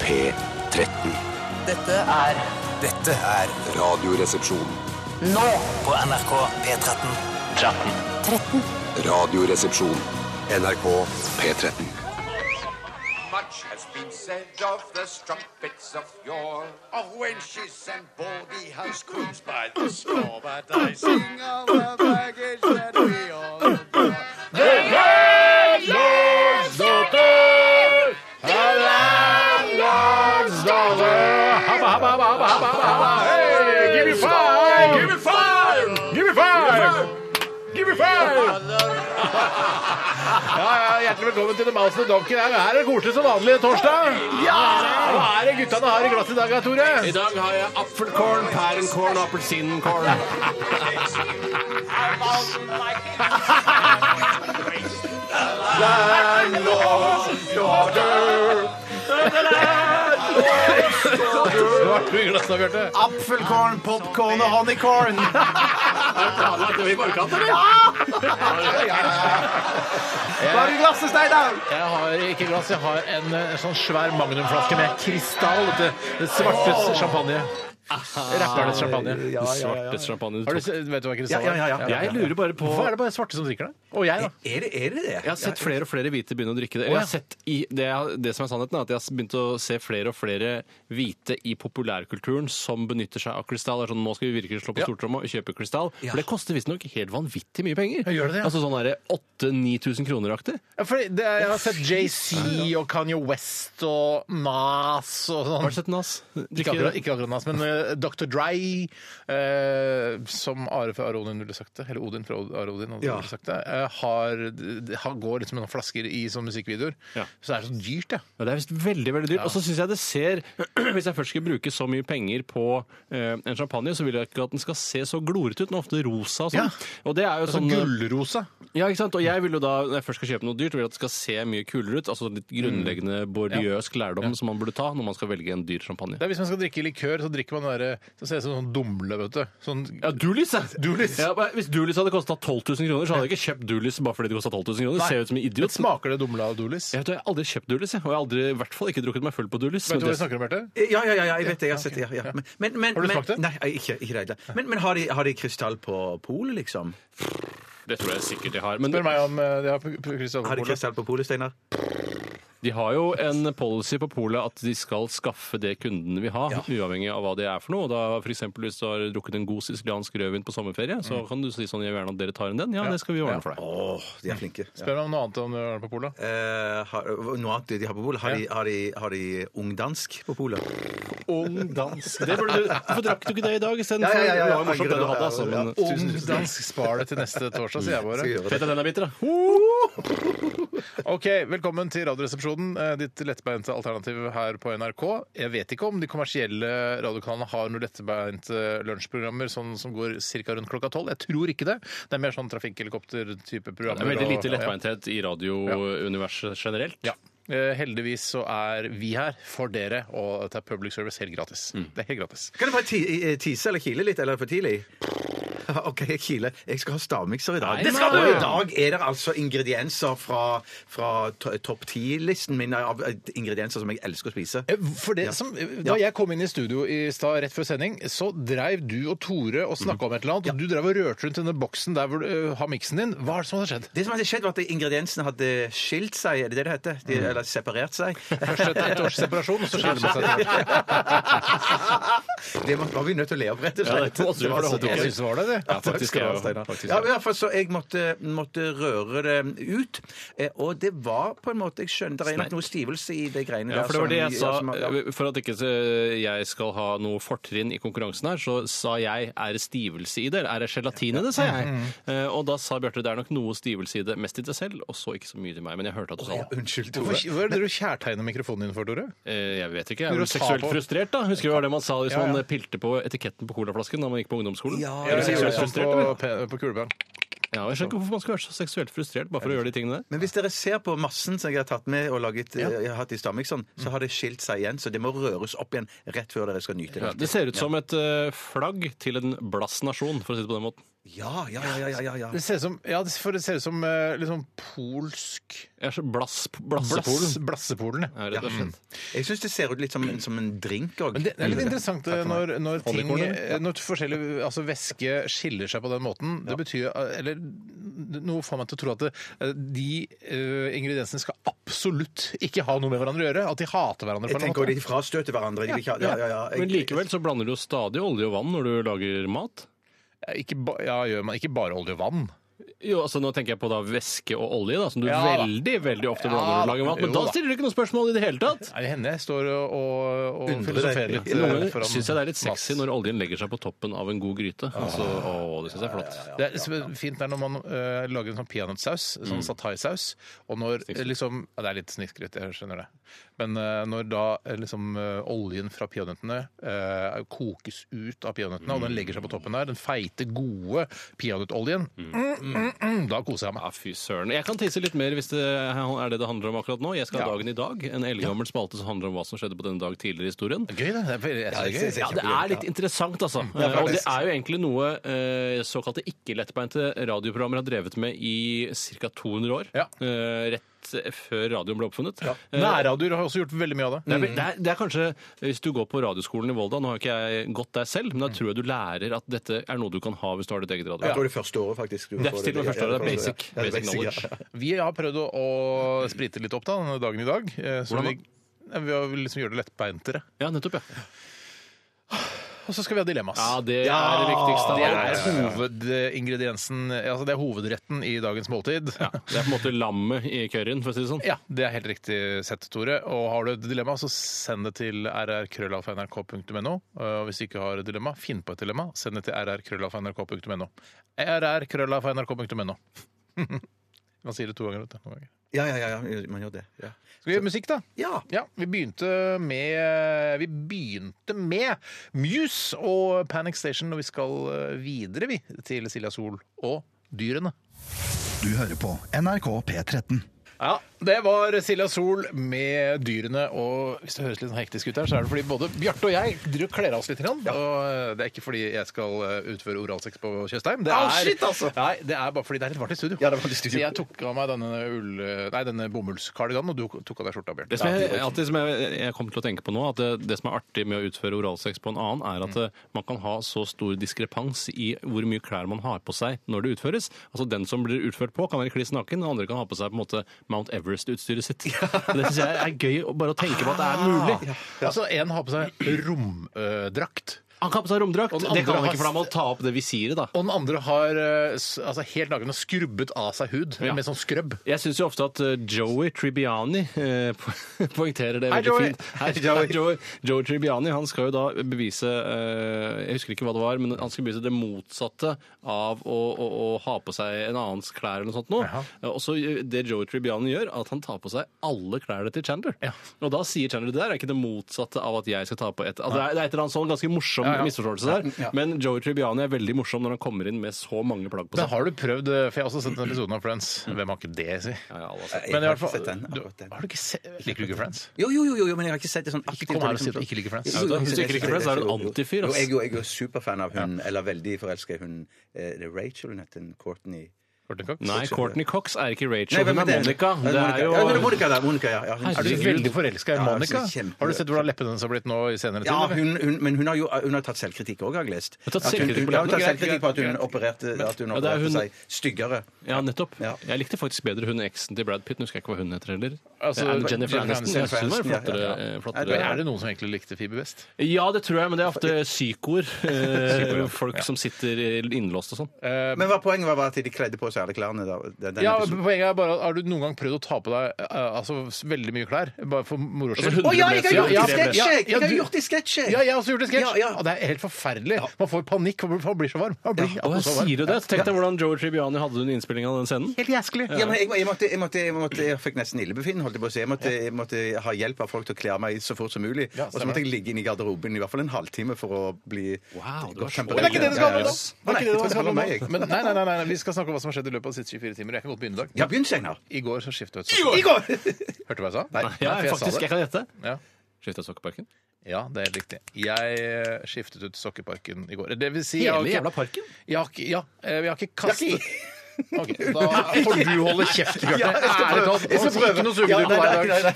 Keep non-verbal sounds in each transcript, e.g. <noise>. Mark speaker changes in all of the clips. Speaker 1: P13.
Speaker 2: Dette er
Speaker 3: Dette er
Speaker 1: Radioresepsjon.
Speaker 2: nå
Speaker 3: på NRK P13.
Speaker 1: Radioresepsjon. NRK P13.
Speaker 4: Much has been said of the strumpets of yore, of wenches and baldy house queens by the score, but I sing of the baggage that we all adore.
Speaker 5: Ja, hjertelig velkommen til The Mouse and the Donkey. Her er det koselig som vanlig torsdag. Ja! Hva er det guttene har i glasset i dag, Tore?
Speaker 6: I dag har jeg apfelkorn, pærenkorn og appelsinkorn.
Speaker 5: Hva har du i glasset, Bjarte?
Speaker 3: Apfelkorn, popkorn og
Speaker 5: <laughs>
Speaker 3: honeycorn. Hva har du i glasset, Steinar?
Speaker 5: Jeg har ikke glass, jeg har en, eh, sånn svær magnumflaske med krystall. Det, det svartes champagne. Rappernes champagne.
Speaker 6: Det svartes champagne.
Speaker 5: Har du, se- vet du hva krystall er?
Speaker 6: Ja, ja, ja, ja. Jeg lurer bare på-
Speaker 5: Hvorfor er det bare svarte som drikker det? Og jeg, da.
Speaker 3: Er det er det?
Speaker 6: Jeg har sett flere og flere hvite begynne å drikke det.
Speaker 5: Å,
Speaker 6: Og
Speaker 5: ja.
Speaker 6: jeg har sett i, det, er- det som er sannheten, er at jeg har begynt å se flere og flere hvite i populærkulturen som benytter seg av krystall. Det er Sånn, nå skal vi virkelig slå på stortromma og kjøpe krystall. For det koster visstnok helt vanvittig mye penger.
Speaker 5: Ja, gjør det det, ja?
Speaker 6: Altså sånn 8000-9000 kroner-aktig.
Speaker 5: Ja, fordi det, jeg har sett JC og Kanye West og Nas og sånn.
Speaker 6: Har du sett Nas?
Speaker 5: Ikke akkurat, ikke akkurat Nas, men eh, Dr. Dry, eh, som Are fra Arodin ville sagt det, eller Odin fra Are Odin hadde ville sagt det, eh, har, d- har, går liksom med noen flasker i sånne musikkvideoer.
Speaker 6: Ja.
Speaker 5: Så det er så dyrt, ja.
Speaker 6: Ja, det er visst veldig veldig dyrt. Og så syns jeg det ser <clears throat> Hvis jeg først skulle bruke så mye penger på eh, en champagne, så vil jeg ikke at den skal se så glorete ut. Den er ofte rosa og sånn.
Speaker 5: Ja.
Speaker 6: Og det er jo
Speaker 5: Altså
Speaker 6: sånn
Speaker 5: gullrosa.
Speaker 6: Ja, ikke sant? Og jeg vil jo da, når jeg først skal kjøpe noe dyrt, vil jeg at det skal se mye kulere ut. Altså litt grunnleggende
Speaker 5: Mm.
Speaker 6: bordiøsk lærdom som man burde ta når man skal velge en dyr champagne.
Speaker 5: Det er Hvis man skal drikke likør, så drikker man den derre Så ser det ut som sånn dumle, vet du. Sånn,
Speaker 6: Ja, Dulis! ja.
Speaker 5: Dulis.
Speaker 6: Ja, men hvis Dulis hadde kosta 12 000 kroner, så hadde jeg ikke kjøpt Dulis bare fordi det kosta 12 000 kroner. Det
Speaker 5: Nei.
Speaker 6: ser ut som en
Speaker 5: Men
Speaker 6: idiot.
Speaker 5: Smaker det dumle av Dolis?
Speaker 6: Jeg vet, du, jeg har aldri kjøpt Dulis, jeg. og jeg har aldri, i hvert fall ikke drukket meg full på Dulis.
Speaker 5: Vet du
Speaker 6: men
Speaker 5: hva
Speaker 6: det-
Speaker 5: jeg snakker om, Bjarte?
Speaker 3: Ja, ja, ja, ja, jeg vet det. Jeg har sett det. Ja, ja. Men, men, men,
Speaker 5: Har du
Speaker 3: men-
Speaker 5: smakt det?
Speaker 3: Nei, ikke, ikke det. hele tatt. Men, men har, de, har de krystall på polet, liksom?
Speaker 6: det tror jeg sikkert de har. Men
Speaker 5: Spør meg om eh, det har Kristoffer
Speaker 3: Har de
Speaker 5: Pole.
Speaker 3: krystall på polet, Steinar?
Speaker 6: De har jo en policy på polet at de skal skaffe det kunden vil ha, uavhengig av hva det er for noe. Og Da, for eksempel, hvis du har drukket en god siciliansk rødvin på sommerferie,
Speaker 5: Mm.
Speaker 6: så kan du si sånn, jeg vil gjerne at dere tar en den. Ja, det skal vi ordne for deg.
Speaker 3: Åh, de er flinke. Mm. Ja.
Speaker 5: Spør meg om noe annet om du har det på Pola.
Speaker 3: Eh, har, noe annet de har på polet? Har, de- har, de- har de ungdansk på polet?
Speaker 6: Ung dansk. Det burde du, hvorfor drakk du ikke det i dag isteden?
Speaker 3: Ja, ja, ja, ja.
Speaker 6: Det var jo morsomt det du hadde, altså. Men,
Speaker 5: Ung dansk spar det til neste torsdag, sier jeg bare.
Speaker 6: Fett at den er bitter, da.
Speaker 5: Ok, Velkommen til Radioresepsjonen, eh, ditt lettbeinte alternativ her på NRK. Jeg vet ikke om de kommersielle radiokanalene har noen lettbeinte lunsjprogrammer sånn som går ca. rundt klokka tolv. Jeg tror ikke det. Det er mer sånn trafikkhelikopter-type
Speaker 6: Det
Speaker 5: programmer.
Speaker 6: er veldig
Speaker 5: og-
Speaker 6: lite lettbeinthet i radiouniverset generelt.
Speaker 5: Ja. ja. Eh, Heldigvis så er vi her for dere, og dette er public service helt gratis.
Speaker 6: Mm.
Speaker 5: Det er helt gratis.
Speaker 3: Kan du bare ti eh, tise eller kile litt, eller er det for tidlig? <laughs> OK, jeg kiler. Jeg skal ha stavmikser i dag.
Speaker 6: Nei, Det skal
Speaker 3: Og
Speaker 6: du!
Speaker 3: i dag er det altså ingredienser fra, fra to- topp ti-listen min av eh, ingredienser som jeg elsker å spise.
Speaker 5: Eh, For det som, da jeg kom inn i studio i stad rett før sending, så dreiv du og Tore og snakka om et eller annet. og Du dreiv og rørte rundt denne boksen der hvor du eh, har miksen din. Hva er det som har skjedd?
Speaker 3: Det som hadde skjedd, var at ingrediensene hadde skilt seg, er det det det heter?
Speaker 6: Mm.
Speaker 3: De, eller separert seg. <laughs>
Speaker 5: Først etter ett års separasjon, og så skiller man seg. etter hvert.
Speaker 3: Det var vi nødt til å le av, rett og
Speaker 6: Ja,
Speaker 3: slett.
Speaker 6: det måtte vi, for det holdt
Speaker 5: Jeg
Speaker 6: ikke.
Speaker 5: synes det var det, det.
Speaker 6: Ja, faktisk er jeg jo- faktisk er
Speaker 3: Ja,
Speaker 6: jeg
Speaker 3: i hvert fall så jeg måtte, måtte røre det ut. Eh, Og det var på en måte Jeg skjønner det er nok noe stivelse i de greiene
Speaker 6: Ja, for
Speaker 3: der.
Speaker 6: det var
Speaker 3: som-
Speaker 6: det jeg sa.
Speaker 3: ja, som- ja.
Speaker 6: For at ikke eh, jeg skal ha noe fortrinn i konkurransen her, så sa jeg er det stivelse i det? eller Er det gelatin i det, sa jeg.
Speaker 3: Mm,
Speaker 6: Eh, Og da sa Bjarte det er nok noe stivelse i det, mest i det selv, og så ikke så mye til meg. Men jeg hørte at du sa det.
Speaker 3: Unnskyld,
Speaker 5: Hvorfor-
Speaker 3: Tore.
Speaker 5: Hva er det du kjærtegner mikrofonen din for, Tore?
Speaker 6: Eh, Jeg vet ikke. Jeg
Speaker 5: Når du
Speaker 6: er vel
Speaker 5: tar
Speaker 6: seksuelt
Speaker 5: på-
Speaker 6: frustrert, da. Husker du det var det man sa hvis
Speaker 5: Ja, ja.
Speaker 6: man eh, pilte på etiketten på colaflasken da man gikk på ungdomsskolen?
Speaker 3: Ja,
Speaker 6: Er du seksuelt frustrert, eller?
Speaker 5: på, pe- på kulebanen.
Speaker 6: Ja, jeg skjønner ikke hvorfor man skal være så seksuelt frustrert bare for å gjøre de tingene der.
Speaker 3: Men hvis dere ser på massen som jeg har tatt med og laget, eh, jeg har hatt i Stamikson,
Speaker 6: Mm.
Speaker 3: så har det skilt seg igjen, så det må røres opp igjen rett før dere skal nyte det.
Speaker 6: Ja, det ser ut som et eh, flagg til en blass nasjon, for å si det på den måten.
Speaker 3: Ja, ja, ja, ja, ja, ja.
Speaker 5: Det ser ut som, ja, det- for det ser ut som eh, litt sånn polsk
Speaker 6: Jeg er så blass,
Speaker 5: Blass,
Speaker 6: blassepolen.
Speaker 5: Blassepolen, ja.
Speaker 6: Jeg er rett og slett.
Speaker 3: Jeg syns det ser ut litt som, en- som en drink òg.
Speaker 5: Men det, det er litt interessant eh, når, når ting
Speaker 6: Hobbykorn, eller?
Speaker 5: eh, Når forskjellige altså væske skiller seg på den måten. Det betyr eh, Eller noe får meg til å tro at det, eh, de eh, ingrediensene skal absolutt ikke ha noe med hverandre å gjøre. At de hater hverandre.
Speaker 3: Jeg
Speaker 5: på en
Speaker 3: tenker
Speaker 5: måte.
Speaker 3: de frastøter hverandre. De vil ikke ha ja, ja, ja. Jeg-
Speaker 6: Men likevel så blander du jo stadig olje og vann når du lager mat.
Speaker 5: Eh, Ikke, ba, ja, gjør man ikke bare olje og vann?
Speaker 6: Jo, altså Nå tenker jeg på da væske og olje, da, som du
Speaker 5: Ja, da.
Speaker 6: veldig veldig ofte
Speaker 5: Ja,
Speaker 6: blander når
Speaker 5: da.
Speaker 6: du lager mat. Men
Speaker 5: Jo,
Speaker 6: da
Speaker 5: da.
Speaker 6: stiller du ikke noe spørsmål i det hele tatt!
Speaker 5: Er det henne jeg står og, og, og
Speaker 3: Undrer
Speaker 5: filosoferer
Speaker 3: deg.
Speaker 5: litt?
Speaker 6: Noen
Speaker 5: eh,
Speaker 6: ganger
Speaker 5: foran
Speaker 6: syns jeg det er litt
Speaker 5: Mats?
Speaker 6: sexy når oljen legger seg på toppen av en god gryte. Altså, å, det syns jeg er flott.
Speaker 5: Det er så fint det er når man eh, lager en sånn peanøttsaus, sånn sataisaus, og når eh, liksom ja, Det er litt snikskryt, jeg skjønner det. Men eh, når da eh, liksom eh, oljen fra peanøttene eh, kokes ut av peanøttene, og den legger seg på toppen der, den feite, gode peanøttoljen, mm, mm, mm, da koser jeg meg.
Speaker 6: Ja, fy søren. Jeg kan tisse litt mer hvis det er det det handler om akkurat nå. Jeg skal ha
Speaker 5: Ja.
Speaker 6: dagen i dag. En eldgammel spalte som handler om hva som skjedde på denne dag tidligere i historien.
Speaker 5: Gøy, det. det er, veldig- jeg synes det er gøy.
Speaker 6: Ja, det er litt interessant, altså. Eh, og det er jo egentlig noe eh, såkalte ikke-lettbeinte radioprogrammer har drevet med i ca. 200 år.
Speaker 5: Ja.
Speaker 6: Eh, rett før radioen ble oppfunnet. Eh,
Speaker 5: Nærradioer har også gjort veldig mye av det.
Speaker 6: det er, vel- det, er, det er kanskje, Hvis du går på radioskolen i Volda Nå har ikke jeg gått der selv, men da tror jeg du lærer at dette er noe du kan ha hvis du har ditt eget radio.
Speaker 3: Jeg tror det er første året, faktisk. Du
Speaker 6: Det er
Speaker 3: får
Speaker 6: til og med første året, det er basic,
Speaker 3: Ja, det er
Speaker 6: basic knowledge.
Speaker 3: ja.
Speaker 5: Vi har prøvd å, å sprite litt opp da, denne dagen i dag. eh, Så
Speaker 6: Hvordan
Speaker 5: vi, ja, vi har liksom gjøre det lettbeintere.
Speaker 6: Ja, nettopp, ja.
Speaker 5: Og så skal vi ha dilemmas.
Speaker 6: Ja, Det er det viktigste.
Speaker 5: Det
Speaker 6: av alt.
Speaker 5: er hovedingrediensen Altså det er hovedretten i dagens måltid. Ja. <laughs>
Speaker 6: Det er på en måte lammet i curryen, for å si det sånn.
Speaker 5: Det er helt riktig sett, Tore. Og har du et dilemma, så send det til rrkrøllalfa.nrk.no. Og hvis du ikke har et dilemma, finn på et dilemma. Send det til rrkrøllalfa.nrk.no. <laughs> rrkrøllalfa.nrk.no. Man sier det to ganger. vet du, noen ganger.
Speaker 3: Ja, ja, ja, ja, man gjør det. Ja.
Speaker 5: Skal vi gjøre musikk, da?
Speaker 3: ja.
Speaker 5: Ja, vi begynte med Vi begynte med Muse og Panic Station, og vi skal eh, videre, vi, til Silja Sol og dyrene.
Speaker 7: Du hører på NRK P13.
Speaker 5: Ja, det var Silja Sol med dyrene, og hvis det høres litt sånn hektisk ut her, så er det fordi både Bjarte og jeg driver og kler av oss litt, grann, og eh, det er ikke fordi jeg skal eh, utføre oralsex på Tjøstheim. Det,
Speaker 3: Au,
Speaker 5: er-
Speaker 3: shit, altså!
Speaker 5: Nei, det er bare fordi det er litt varmt i studio.
Speaker 3: Ja, det er varmt i studio.
Speaker 5: Så jeg tok av meg denne, ull, eh, nei, denne bomullskardiganen, og du tok av deg skjorta, Bjarte.
Speaker 6: Det som jeg, alltid som jeg, jeg kommer til å tenke på nå, at det, det som er artig med å utføre oralsex på en annen, er
Speaker 5: Mm.
Speaker 6: at eh, man kan ha så stor diskrepans i hvor mye klær man har på seg når det utføres. Altså Den som blir utført på, kan være kliss naken, og andre kan ha på seg på en måte Mount Everest-utstyret sitt. <laughs> Det syns jeg er gøy å- bare å tenke på at det
Speaker 5: Ah.
Speaker 6: er mulig.
Speaker 5: Altså, en har på seg romdrakt.
Speaker 6: Han kan ha på seg romdrakt.
Speaker 5: Og den
Speaker 6: Det
Speaker 5: andre
Speaker 6: kan han
Speaker 5: har-
Speaker 6: ikke, for da må han ta opp det visiret, da.
Speaker 5: Og den andre har eh, s- altså, helt naken og skrubbet av seg hud
Speaker 6: Ja.
Speaker 5: med sånn skrøbb.
Speaker 6: Jeg syns jo ofte at eh, Joey Tribbiani eh, <laughs> po- poengterer det
Speaker 5: Hei,
Speaker 6: veldig
Speaker 5: Joey.
Speaker 6: fint. Hei, Joey. Joey, Joey Tribbiani han skal jo da bevise eh, Jeg husker ikke hva det var, men han skal bevise det motsatte av å, å, å ha på seg en annens klær eller noe sånt. Nå.
Speaker 5: Jaha.
Speaker 6: Eh, Og så eh, det Joey Tribbiani gjør, at han tar på seg alle klærne til Chandler.
Speaker 5: Ja.
Speaker 6: Og da sier Chandler det der er ikke det motsatte av at jeg skal ta på et altså, det, er, det er et eller annet sånn ganske morsom
Speaker 5: Ja, ja.
Speaker 6: misforståelse der. Men Joey Tribbiani er veldig morsom når han kommer inn med så mange plagg på
Speaker 5: Men
Speaker 6: seg.
Speaker 5: har du prøvd eh, For jeg har også sett den episoden av Friends. Hvem har ikke det, si?
Speaker 6: Ja, altså. ja, alle har sett
Speaker 5: Men
Speaker 3: Mm. Jeg
Speaker 5: i
Speaker 3: har
Speaker 5: hvert fall-
Speaker 3: ikke sett den.
Speaker 5: du,
Speaker 3: akkurat den.
Speaker 5: har du ikke sett, liker du ikke Friends?
Speaker 3: Jo, jo, jo, jo, jo, men jeg har ikke sett det sånn aktivt.
Speaker 5: kom her og si at du ikke liker Friends.
Speaker 3: Jo, jo,
Speaker 6: Hvis du ikke liker Friends, er du en antifyr, ass.
Speaker 3: Jo, jeg, er jo- jeg er jo superfan av hun, eller veldig forelska i hun eh, det er Rachel, hun heter Courtney.
Speaker 5: Courtney Cox?
Speaker 6: Nei,
Speaker 3: Cox.
Speaker 6: Courtney Cox er ikke Rachel.
Speaker 3: Nei, hvem
Speaker 6: hun er Monica.
Speaker 3: Ja,
Speaker 6: Det er jo
Speaker 3: Ja, hun er Monica, da. Monica, ja. ja hun,
Speaker 5: Er du
Speaker 6: Herregud.
Speaker 5: veldig forelska i
Speaker 3: Ja, jeg
Speaker 5: Monica?
Speaker 3: synes kjempe-
Speaker 5: Har du sett hvordan leppene hennes har blitt nå i senere tid?
Speaker 3: Ja,
Speaker 5: eller?
Speaker 3: hun, hun, men hun har jo hun har tatt selvkritikk òg, har jeg lest.
Speaker 6: Hun har tatt
Speaker 3: At
Speaker 6: selvkritikk på
Speaker 3: hun, ja, hun
Speaker 6: det.
Speaker 3: tar
Speaker 5: Greit,
Speaker 3: selvkritikk på at hun
Speaker 5: greit.
Speaker 3: opererte, at hun
Speaker 6: Ja, det er
Speaker 3: opererte
Speaker 6: hun-
Speaker 3: seg styggere.
Speaker 6: Ja, nettopp.
Speaker 3: Ja.
Speaker 6: Jeg likte faktisk bedre hun eksen til Brad Pitt. Nå husker jeg ikke hva hun heter heller.
Speaker 5: Altså,
Speaker 6: Eh, Jennifer
Speaker 5: Jennifer
Speaker 6: Aniston.
Speaker 5: Aniston.
Speaker 6: Jeg synes hun var
Speaker 3: Jennifer
Speaker 6: flottere.
Speaker 3: Aniston, ja,
Speaker 6: eh,
Speaker 5: Men er
Speaker 6: flottere.
Speaker 5: det noen som egentlig likte Phoebe best?
Speaker 6: Ja, det tror jeg, men det er ofte psykoer. eh, Folk som sitter innlåst og sånn.
Speaker 3: Men hva poenget var, var at de kledde på seg alle klærne da? Den, den
Speaker 5: Eh, Ja,
Speaker 3: episoden.
Speaker 5: poenget er bare at Har du noen gang prøvd å ta på deg eh, altså, veldig mye klær? Bare for moro
Speaker 6: Altså,
Speaker 5: skyld?
Speaker 6: hun-
Speaker 3: Å ja, jeg har gjort det i
Speaker 5: Ja, ja,
Speaker 3: sketsj! jeg. Jeg
Speaker 5: ja,
Speaker 3: har
Speaker 5: du-
Speaker 3: gjort det i sketsj!
Speaker 5: <laughs>
Speaker 3: jeg.
Speaker 5: Ja, jeg har også gjort en sketsj.
Speaker 3: Ja, ja.
Speaker 5: Og det er helt forferdelig. Man får panikk, for man blir så varm. Man blir altså
Speaker 6: Og jeg
Speaker 5: så varm.
Speaker 6: sier jo det. Tenk deg hvordan Joe Tribbiani hadde det under innspillingen av den scenen.
Speaker 5: Helt jæsklig.
Speaker 3: Ja, men jeg, jeg, måtte, jeg, måtte, jeg, måtte, jeg fikk nesten illebefinnende, holdt jeg på å si. Jeg måtte, jeg måtte ha hjelp av folk til å kle av meg så fort som mulig.
Speaker 5: Ja,
Speaker 3: og så måtte jeg ligge inne i garderoben i hvert fall en halvtime for å bli
Speaker 6: Wow, du var
Speaker 3: godt
Speaker 6: så-
Speaker 3: temperert.
Speaker 5: Men det er ikke det det skal handle om!
Speaker 6: Yes.
Speaker 5: Det er ikke det det
Speaker 3: Nei, jeg tror det
Speaker 5: skal handle om.
Speaker 3: handler om meg.
Speaker 5: Men nei, nei, nei, nei, nei, vi skal snakke om hva som har skjedd i løpet av de siste 24 timer. Jeg kan godt begynne i dag.
Speaker 3: Ja, begynn, Steinar.
Speaker 5: I går så skiftet jeg ut
Speaker 3: I går!
Speaker 5: <laughs> Hørte du hva jeg sa? Nei,
Speaker 6: Ja,
Speaker 5: for jeg sa
Speaker 6: faktisk. Jeg
Speaker 5: det.
Speaker 6: kan gjette.
Speaker 5: Ja.
Speaker 6: Skifta sokkeparken.
Speaker 5: Ja, det er helt riktig. Jeg eh, skiftet ut Sokkeparken i går. Det vil si jeg har
Speaker 6: Hele
Speaker 5: ikke-
Speaker 6: jævla parken?
Speaker 5: Jeg har ikke, ja, eh, jeg har ikke kastet Ok, da får du holde kjeft, Bjarte.
Speaker 6: Ja, jeg skal
Speaker 5: Ærlig
Speaker 6: prøve.
Speaker 5: talt.
Speaker 6: Jeg skal
Speaker 5: altså, Ikke noe sugerør på deg i dag. Du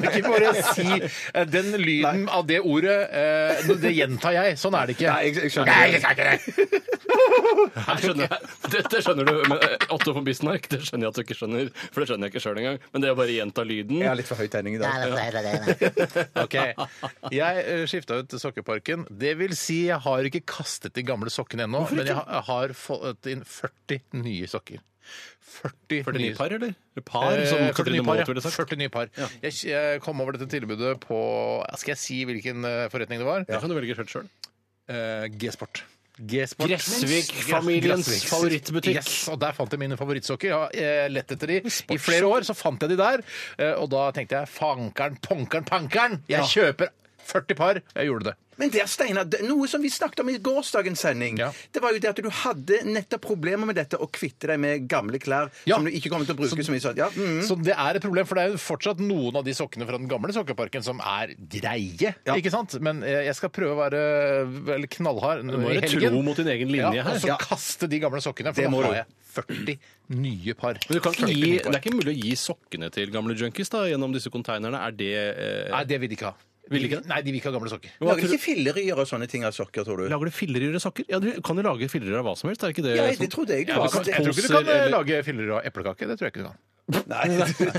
Speaker 5: kan ikke bare si eh, den lyden av det ordet. eh, Det gjentar jeg. Sånn er det ikke.
Speaker 1: Nei, jeg, jeg skjønner
Speaker 5: Nei,
Speaker 1: det.
Speaker 5: jeg sa ikke det.
Speaker 6: Jeg skjønner <laughs> det. Dette skjønner du. Men eh, Otto von Bismarck, det skjønner jeg at du ikke skjønner. For det skjønner jeg ikke sjøl engang. Men det å bare gjenta lyden
Speaker 1: Jeg har litt for høy tegning i dag.
Speaker 6: <laughs>
Speaker 5: Ok, Jeg skifta ut sokkeparken. Det vil si, jeg har ikke kastet de gamle sokkene ennå, men jeg har- jeg har fått inn 40 nye sokker. 40,
Speaker 6: 40 nye
Speaker 5: nye
Speaker 6: par, eller? Eller Par,
Speaker 5: Eh,
Speaker 6: som
Speaker 5: 40 nye
Speaker 6: Katrine sånn.
Speaker 5: par,
Speaker 6: Moholt
Speaker 5: ja.
Speaker 6: ville sagt.
Speaker 5: 40 nye par. Jeg, jeg kom over dette tilbudet på Skal jeg si hvilken eh, forretning det var?
Speaker 6: Det kan du velge sjøl.
Speaker 5: Eh, G-Sport. G-Sport.
Speaker 6: Gressvik-familiens
Speaker 5: Gressviks.
Speaker 6: favorittbutikk.
Speaker 5: Yes, og Der fant jeg mine favorittsokker. Jeg har eh, lett etter de i flere år. Så fant jeg de der, eh, og da tenkte jeg fankeren, ponkeren, pankeren! Jeg kjøper 40 par. Jeg gjorde det.
Speaker 3: Men der, Steinar, det- noe som vi snakket om i gårsdagens sending,
Speaker 5: Ja.
Speaker 3: det var jo det at du hadde nettopp problemer med dette å kvitte deg med gamle klær
Speaker 5: Ja.
Speaker 3: som du ikke kommer til å bruke så, mye. Sånn. Ja, mm.
Speaker 5: Så det er et problem, for det er jo fortsatt noen av de sokkene fra den gamle sokkeparken som er greie.
Speaker 3: Ja.
Speaker 5: ikke sant? Men eh, jeg skal prøve å være vel, knallhard
Speaker 6: Du må
Speaker 5: i
Speaker 6: være
Speaker 5: helgen.
Speaker 6: tro mot din egen linje
Speaker 5: ja,
Speaker 6: her.
Speaker 5: Og så kaste de gamle sokkene, for
Speaker 6: Det
Speaker 5: da
Speaker 6: må
Speaker 5: har
Speaker 6: du.
Speaker 5: jeg 40 nye par.
Speaker 6: Men du kan ikke
Speaker 5: 40
Speaker 6: gi,
Speaker 5: nye
Speaker 6: det
Speaker 5: par.
Speaker 6: er ikke mulig å gi sokkene til gamle junkies da, gjennom disse konteinerne. Er det eh,
Speaker 5: Nei, det vil de ikke ha.
Speaker 6: Vil de ikke det?
Speaker 5: Nei, de vil ikke ha gamle sokker.
Speaker 3: Lager ikke filleryer og sånne ting av sokker, tror du?
Speaker 6: Lager du filleryrede sokker? Ja, du kan jo lage filleryr av hva som helst. Er ikke det
Speaker 3: Ja,
Speaker 6: som-
Speaker 3: det trodde jeg det
Speaker 6: Ja,
Speaker 3: var.
Speaker 6: du kan-
Speaker 5: Jeg tror ikke du
Speaker 6: poser
Speaker 5: kan eh,
Speaker 6: eller-
Speaker 5: lage filler av eplekake. Det tror jeg ikke du kan.
Speaker 3: Nei,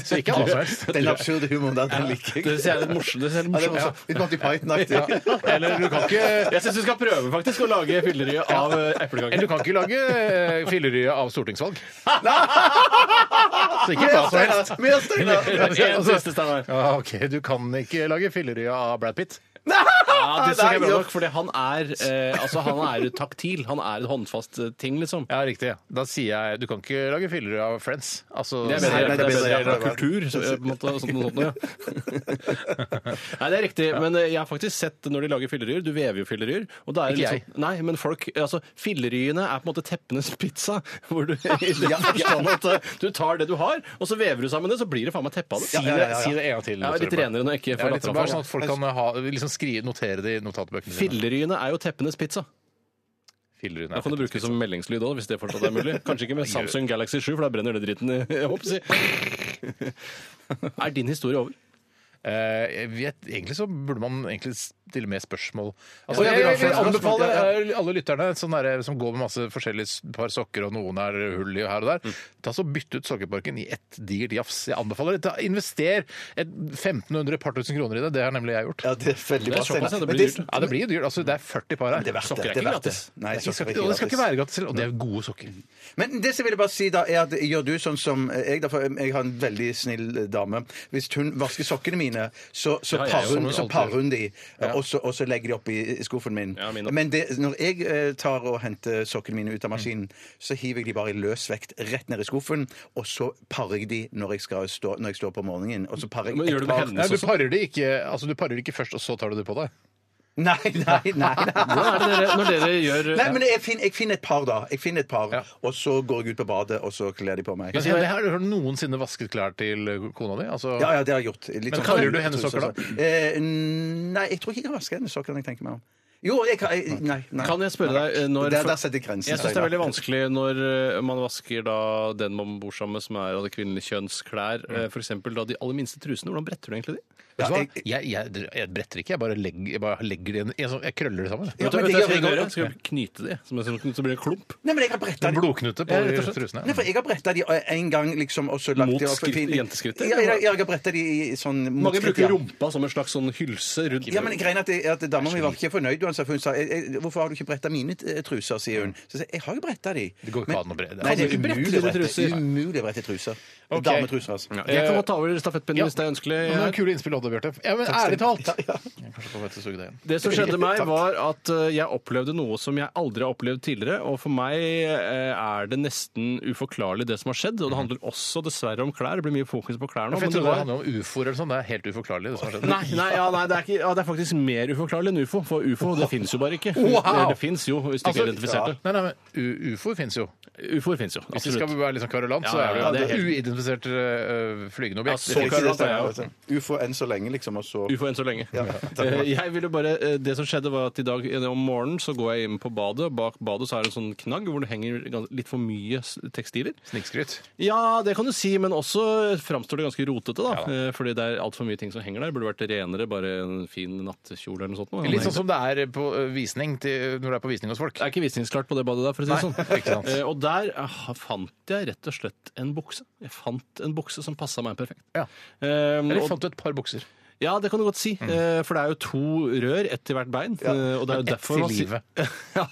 Speaker 5: Så ikke hva som helst.
Speaker 3: den absurde humoren der, den liker
Speaker 6: Det
Speaker 3: jeg.
Speaker 6: sånn- ser jeg litt morsomt det ser litt
Speaker 3: Ja, det var
Speaker 6: morsomt
Speaker 3: så-
Speaker 6: ut.
Speaker 3: Litt Monty Python-aktig. Ja.
Speaker 5: Eller du kan ikke
Speaker 6: Jeg syns du skal prøve faktisk å lage fillerye av eh,
Speaker 5: eller
Speaker 6: <laughs> eplekaker.
Speaker 5: du kan ikke lage eh, fillerye av stortingsvalg. Så ikke hva
Speaker 3: Mer,
Speaker 5: som helst.
Speaker 3: Steinar! Mer,
Speaker 5: <laughs>
Speaker 3: Steinar!
Speaker 6: En siste, Steinar.
Speaker 5: Ja, ok, Du kan ikke lage fillerye av Brad Pitt.
Speaker 6: <laughs> Ja, det skal jeg
Speaker 3: Nei,
Speaker 6: bra
Speaker 3: ja.
Speaker 6: nok, fordi han er eh, altså, han er taktil. Han er et håndfast eh, ting, liksom.
Speaker 5: Ja, riktig. ja. Da sier jeg du kan ikke lage fillerye av Friends. Altså,
Speaker 6: Det er
Speaker 3: Nei,
Speaker 6: bedre,
Speaker 3: nei,
Speaker 6: det er bedre,
Speaker 3: ja, det er bra.
Speaker 6: kultur. Så, eh, på en måte, og sånt, noe sånt, ja. <laughs> Nei, det er riktig. Men eh, jeg har faktisk sett når de lager filleryer. Du vever jo filleryer. Og da er det
Speaker 5: Ikke
Speaker 6: litt
Speaker 5: jeg.
Speaker 6: sånn- nei, men folk, altså, Filleryene er på en måte teppenes pizza. <laughs> Hvor du, i den forstand at eh, du tar det du har, og så vever du sammen det, så blir det faen meg teppa.
Speaker 5: Si det, si det en gang til.
Speaker 6: Ja, liksom, litt
Speaker 5: Tore.
Speaker 6: renere når jeg ikke
Speaker 5: Ja,
Speaker 6: får
Speaker 5: litt,
Speaker 6: latteren
Speaker 5: bare
Speaker 6: fra.
Speaker 5: sånn at folk kan ha, liksom skrive, notere det i notatbøkene sine.
Speaker 6: Filleryene er jo teppenes pizza.
Speaker 5: Fillerye, nei.
Speaker 6: Da kan du bruke det som meldingslyd òg, hvis det fortsatt er <laughs> mulig. Kanskje ikke med Samsung Galaxy 7, for da brenner det dritten i jeg håper å si. <laughs> Er din historie over?
Speaker 5: Eh, jeg vet, egentlig så burde man egentlig stille med spørsmål. Altså,
Speaker 3: Ja,
Speaker 5: jeg,
Speaker 3: ja,
Speaker 5: jeg vil
Speaker 3: ja, ja.
Speaker 5: anbefale eh, alle lytterne sånn der, som går med masse forskjellige s- par sokker, og noen er hull i her og
Speaker 3: Mm.
Speaker 5: der, ta så bytte ut sokkeparken i ett digert jafs. Jeg anbefaler det. Ta- Invester et 1500 par tusen kroner i det. Det har nemlig jeg gjort.
Speaker 3: Ja, det er veldig
Speaker 6: Det
Speaker 3: bra,
Speaker 6: er såpass, ja,
Speaker 3: Steinar.
Speaker 6: det
Speaker 3: Men
Speaker 6: blir
Speaker 3: det-
Speaker 6: dyrt.
Speaker 5: Ja, det blir jo dyrt. Altså, det er 40 par her.
Speaker 3: Det er verdt det.
Speaker 6: Sokker er
Speaker 3: det
Speaker 6: ikke
Speaker 3: er verdt det.
Speaker 6: gratis.
Speaker 3: Nei,
Speaker 5: Det
Speaker 3: sokker
Speaker 5: skal
Speaker 3: er
Speaker 5: ikke, og det skal ikke være gratis selv, og det er gode sokker.
Speaker 3: Mm. Men det som jeg ville bare si da, er at gjør du sånn som jeg, da, for jeg har en veldig snill eh, dame. Hvis hun vasker sokkene mine, så, så
Speaker 6: Ja, jeg
Speaker 3: parer hun,
Speaker 5: gjør
Speaker 3: så
Speaker 5: alltid.
Speaker 3: parer hun de, og, så, og så legger de oppi skuffen min.
Speaker 6: Ja, min opp.
Speaker 3: Men det, når jeg eh, tar og henter sokkene mine ut av maskinen, så hiver jeg de bare i løs vekt rett ned i skuffen, og så parer jeg de når jeg, skal stå, når jeg står på morgenen. Og så parer
Speaker 6: Men
Speaker 3: jeg
Speaker 6: gjør du med
Speaker 3: et par
Speaker 6: hendene?
Speaker 5: Nei, du parer det ikke, altså, du parer det ikke først, og så tar du det på deg.
Speaker 3: Nei, nei, nei. nei.
Speaker 6: <laughs> Hvordan er det dere, når <laughs> dere gjør
Speaker 3: Nei, men jeg finner, jeg finner et par, da. Jeg finner et par,
Speaker 5: Ja.
Speaker 3: Og så går jeg ut på badet, og så kler de på meg.
Speaker 5: Men, det her, har du noensinne vasket klær til kona di? Altså,
Speaker 3: Ja, ja, det har jeg gjort. Litt
Speaker 5: Men
Speaker 3: sånn-
Speaker 5: kaller du henne sokker, da?
Speaker 3: Eh, nei, jeg tror ikke jeg kan vaske henne sokker. når jeg tenker meg om. Jo, jeg kan jeg- Nei. nei.
Speaker 6: Kan jeg spørre deg eh, når
Speaker 3: der, der setter jeg grensen.
Speaker 6: Jeg syns det er
Speaker 3: Steinar.
Speaker 6: veldig vanskelig når eh, man vasker da den man bor sammen med som er av det kvinnelige kjønns klær. eh, For eksempel da de aller minste trusene. Hvordan bretter du egentlig de?
Speaker 5: Vet du
Speaker 3: Ja,
Speaker 5: hva?
Speaker 3: jeg-
Speaker 5: Jeg, jeg, jeg bretter ikke, jeg bare legger, jeg bare legger det i en, jeg, sånn- jeg krøller det sammen.
Speaker 3: Ja,
Speaker 5: jeg.
Speaker 6: Vet du vet
Speaker 3: men
Speaker 6: du
Speaker 3: det
Speaker 6: hva jeg skal
Speaker 3: gjør jeg
Speaker 6: gjøre?
Speaker 3: også.
Speaker 6: Skal jeg knyte de, som, som, så blir det en klump?
Speaker 3: Nei, men jeg har bretta
Speaker 5: En
Speaker 3: de.
Speaker 5: blodknute på
Speaker 6: Ja, rett og slett.
Speaker 3: Nei,
Speaker 5: trusene.
Speaker 3: for jeg har bretta de en gang, liksom, og så lagt
Speaker 6: Mot
Speaker 3: de opp i
Speaker 6: skritt-
Speaker 3: fin-
Speaker 6: jenteskrittet?
Speaker 3: Ja, jeg, jeg har bretta de i sånn mot
Speaker 6: Mange
Speaker 3: skritt,
Speaker 6: bruker
Speaker 3: ja.
Speaker 6: rumpa som en slags sånn hylse rundt
Speaker 3: Ja, men greien er at, det- at Dama mi var ikke fornøyd. Hun sa, for hun sa «Jeg- jeg- 'Hvorfor har du ikke bretta mine eh, truser?' sier hun. Så jeg sa jeg 'Jeg har jo bretta de'.
Speaker 5: Det går ikke an å brette.
Speaker 3: Nei,
Speaker 6: Kan
Speaker 3: det er
Speaker 6: du ikke brette
Speaker 3: umulig
Speaker 6: dine
Speaker 3: å brette
Speaker 6: truser?
Speaker 3: Umulig å brette truser.
Speaker 5: Ok.
Speaker 3: Dametruser, altså.
Speaker 6: Jeg kan godt ta over stafettpinnen
Speaker 5: Ja.
Speaker 6: hvis det er ønskelig.
Speaker 5: Men det er kule innspill, Odde Bjarte. Ja, men ærlig talt! Jeg kanskje får vett til å suge det igjen.
Speaker 6: Det som skjedde meg, var at eh, jeg opplevde noe som jeg aldri har opplevd tidligere. Og for meg eh, er det nesten uforklarlig, det som har skjedd. Og det handler også dessverre om klær. Det blir mye fokus på klær nå.
Speaker 5: For Mhm. jeg
Speaker 6: men
Speaker 5: trodde det
Speaker 6: var-
Speaker 5: handlet om ufoer eller sånn. Det er helt uforklarlig, det som har skjedd.
Speaker 6: Nei, nei, ja, nei det, er ikke, ja, det er faktisk mer uforklarlig enn ufo, for ufo det fins jo bare ikke. Det, det fins jo, hvis du
Speaker 5: Altså,
Speaker 6: ikke er identifisert det.
Speaker 5: Nei, nei, men u- ufoer fins jo.
Speaker 6: Ufoer fins jo.
Speaker 5: Hvis vi skal
Speaker 6: Absolutt.
Speaker 5: være litt sånn kverulant,
Speaker 6: Ja,
Speaker 5: så er det
Speaker 6: ja,
Speaker 5: jo
Speaker 6: det er
Speaker 5: et uidentifisert øh, flygende
Speaker 6: Ja,
Speaker 5: objekt.
Speaker 6: så
Speaker 5: Det-
Speaker 6: kverulant er jeg jo.
Speaker 3: Ufo enn så lenge, liksom, og så
Speaker 6: Ufo enn så lenge. Eh, Jeg ville bare, eh, det som skjedde var at i dag eh, om morgenen så går jeg inn på badet. Bak badet så er det en sånn knagg hvor det henger gans- litt for mye s- tekstiler.
Speaker 5: Snikskryt.
Speaker 6: Ja, det kan du si, men også framstår det ganske rotete, da. Eh, Fordi det er altfor mye ting som henger der. Burde vært renere, bare en fin nattkjole eller noe sånt. nå.
Speaker 5: Litt sånn som det er på eh, visning til, når du er på visning hos folk.
Speaker 6: Det er ikke visningsklart på det badet der, for å si det
Speaker 5: Nei,
Speaker 6: sånn.
Speaker 5: ikke sant.
Speaker 6: Eh, Og der eh, fant jeg rett og slett en bukse. Jeg fant en bukse som passa meg perfekt.
Speaker 5: Ja.
Speaker 6: Eh,
Speaker 5: Eller
Speaker 6: og-
Speaker 5: fant Mm. du et par bukser?
Speaker 6: Ja, det kan du godt si. Eh, For det er jo to rør, ett til hvert bein. eh, Og det
Speaker 5: Men
Speaker 6: er jo
Speaker 5: ett
Speaker 6: derfor
Speaker 5: til
Speaker 6: man sier-
Speaker 5: livet.
Speaker 6: <laughs> ja,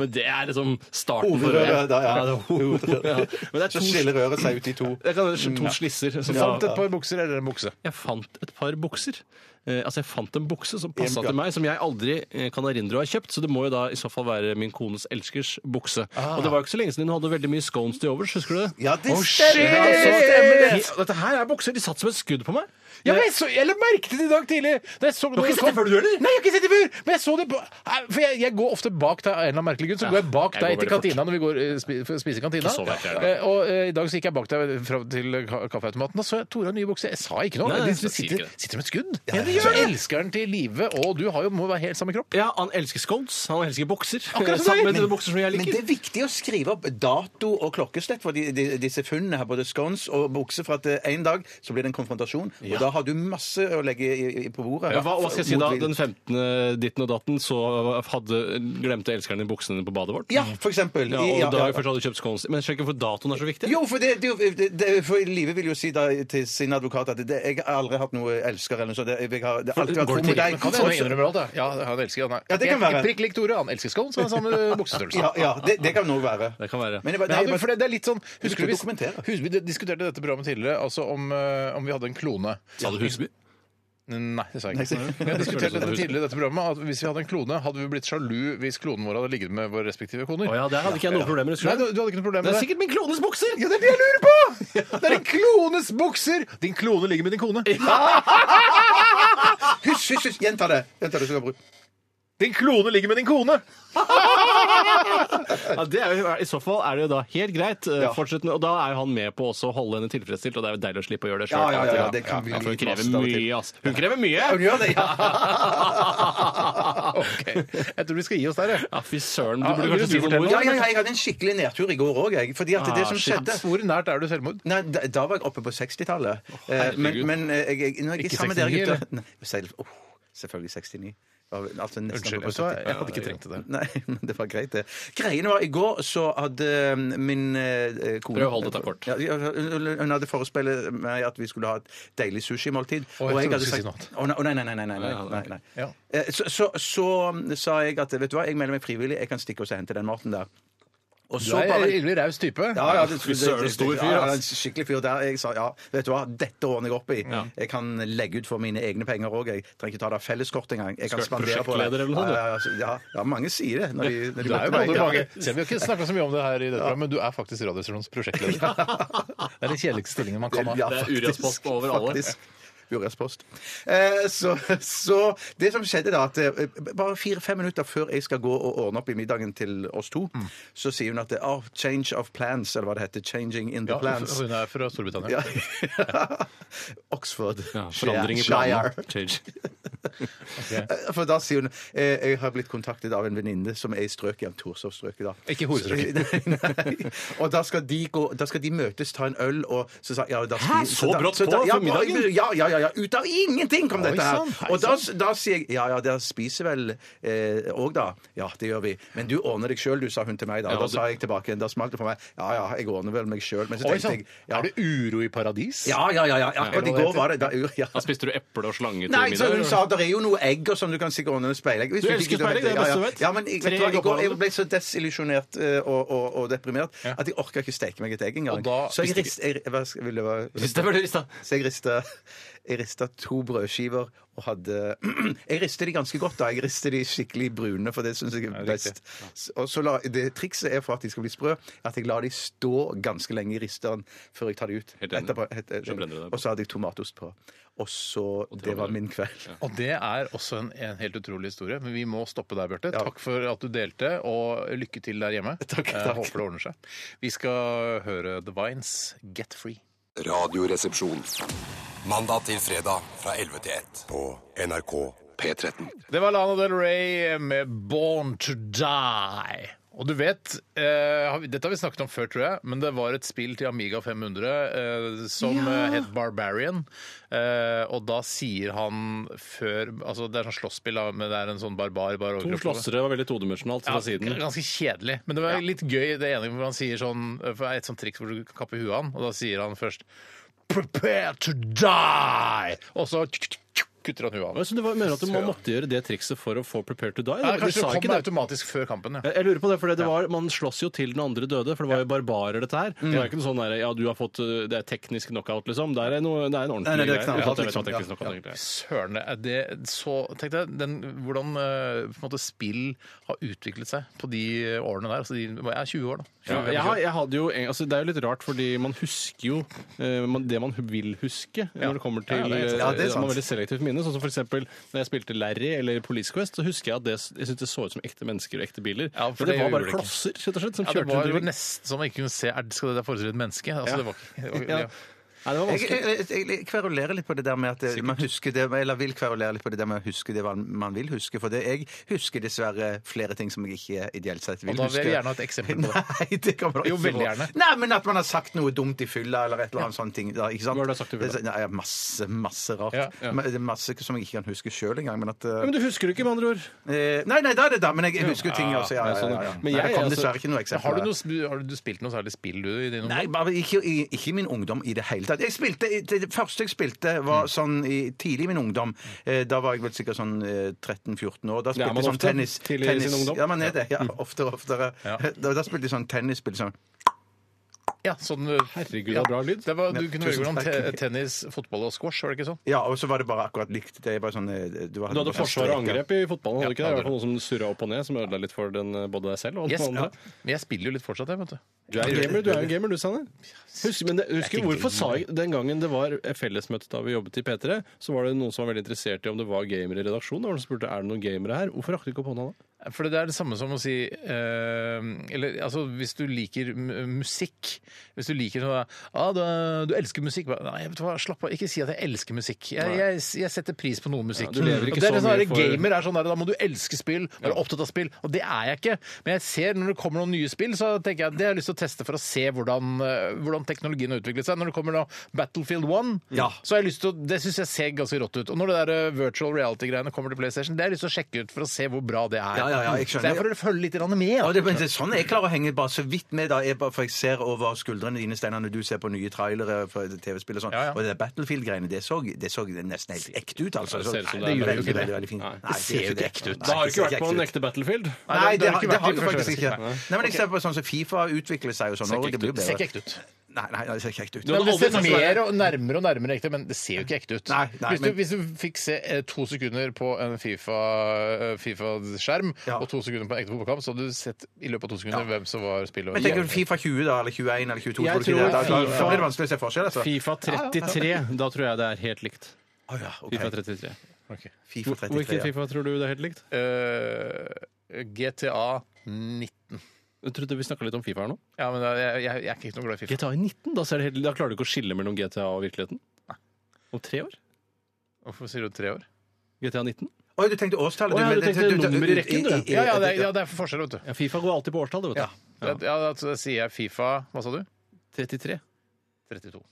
Speaker 6: men det er liksom starten for
Speaker 3: Hovedrøret,
Speaker 6: røret.
Speaker 3: da, ja.
Speaker 6: det er hovedrøret, ja. Men det er
Speaker 3: Så
Speaker 6: to,
Speaker 3: skiller røret seg ut i to.
Speaker 6: det kan,
Speaker 5: Mm,
Speaker 6: to slisser. som
Speaker 5: Du fant
Speaker 6: fant
Speaker 5: et par bukser eller en bukse?
Speaker 6: jeg fant et par bukser. Eh, altså Jeg fant en bukse som passa
Speaker 3: En-
Speaker 6: til meg, som jeg aldri eh, kan erindre å ha kjøpt. Så det må jo da i så fall være min kones elskers bukse. Og det var jo ikke så lenge siden hun hadde veldig mye scones til overs, husker du det?
Speaker 3: Ja, det
Speaker 6: Ja,
Speaker 3: stemmer!
Speaker 6: så-
Speaker 5: stemmer det!
Speaker 6: Ja, Dette her er bukser. De satt som et skudd på meg. Eh,
Speaker 5: Ja, men
Speaker 6: Jeg-
Speaker 5: jeg, så, jeg merket det i dag tidlig! Da jeg så, du
Speaker 6: har ikke sett det før, du heller?
Speaker 5: Nei, jeg har ikke sett det før! Men jeg så det på Nei, For jeg, jeg går ofte bak deg av en eller annen merkelig grunn. Så
Speaker 6: Ja,
Speaker 5: går jeg bak
Speaker 6: jeg
Speaker 5: deg
Speaker 6: går
Speaker 5: til
Speaker 6: veldig
Speaker 5: kantina når vi går, eh, spi, for å spise i kantina.
Speaker 6: Ikke så vekk, jeg, da.
Speaker 5: Eh, og eh, i dag så gikk jeg bak deg fra, til ka- kaffeautomaten. Da så jeg Tore har nye bukser. Jeg sa ikke noe.
Speaker 6: Nei, nei,
Speaker 5: de
Speaker 6: jeg sier
Speaker 5: sitter,
Speaker 6: ikke det.
Speaker 5: sitter som et skudd. så elsker han til live, og du har jo, må være helt samme kropp.
Speaker 6: Ja, han elsker scones. Han elsker bukser.
Speaker 5: Akkurat som
Speaker 6: Sammen
Speaker 5: deg.
Speaker 6: med de bukser som jeg
Speaker 3: Men
Speaker 6: liker.
Speaker 3: det er viktig å skrive opp dato og klokkeslett for de, de, disse funnene her, både scones og bukser, for at eh, en dag så blir det en konfrontasjon, og da har du masse å legge i, i, på bordet.
Speaker 6: Ja, hva, hva skal jeg si da?
Speaker 3: Motvillig.
Speaker 6: Den 15. ditten og datten så hadde, glemte elskeren din buksene dine på badet vårt?
Speaker 3: Ja, for eksempel.
Speaker 6: Ja,
Speaker 3: I-
Speaker 6: og
Speaker 3: ja,
Speaker 6: da
Speaker 3: ja.
Speaker 6: har vi først hadde kjøpt scones. Men sjekk hvorfor datoen er så viktig.
Speaker 3: Jo, for, det, det, er jo- det, det, for Live vil jo si da, til sin advokat at det, jeg har aldri hatt noe elsker eller noe sånt. Det, jeg har, det har alltid
Speaker 6: Går
Speaker 3: vært tro
Speaker 6: det
Speaker 3: mot
Speaker 6: til-
Speaker 3: deg.
Speaker 5: Men kan jeg
Speaker 3: Også-
Speaker 5: innrømme alt, da? Ja, han elsker han er.
Speaker 3: Ja, det kan være.
Speaker 5: Prikk lik Tore. Han elsker scones og har samme eh,
Speaker 6: <laughs>
Speaker 5: buksestørrelse.
Speaker 3: Ja, ja det, det kan noe være.
Speaker 6: Det kan være.
Speaker 3: Men det, var-
Speaker 5: Men
Speaker 3: nei,
Speaker 5: hadde, for det, det er litt sånn
Speaker 3: skulle
Speaker 5: Husker du vi,
Speaker 3: dokumentere.
Speaker 5: husker vi diskuterte dette programmet tidligere, altså om, eh, om vi hadde en klone.
Speaker 6: Sa du Husby?
Speaker 5: Nei, det sa jeg ikke.
Speaker 3: Nei,
Speaker 5: Vi har diskutert dette tidligere i dette programmet, at hvis vi hadde en klone, hadde vi blitt sjalu hvis klonen vår hadde ligget med våre respektive koner.
Speaker 6: Å ja, der hadde ikke jeg noen
Speaker 5: Nei,
Speaker 6: problemer. husker
Speaker 5: du,
Speaker 6: du?
Speaker 5: du hadde ikke noe problem
Speaker 6: Det
Speaker 5: med
Speaker 6: er
Speaker 5: det.
Speaker 6: sikkert min klones bukser!
Speaker 5: Ja, det er det jeg lurer på! Det er din klones bukser! Din klone ligger med din kone.
Speaker 3: Hysj, hysj, hysj, gjenta det. Gjenta det så kan jeg bruke.
Speaker 5: Din klone ligger med din kone!
Speaker 6: Ja, det er jo, I så fall er det jo da helt greit. eh, Fortsett med, og da er jo han med på også å holde henne tilfredsstilt, og det er jo deilig å slippe å gjøre det sjøl.
Speaker 3: Ja, ja, ja, ja, det kan bli
Speaker 6: for hun
Speaker 3: litt
Speaker 6: krever
Speaker 3: mast av og til.
Speaker 6: mye, ass. Hun krever mye!
Speaker 3: Ja, Hun gjør det,
Speaker 6: <laughs>
Speaker 3: ja.
Speaker 5: OK. Jeg tror vi skal gi oss der, jeg.
Speaker 6: Ja, fy søren. Du
Speaker 5: Ja,
Speaker 6: burde
Speaker 5: vil
Speaker 6: kanskje
Speaker 5: du
Speaker 6: si noe
Speaker 5: fortelle
Speaker 6: moro.
Speaker 3: Ja, ja, ja, jeg hadde en skikkelig nedtur i går òg, jeg. Fordi at det
Speaker 6: Ah,
Speaker 3: som
Speaker 6: shit.
Speaker 3: skjedde
Speaker 5: Hvor nært er du selvmord?
Speaker 3: Nei, da, da var jeg oppe på 60-tallet. Eh, men
Speaker 6: herregud.
Speaker 3: men eh, jeg, jeg, når jeg
Speaker 5: Ikke
Speaker 3: er sammen med
Speaker 5: 69,
Speaker 3: dere gutter Nei, selv, åh, Selvfølgelig 69. Ja, Altså nesten
Speaker 5: Unnskyld,
Speaker 3: oppe
Speaker 5: vet
Speaker 3: på
Speaker 5: du hva?
Speaker 3: 70.
Speaker 5: jeg hadde ikke trengt det.
Speaker 3: <laughs> Nei, men det var greit, det. Greien var, I går så hadde eh, min eh, kone
Speaker 6: Prøv å holde dette kort.
Speaker 3: Ja, ja, hun, hun hadde forespeilet meg at vi skulle ha et deilig sushimåltid.
Speaker 5: Å, jeg trodde du skulle si noe annet.
Speaker 3: Å, nei, å, nei, nei, nei, nei, nei,
Speaker 6: ja,
Speaker 3: nei,
Speaker 6: ok.
Speaker 3: nei.
Speaker 5: Ja.
Speaker 3: Eh, Så, så, så mm, sa jeg at vet du hva, jeg melder meg frivillig, jeg kan stikke og så hente den maten der. Og
Speaker 5: Du
Speaker 3: så
Speaker 5: er en
Speaker 3: bare
Speaker 5: ille raus type.
Speaker 3: ja, ja, det,
Speaker 6: Fy søren, stor fyr,
Speaker 3: Ja,
Speaker 6: ass.
Speaker 3: ja, en skikkelig fyr der. Jeg sa ja, vet du hva, dette ordner jeg opp i. Jeg kan legge ut for mine egne penger òg. Jeg trenger ikke ta det av felleskort engang. Jeg kan
Speaker 6: Skal være
Speaker 3: spandere på det.
Speaker 6: prosjektleder eller noe sånt, du.
Speaker 3: Ja, ja, ja, ja, ja, mange sier det. Når de, når de
Speaker 5: Du er jo
Speaker 3: møter
Speaker 5: både
Speaker 3: meg.
Speaker 5: mange. Selv om vi har ikke snakka så mye om det her, i dette programmet, men du er faktisk Radioresepsjonens prosjektleder. Det er den kjedeligste stillingen man kan ha.
Speaker 3: Ja,
Speaker 6: Det er
Speaker 3: faktisk,
Speaker 6: Urias-post over alle.
Speaker 3: faktisk. Urias-post. Eh, så, så det som skjedde da, at eh, bare fire-fem minutter før jeg skal gå og ordne opp i middagen til oss to,
Speaker 6: Mm.
Speaker 3: så sier hun at det- oh, 'change of plans', eller hva det heter. 'Changing in the
Speaker 5: Ja,
Speaker 3: plans'.
Speaker 5: hun er fra Storbritannia.
Speaker 3: Ja. <laughs> Oxford.
Speaker 6: Ja, forandring i
Speaker 3: Shire.
Speaker 6: planen. Change.
Speaker 3: For da sier hun eh, jeg har blitt kontaktet av en venninne som er i strøket, ja, Torshov-strøket, da. Eh,
Speaker 5: Ikke horestrøket.
Speaker 3: Nei, nei. Og da skal, de gå, da skal de møtes, ta en øl, og så sa ja, da skal
Speaker 6: Hæ?
Speaker 3: de-
Speaker 6: Så
Speaker 3: da-
Speaker 6: brått
Speaker 3: da-
Speaker 6: på
Speaker 3: ja,
Speaker 6: for middagen?
Speaker 3: Ja, ja, ja, ja. Ut av ingenting kom
Speaker 5: Oi,
Speaker 3: dette her.
Speaker 5: sann, hei,
Speaker 3: Og da, da sier jeg ja, ja, dere spiser vel eh, òg, da. Ja, det gjør vi. Men du ordner deg sjøl, du, sa hun til meg da.
Speaker 6: Ja,
Speaker 3: Og da
Speaker 6: du-
Speaker 3: sa jeg tilbake igjen. Da smalt det for meg. Ja ja, jeg ordner vel meg sjøl. Men så
Speaker 5: Oi sånn.
Speaker 3: tenkte
Speaker 5: sann!
Speaker 3: jeg ja,
Speaker 5: Er det uro i paradis?
Speaker 3: ja, ja, ja, ja. Akkurat i går var det da, ja.
Speaker 6: Ja, spiste du eple og slange til
Speaker 3: Nei, så
Speaker 6: middag?
Speaker 3: hun sa at det er jo noe egg og sånn, du kan sikkert ordne en speilegg. Hvis
Speaker 6: Du
Speaker 3: ikke-
Speaker 6: elsker speilegg, det er det beste du vet.
Speaker 3: Ja, ja. ja men jeg,
Speaker 6: Tre
Speaker 3: vet du hva,
Speaker 6: egg
Speaker 3: i går, jeg
Speaker 6: oppå
Speaker 3: ble så desillusjonert eh, og, og, og deprimert at jeg orka ikke steke meg et egg engang.
Speaker 5: Og da-
Speaker 3: Så jeg rist... Jeg, hva skal- vil det være-
Speaker 6: Hvis det var det, Rista.
Speaker 3: så jeg rista, jeg rista to brødskiver og hadde <clears throat> Jeg ristet de ganske godt, da. Jeg ristet de skikkelig brune, for det syns jeg er best. S- Og så la, det Trikset er for at de skal bli sprø, at jeg lar de stå ganske lenge i risteren før jeg tar de ut.
Speaker 6: Helt enig.
Speaker 3: helt- eh,
Speaker 6: Så brenner du deg på.
Speaker 3: og så hadde jeg tomatost på. Og så Det var min kveld.
Speaker 5: Og det er også en, en helt utrolig historie, men vi må stoppe der, Bjarte.
Speaker 3: Ja.
Speaker 5: Takk for at du delte, og lykke til der hjemme.
Speaker 3: Takk,
Speaker 5: Eh,
Speaker 3: takk.
Speaker 5: håper det ordner seg. Vi skal høre The Vines, Get Free.
Speaker 1: Radioresepsjon. Mandag til fredag fra 11 til 1 på NRK P13.
Speaker 5: Det var Lana Del Rey med 'Born to Die'. Og du vet, eh, har vi- Dette har vi snakket om før, tror jeg, men det var et spill til Amiga 500 eh, som eh, het Barbarian. Eh, og da sier han før altså Det er sånn slåsspill, da, men det er en sånn barbar bare
Speaker 6: To
Speaker 5: overkropp.
Speaker 6: slåssere var veldig todimensjonalt
Speaker 5: Ja,
Speaker 6: fra siden.
Speaker 5: Ganske kjedelig. Men det var litt gøy det ene hvor han sier sånn For det er et sånt triks hvor du kan kappe huet av han, og da sier han først 'Prepare to die'! Og så kutter han huet av.
Speaker 6: Og jeg synes det var, mener at man måtte gjøre det trikset for å få prepared to die?
Speaker 5: Ja,
Speaker 6: de
Speaker 5: kanskje
Speaker 6: sa
Speaker 5: det
Speaker 6: ikke
Speaker 5: kom
Speaker 6: det.
Speaker 5: automatisk før kampen. Ja. Mm.
Speaker 6: Jeg jeg lurer på det, for det var, Man slåss jo til den andre døde, for det var jo barbarer, dette her. Det er ikke noe sånn der, ja, du har fått, uh, det er teknisk knockout, liksom. Det er, noe, det er en ordentlig
Speaker 3: Nei, nei, det er
Speaker 6: greie.
Speaker 3: knallhardt,
Speaker 6: Ja, det er
Speaker 3: liksom.
Speaker 6: teknisk
Speaker 3: Ja,
Speaker 6: knockout, egentlig.
Speaker 5: Søren, er det så Tenk deg den, hvordan eh, på en måte, spill har utviklet seg på de årene der. Altså de jeg er 20 år, da. 20,
Speaker 6: Ja,
Speaker 5: -25
Speaker 6: jeg, har- jeg hadde jo, en- altså, det er jo litt rart, fordi man husker jo eh, man- det man hu- vil huske når det kommer til
Speaker 5: Ja, det er
Speaker 6: eh,
Speaker 3: sant. Ja, det er sant.
Speaker 6: Man har veldig selektivt minne. Sånn som for eksempel når jeg spilte Larry eller Police Quest, så husker jeg at det, jeg synes det så ut som ekte mennesker og ekte biler.
Speaker 5: Ja, for
Speaker 6: for, det,
Speaker 5: det
Speaker 6: var
Speaker 5: gjorde
Speaker 6: bare
Speaker 5: det ikke.
Speaker 6: klosser, rett og slett, som
Speaker 5: Ja, det
Speaker 6: kjørte
Speaker 5: var
Speaker 6: rundt i
Speaker 5: jo
Speaker 6: bil.
Speaker 5: nesten så man ikke kunne se er, det- Skal det der forestille et menneske? Altså, det var, det var,
Speaker 6: Ja.
Speaker 5: ja.
Speaker 6: Nei, det var
Speaker 3: Jeg,
Speaker 6: vanskelig.
Speaker 5: <laughs>
Speaker 3: jeg, jeg, jeg kverulerer litt på det der med at eh, man husker det, eller vil kverulere litt på det der med å huske det man, man vil huske. For det, jeg husker dessverre flere ting som jeg ikke ideelt sett vil
Speaker 5: Og da vil
Speaker 3: huske.
Speaker 5: jeg gjerne ha et eksempel på det.
Speaker 3: <laughs> Nei, det kan man
Speaker 5: Jo,
Speaker 3: ikke
Speaker 5: veldig
Speaker 3: få.
Speaker 5: gjerne.
Speaker 3: Nei, men at man har sagt noe dumt i fylla eller et eller annet sånt ting. Da, ikke sant?
Speaker 6: Hva har du sagt i fylla?
Speaker 3: Det er så- Nei, masse, masse rart.
Speaker 5: Ja, ja.
Speaker 3: Men Det er masse som jeg ikke kan huske sjøl engang. Men at, eh,
Speaker 6: Ja, Men du husker det ikke, med andre ord.
Speaker 3: eh, nei, nei, da er det da, men jeg husker jo ting også. Ja,
Speaker 6: ja,
Speaker 3: ja,
Speaker 6: sånn,
Speaker 3: ja,
Speaker 6: ja.
Speaker 3: ja.
Speaker 6: Men
Speaker 3: Nei,
Speaker 6: jeg,
Speaker 3: det kom
Speaker 6: altså-
Speaker 3: dessverre ikke noe eksempel.
Speaker 5: Har, du noe, har du spilt noe særlig spill du, i din ungdom?
Speaker 3: Nei, bare ikke i, ikke i min ungdom i det hele tatt. Jeg spilte, det første jeg spilte, var
Speaker 6: Mm.
Speaker 3: sånn i, tidlig i min ungdom. Eh, Da var jeg vel sikkert sånn eh, 13-14 år. Da
Speaker 6: er
Speaker 3: spilte
Speaker 6: man
Speaker 3: jeg sånn
Speaker 6: ofte
Speaker 3: tennis.
Speaker 6: tidlig i
Speaker 3: tennis.
Speaker 6: sin ungdom. Mm.
Speaker 3: Ja, man er det. Ja, oftere og oftere. <laughs> Da, da spilte jeg sånn tennisspill. Sånn.
Speaker 5: Ja, sånn,
Speaker 6: Herregud, det var bra lyd.
Speaker 5: Det var, du
Speaker 3: Ja,
Speaker 5: kunne
Speaker 3: tusen
Speaker 5: velge mellom te
Speaker 3: takk.
Speaker 5: tennis, fotball og squash, var det ikke sånn?
Speaker 3: Ja, og så var det bare akkurat likt. Det er bare sånn, eh, du,
Speaker 6: Du hadde
Speaker 3: bare sånn
Speaker 6: forsvar og
Speaker 3: streker.
Speaker 6: angrep i fotballen, hadde du ikke
Speaker 5: Ja,
Speaker 6: det? I hvert fall noe som surra opp og ned, som ødela litt for den, eh, både deg selv og
Speaker 5: Yes,
Speaker 6: den
Speaker 5: ja.
Speaker 6: andre.
Speaker 5: Men jeg spiller jo litt fortsatt, jeg, vet du.
Speaker 6: Du er en gamer, du er en gamer, du, Sanne. Husk, men det,
Speaker 5: Jeg
Speaker 6: husker,
Speaker 5: er ikke
Speaker 6: hvorfor
Speaker 5: gamer.
Speaker 6: sa jeg Den gangen det var fellesmøte da vi jobbet i P3, så var det noen som var veldig interessert i om det var gamere i redaksjonen. Og de spurte er det noen gamere her. Hvorfor rakk du ikke opp hånda da?
Speaker 5: For det er det samme som å si eh, Eller altså, hvis du liker mu- musikk Hvis du liker sånn ah, du, du elsker musikk bare, Nei, vet du hva, slapp av. Ikke si at jeg elsker musikk. Jeg, jeg, jeg setter pris på noe musikk.
Speaker 6: du lever ikke
Speaker 5: og det er
Speaker 6: så
Speaker 5: det sånn
Speaker 6: mye
Speaker 5: der,
Speaker 6: for-
Speaker 5: Gamer er sånn der, da må du elske spill, være opptatt av spill. Og det er jeg ikke. Men jeg ser når det kommer noen nye spill, så tenker jeg det har jeg lyst til å teste for å se hvordan, eh, hvordan teknologien har utviklet seg. Når det kommer da Battlefield 1, så har jeg lyst til å, det syns jeg ser ganske rått ut. Og når det der eh, virtual reality-greiene kommer til PlayStation, det har jeg lyst til å sjekke ut for å se hvor bra det er.
Speaker 3: Ja, ja, ja, jeg
Speaker 5: Så det
Speaker 3: skjønner.
Speaker 5: er for å følge litt grann med.
Speaker 3: Ja,
Speaker 5: da.
Speaker 3: det, men det er sånn jeg klarer å henge bare så vidt med, da. Jeg bare, for jeg ser over skuldrene dine, Steinar, når du ser på nye trailere fra TV-spill og sånn.
Speaker 5: Ja, ja.
Speaker 3: Og det Battlefield-greiene, det så, det så nesten helt ekte ut, altså.
Speaker 6: Det ser ut som det
Speaker 3: Nei,
Speaker 6: er
Speaker 3: veldig,
Speaker 6: jo ikke det.
Speaker 3: veldig, veldig fint.
Speaker 6: Nei, det
Speaker 3: Nei,
Speaker 5: ser
Speaker 3: er
Speaker 5: jo ikke ekte ut.
Speaker 3: Nei,
Speaker 6: Da har du ikke
Speaker 3: ser
Speaker 6: vært på en
Speaker 3: ut.
Speaker 6: ekte Battlefield.
Speaker 3: Nei, det
Speaker 5: har
Speaker 3: har
Speaker 5: ikke
Speaker 3: det
Speaker 5: vært
Speaker 3: har
Speaker 5: i
Speaker 3: du
Speaker 5: første
Speaker 3: faktisk ikke.
Speaker 5: verdenskrig,
Speaker 3: Nei, men jeg ser på sånn som Fifa utvikler seg jo sånn, og det blir jo
Speaker 5: Det ser ikke
Speaker 3: bedre.
Speaker 5: ekte ut.
Speaker 3: Nei, nei, det ser ikke ekte
Speaker 6: Du
Speaker 3: ut.
Speaker 6: hadde
Speaker 5: Det ser
Speaker 6: aldri sagt
Speaker 5: mer
Speaker 6: det.
Speaker 5: og nærmere og nærmere ekte, men det ser jo ikke ekte ut.
Speaker 3: Nei, nei,
Speaker 5: hvis, du,
Speaker 3: men-
Speaker 5: hvis du fikk se eh, to sekunder på en eh, FIFA-skjerm
Speaker 3: Ja.
Speaker 5: og to sekunder på en ekte fotballkamp, så hadde du sett i løpet av to sekunder hvem som var spiller.
Speaker 3: Men tenker du Fifa 20 da, eller 21 eller 22?
Speaker 6: Jeg
Speaker 3: tror du
Speaker 6: tror
Speaker 3: ikke det? Da- da-
Speaker 6: FIFA-
Speaker 3: Da blir det vanskelig å se forskjell, altså.
Speaker 6: Fifa 33, da tror jeg det er helt likt.
Speaker 3: Å ja, ok.
Speaker 6: Fifa 33.
Speaker 3: Fifa
Speaker 6: Hvor- Hvilket
Speaker 3: 33. ja.
Speaker 6: Fifa tror du det er helt likt?
Speaker 5: Eh, GTA 19.
Speaker 6: Jeg trodde vi snakka litt om Fifa her nå.
Speaker 5: Ja, men jeg, jeg, jeg er ikke noe glad i FIFA.
Speaker 6: GTA i 19, da, ser det helt, da klarer du ikke å skille mellom GTA og virkeligheten? Om tre år?
Speaker 5: Hvorfor sier du tre år?
Speaker 6: GTA 19?
Speaker 3: Oi, du tenkte årstallet.
Speaker 6: Å ja,
Speaker 3: men
Speaker 6: du
Speaker 3: det-
Speaker 6: tenkte nummer i rekken, du.
Speaker 5: Ja, ja, det, er- ja, det er forskjell, vet du.
Speaker 6: Ja, Fifa går alltid på årstall, det, vet
Speaker 5: Ja,
Speaker 6: du.
Speaker 5: ja. ja altså, da sier jeg Fifa Hva sa du?
Speaker 6: 33.
Speaker 5: 32.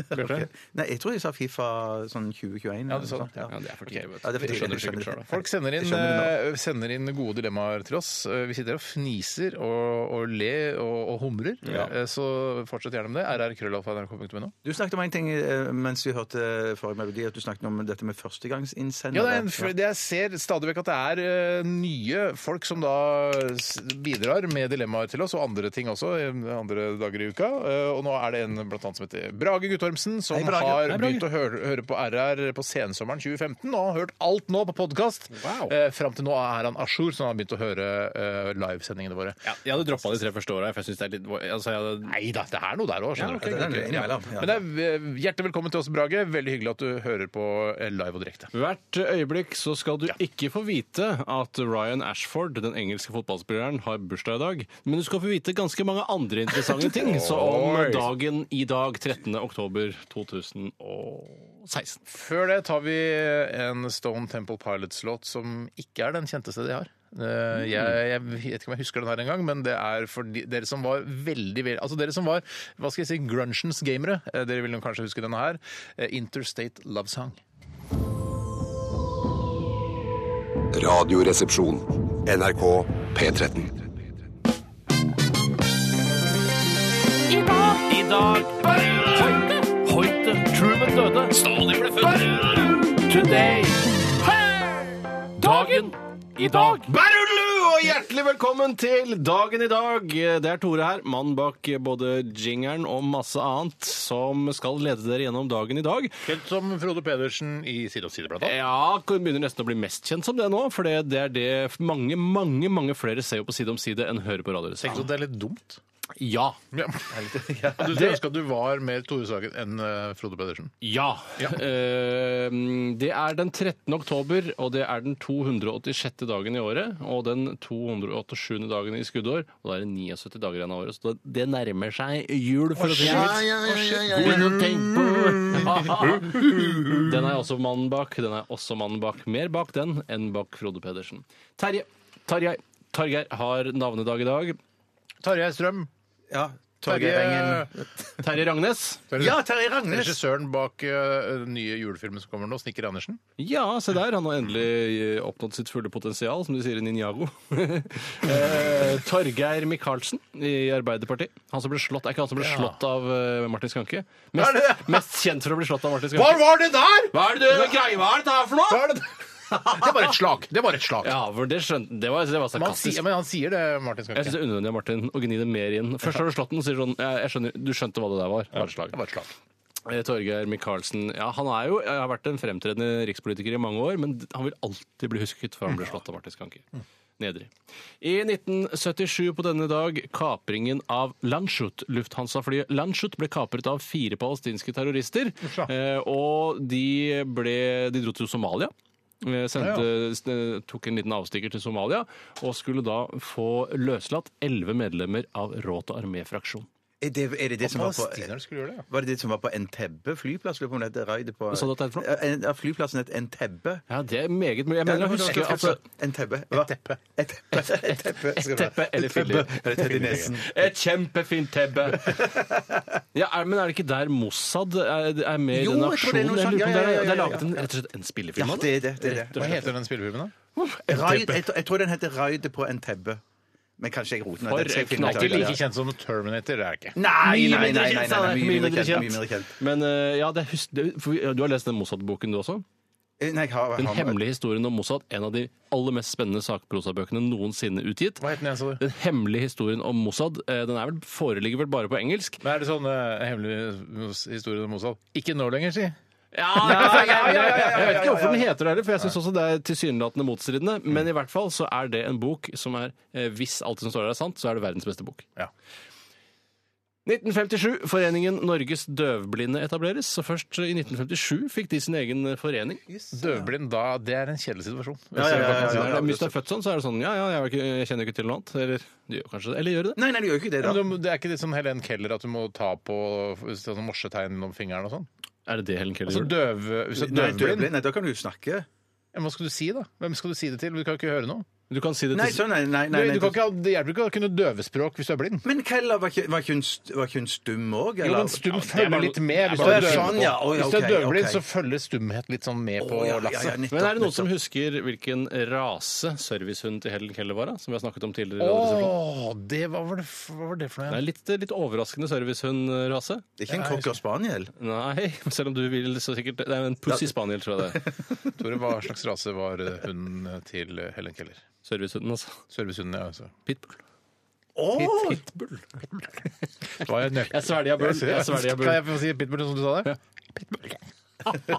Speaker 6: Bjarte?
Speaker 3: Nei, jeg tror jeg sa Fifa sånn 2021.
Speaker 5: Ja, du sa det.
Speaker 3: Ja.
Speaker 6: Ja, det er for tidlig. vet du.
Speaker 3: Ja, det er for
Speaker 6: Vi
Speaker 3: tidlig,
Speaker 6: skjønner sikkert
Speaker 3: vi skjønner
Speaker 6: selv, da.
Speaker 5: Folk sender inn, eh, sender inn gode dilemmaer til oss. Eh, Vi sitter og fniser og, og ler og, og humrer. Eh, Så fortsett gjerne med det. rrkrøllalfa.nrk.no.
Speaker 3: Du snakket om en ting eh, mens vi hørte forrige melodi, at du snakket om dette med førstegangsinnsendere.
Speaker 5: Ja, det er en, for- det jeg ser stadig vekk at det er eh, nye folk som da s- bidrar med dilemmaer til oss, og andre ting også, eh, andre dager i uka. Eh, Og nå er det en blant annet som heter Brage Guttormsen, som
Speaker 3: Hei, Brage.
Speaker 5: har
Speaker 3: Hei, Brage.
Speaker 5: begynt å høre, høre på RR på sensommeren 2015, og har hørt alt nå på podkast.
Speaker 6: Wow.
Speaker 5: Eh, Fram til nå er han a jour, så han har begynt å høre eh, livesendingene våre.
Speaker 6: Ja, jeg hadde droppa de tre første åra. For jeg synes det er litt altså, jeg hadde...
Speaker 5: Nei da, det er noe der òg, skjønner
Speaker 3: Ja, det er noe innimellom, ja.
Speaker 5: Men det er eh, Hjertelig velkommen til oss, Brage. Veldig hyggelig at du hører på eh, live og direkte.
Speaker 6: Hvert øyeblikk så skal du ikke få vite at Ryan Ashford, den engelske fotballspilleren, har bursdag i dag, men du skal få vite ganske mange andre <laughs> interessante ting, så om dagen i dag, 13. oktober 2016. 16.
Speaker 5: Før det tar vi en Stone Temple Pilots-låt som ikke er den kjenteste de har. Eh, Jeg, jeg vet ikke om jeg husker den her engang, men det er for de, dere som var veldig vel- Altså dere som var hva skal jeg si, grunchens gamere. eh, Dere vil nok kanskje huske denne her. eh, Interstate Love Song.
Speaker 1: Radioresepsjon. NRK P13.
Speaker 6: I dag Hoite, Hoite, Truman døde. Stalin ble født. Today. Dagen i dag. Berulu, og hjertelig velkommen til Dagen i dag. Det er Tore her, mannen bak både jingeren og masse annet, som skal lede dere gjennom dagen i dag.
Speaker 5: Helt som Frode Pedersen i Side om side, blant annet.
Speaker 6: Ja, begynner nesten å bli mest kjent som det nå, for det det er det mange, mange mange flere ser jo på Side om side enn hører på
Speaker 5: Tenk
Speaker 6: Radioresepsjonen.
Speaker 5: at det er litt dumt.
Speaker 6: Ja.
Speaker 5: Ja. <laughs> Du skulle ønske at du var mer Tore Sagen enn eh, Frode Pedersen.
Speaker 6: Ja. <laughs> Eh, det er den 13. oktober, og det er den 286. dagen i året. Og den 287. dagen i skuddår. Og da er det 79 dager igjen av året, så det nærmer seg jul. for å si det mildt. Begynn å tenke på <laughs> det. Den er jeg også mannen bak. Den er jeg også mannen bak. Mer bak den enn bak Frode Pedersen. Terje. Tarjei. Targeir har navnedag i dag.
Speaker 5: Tarjei Strøm.
Speaker 3: Ja, Torgeir Engen.
Speaker 6: Terje Ragnes.
Speaker 3: Ja, Terje Ragnes!
Speaker 5: Regissøren bak eh, den nye julefilmen som kommer nå, Snikker Andersen.
Speaker 6: Ja, se der. Han har endelig eh, oppnådd sitt fulle potensial, som de sier i Ninjago. <laughs> eh, Torgeir Micaelsen i Arbeiderpartiet. Han som ble slått, Er ikke han som ble slått av eh, Martin Skanke? Mest, mest kjent for å bli slått av Martin Skanke.
Speaker 5: var det der?!
Speaker 6: Hva er det du greier? Hva er dette her for noe?!
Speaker 5: Hva er det? Det var et slag. Det var et slag.
Speaker 6: Ja, for det skjønte Det var, det var
Speaker 5: Men han, sier,
Speaker 6: sarkastisk.
Speaker 5: men han sier det, Martin
Speaker 6: Jeg syns
Speaker 5: Skanke.
Speaker 6: det er unødvendig av Martin å gni det mer inn. Først har du slått den, og sier sånn jeg, jeg skjønner, Du skjønte hva det der var. Bare slag.
Speaker 5: Det var et slag.
Speaker 6: Eh, Torgeir Micaelsen. Ja, han er jo, har vært en fremtredende rikspolitiker i mange år, men han vil alltid bli husket for han ble slått av Martin Skanke. Nedrig. I 1977 på denne dag kapringen av Landshut. Lufthansa-flyet Landshut ble kapret av fire palestinske terrorister. eh, Og de, ble, de dro til Somalia. Eh, Sendte, s- eh, Tok en liten avstikker til Somalia og skulle da få løslatt elleve medlemmer av Råd og armé-fraksjon.
Speaker 3: Er det, er det det som var på
Speaker 5: Palestinerne skulle gjøre det, ja.
Speaker 3: var det det som var på Entebbe flyplass? Lurer på om det heter raidet på
Speaker 6: sa du at det er for noe?
Speaker 3: Ja, en- ja, Flyplassen het Entebbe.
Speaker 6: Ja, det er meget mye. Jeg mener å huske altså,
Speaker 3: Entebbe. Hva?
Speaker 5: teppe.
Speaker 3: Et teppe. Et
Speaker 6: <laughs>
Speaker 3: teppe, skal
Speaker 6: Et
Speaker 3: det være.
Speaker 6: teppe eller filler.
Speaker 3: Eller tett i nesen.
Speaker 6: Et kjempefint tebbe. Ja, er, men er det ikke der Mossad er, er med
Speaker 3: Jo,
Speaker 6: i den
Speaker 3: jeg tror det er
Speaker 6: aksjonen?
Speaker 3: noe
Speaker 6: Jeg lurer på
Speaker 3: sånt.
Speaker 6: om
Speaker 3: Ja, ja,
Speaker 6: det er- Det
Speaker 3: ja,
Speaker 6: er
Speaker 3: ja,
Speaker 6: laget en, rett og slett en spillefilm
Speaker 3: Ja,
Speaker 6: av
Speaker 3: det er det. det, er det.
Speaker 5: Hva heter den spillefilmen, da?
Speaker 3: Raid, jeg, tror- jeg tror den heter Raidet på Entebbe. Men kanskje jeg roter den.
Speaker 6: For
Speaker 3: Den skal jeg finne
Speaker 6: knall.
Speaker 3: ut av.
Speaker 5: Ikke like kjent som Terminator, er det ikke.
Speaker 3: Nei,
Speaker 6: Mye
Speaker 3: nei, nei,
Speaker 6: mindre
Speaker 3: nei, nei,
Speaker 6: kjent,
Speaker 3: nei,
Speaker 6: Steinar.
Speaker 3: mye
Speaker 6: Mye
Speaker 3: mindre
Speaker 6: mindre
Speaker 3: kjent.
Speaker 6: kjent.
Speaker 3: Mye mindre kjent.
Speaker 6: Men eh, ja, det hus- det, for, vi- du har lest den Mossad-boken du også?
Speaker 3: Eh, Nei, jeg har,
Speaker 6: Den
Speaker 3: jeg har
Speaker 6: hemmelige historien om Mossad. En av de aller mest spennende sakprosabøkene noensinne utgitt.
Speaker 5: Hva het den igjen, sa du?
Speaker 6: Den hemmelige historien om Mossad eh, den er vel, foreligger vel bare på engelsk?
Speaker 5: Men er det sånn eh, hemmelig eh, historie om Mossad? Ikke nå lenger, si.
Speaker 6: Ja, ja, ja, ja, ja, Jeg vet ikke hvorfor den heter det heller, for jeg syns også det er tilsynelatende motstridende.
Speaker 3: Mm.
Speaker 6: Men i hvert fall så er det en bok som er eh, Hvis alt som står der er sant, så er det verdens beste bok.
Speaker 5: Ja.
Speaker 6: 1957. Foreningen Norges døvblinde etableres. Så først i 1957 fikk de sin egen eh, forening.
Speaker 5: Døvblind, da, det er en kjedelig situasjon.
Speaker 3: ja, ja, ja, ja.
Speaker 6: Når det- Hvis du er født sånn, så er det sånn Ja, ja, jeg, er ikke, jeg kjenner ikke til noe annet. Eller du gjør kanskje det. Eller gjør du det?
Speaker 3: Nei, nei, du gjør jo ikke det, da.
Speaker 5: Men du- Det er ikke litt som Helen Keller at du må ta på sånn morsetegn gjennom fingeren og sånn?
Speaker 6: Er det det Helen Keller
Speaker 5: Altså
Speaker 6: gjorde?
Speaker 5: døv, hvis du er
Speaker 3: Nei,
Speaker 5: døvblind,
Speaker 3: døvblind. Nei, da kan du jo snakke.
Speaker 5: ja, hva skal du si da? Hvem skal du si det til? Du kan jo ikke høre noe.
Speaker 6: Du kan si det til
Speaker 3: Nei, sånn, nei, nei,
Speaker 5: Du,
Speaker 3: nei, nei,
Speaker 5: du kan ikke, ha- det hjelper ikke å kunne døvespråk hvis du er blind.
Speaker 3: Men Keller, var ikke, var ikke, hun, st- var ikke hun stum òg?
Speaker 5: Jo, men stum
Speaker 6: det er
Speaker 5: følger
Speaker 6: bare-
Speaker 5: litt med. Hvis
Speaker 6: det
Speaker 5: du
Speaker 6: er
Speaker 5: er
Speaker 6: bare
Speaker 3: sånn,
Speaker 5: døvblind,
Speaker 3: ja. Å, ja,
Speaker 5: hvis du er
Speaker 3: ok,
Speaker 5: døvblind
Speaker 3: ok.
Speaker 5: så følger stumhet litt sånn med på
Speaker 3: ja, ja, ja,
Speaker 5: lasset.
Speaker 3: nettopp,
Speaker 6: Men er det noen som
Speaker 3: nettopp.
Speaker 6: husker hvilken rase servicehunden til Helen Keller var, da? Som vi har snakket om tidligere. i Radioresepsjonen?
Speaker 5: Åh, det, hva, var det, hva var det for
Speaker 6: Det
Speaker 5: noe?
Speaker 6: er litt, litt overraskende servicehundrase.
Speaker 3: Det er ikke en cocker spaniel?
Speaker 6: Nei, <laughs> selv om du vil så sikkert Det er en pussy spaniel, tror jeg det er.
Speaker 5: Tore, hva slags rase var eh, hunden til eh, Helen Keller?
Speaker 6: Servicehunden, altså.
Speaker 5: Servicehunden, ja. Altså.
Speaker 6: Pitbull.
Speaker 3: Åh!
Speaker 6: Pitbull.
Speaker 5: Det var en nøk-
Speaker 6: Jeg svelger bull. Jeg svelger
Speaker 5: Kan
Speaker 6: bull.
Speaker 5: jeg få si pitbull som du sa det?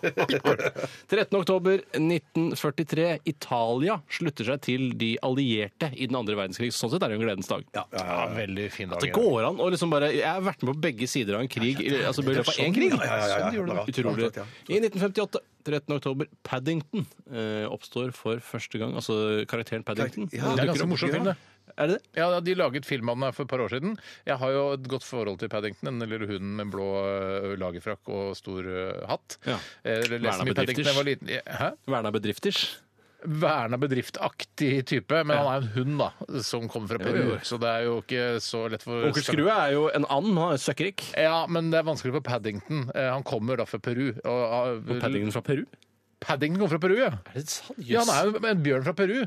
Speaker 6: 13. oktober 1943. Italia slutter seg til de allierte i den andre verdenskrig. Sånn sett er det jo en gledens dag.
Speaker 5: Ja, veldig fin dag.
Speaker 6: Det går an å liksom bare Jeg har vært med på begge sider av en krig. i- Altså i løpet av én krig.
Speaker 3: ja, ja, ja.
Speaker 6: Sånn gjorde det.
Speaker 3: Bra.
Speaker 6: Utrolig.
Speaker 3: Bra, bra,
Speaker 6: I 1958, 13. oktober, Paddington eh, oppstår for første gang. Altså karakteren Paddington.
Speaker 3: Ja,
Speaker 5: Det er en ganske morsom film, det.
Speaker 6: Er det det?
Speaker 5: Ja, De laget film av den her for et par år siden. Jeg har jo et godt forhold til Paddington, den lille hunden med blå ø, lagerfrakk og stor ø, hatt.
Speaker 6: Ja.
Speaker 5: Jeg leste
Speaker 6: Verna
Speaker 5: mye Paddington da jeg var liten. Hæ?
Speaker 6: Verna bedrifters.
Speaker 5: Verna bedriftaktig type, men han er en hund da, som kommer fra
Speaker 6: Jo, jo.
Speaker 5: Peru, så det er jo ikke så lett for
Speaker 6: Onkel Skrue er jo en and, han er søkkrik.
Speaker 5: Ja, men det er vanskelig for Paddington. Eh, Han kommer da fra Peru. Og, og,
Speaker 6: Paddington fra Peru?
Speaker 5: Paddington kommer fra Peru, ja.
Speaker 6: Er det sant? Jøss.
Speaker 5: Ja, han er jo en bjørn fra Peru.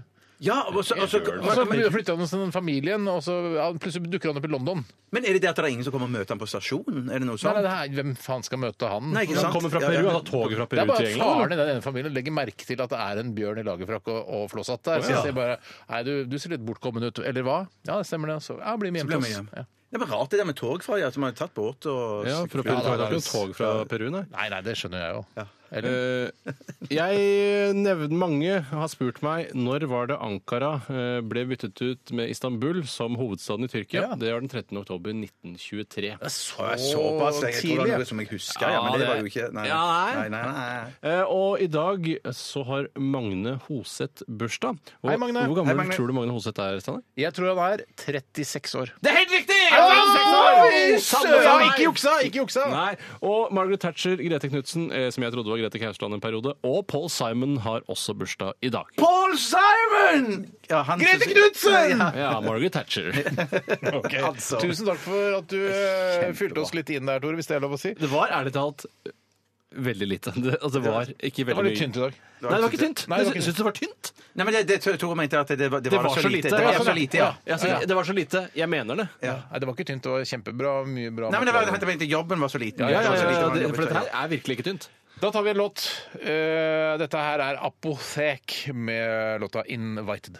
Speaker 3: Ja, og så, og så,
Speaker 5: Og så flytter han hos den familien, og så ja, plutselig dukker han opp i London.
Speaker 3: men er det det at det er ingen som kommer og møter ham på stasjonen? Er det noe
Speaker 5: Nei,
Speaker 3: sånt?
Speaker 5: nei, det er, hvem faen skal møte han?
Speaker 3: Nei,
Speaker 6: Han
Speaker 3: ikke sant?
Speaker 6: kommer fra
Speaker 3: Ja,
Speaker 6: Peru, altså.
Speaker 3: ja.
Speaker 6: han har toget fra
Speaker 5: Det er
Speaker 6: Peru til
Speaker 5: bare
Speaker 6: England.
Speaker 5: faren i den ene familien legger merke til at det er en bjørn i lagerfrakk og, og flåsatt der. Så
Speaker 3: Ja.
Speaker 5: sier bare Nei, du, du ser litt bortkommen ut. Eller hva? Ja, det stemmer det. Så ja, bli med hjem
Speaker 3: Så
Speaker 5: til
Speaker 3: blir vi
Speaker 5: oss.
Speaker 3: hjem.
Speaker 5: Ja.
Speaker 3: Det er bare rart det der med tog fra ja, at man har tatt båt og
Speaker 6: Ja, fra Peru.
Speaker 3: Ja,
Speaker 6: det
Speaker 3: da,
Speaker 6: var
Speaker 3: da.
Speaker 6: ikke noe tog fra Peru, nei.
Speaker 5: Nei, nei, det skjønner jeg jo. Eller?
Speaker 6: Eh, jeg nevner mange har spurt meg når var det Ankara eh, ble byttet ut med Istanbul som hovedstaden i Tyrkia.
Speaker 5: Ja.
Speaker 6: Det var den 13. oktober 1923.
Speaker 5: Det er så,
Speaker 3: Å, jeg såpass, jeg, jeg tror det var noe som jeg husker, ja,
Speaker 6: Ja,
Speaker 3: men det
Speaker 6: det-
Speaker 3: var jo ikke Nei,
Speaker 6: Ja, nei.
Speaker 3: nei, nei. nei.
Speaker 6: Eh, og i dag så har Magne Hoseth bursdag. Og
Speaker 5: Hei, Magne.
Speaker 6: Hvor gammel
Speaker 3: Hei, Magne.
Speaker 6: tror du Magne Hoseth er? Steinar?
Speaker 5: Jeg tror han er 36 år.
Speaker 6: Det er helt riktig!
Speaker 5: Oi, søren! Ikke juksa! Ikke juksa!
Speaker 6: Nei, Og Margaret Thatcher, Grete Knutsen, eh, som jeg trodde var Grete Kausland en periode, og Paul Simon har også bursdag i dag.
Speaker 3: Paul Simon! Ja, han-
Speaker 5: Grete Knudsen!
Speaker 3: Ja,
Speaker 6: Ja,
Speaker 5: <laughs>
Speaker 6: Margaret Thatcher.
Speaker 5: Ok.
Speaker 3: Altså.
Speaker 5: Tusen takk for at du eh, fylte oss litt inn der, Tore, hvis det er lov å si.
Speaker 6: Det var ærlig talt veldig lite. <laughs> Det, altså, det var ikke
Speaker 5: Det
Speaker 6: veldig
Speaker 5: var litt
Speaker 6: mye.
Speaker 5: tynt i dag.
Speaker 6: Nei, det var ikke tynt.
Speaker 5: Nei, det var ikke
Speaker 6: jeg syns det var tynt.
Speaker 3: Nei, men det, det tror jeg Tore mente at det, var- det, var, så, lite. Det
Speaker 6: Ja,
Speaker 3: var så
Speaker 6: sånn,
Speaker 3: lite, ja.
Speaker 6: Jeg sier, Det var så lite. Jeg mener det.
Speaker 5: Nei, det var ikke tynt. Det var kjempebra. Mye bra.
Speaker 3: Nei, men det var,
Speaker 5: materiale.
Speaker 3: jeg mente jobben var så liten.
Speaker 6: Ja, ja,
Speaker 3: Jobben var så
Speaker 6: ja,
Speaker 3: liten,
Speaker 6: ja,
Speaker 3: man
Speaker 6: det,
Speaker 3: jobbet
Speaker 6: for
Speaker 3: så-
Speaker 6: dette her er virkelig ikke tynt.
Speaker 5: Da tar vi en låt. Eh, dette her er Apothek med låta 'Invited'.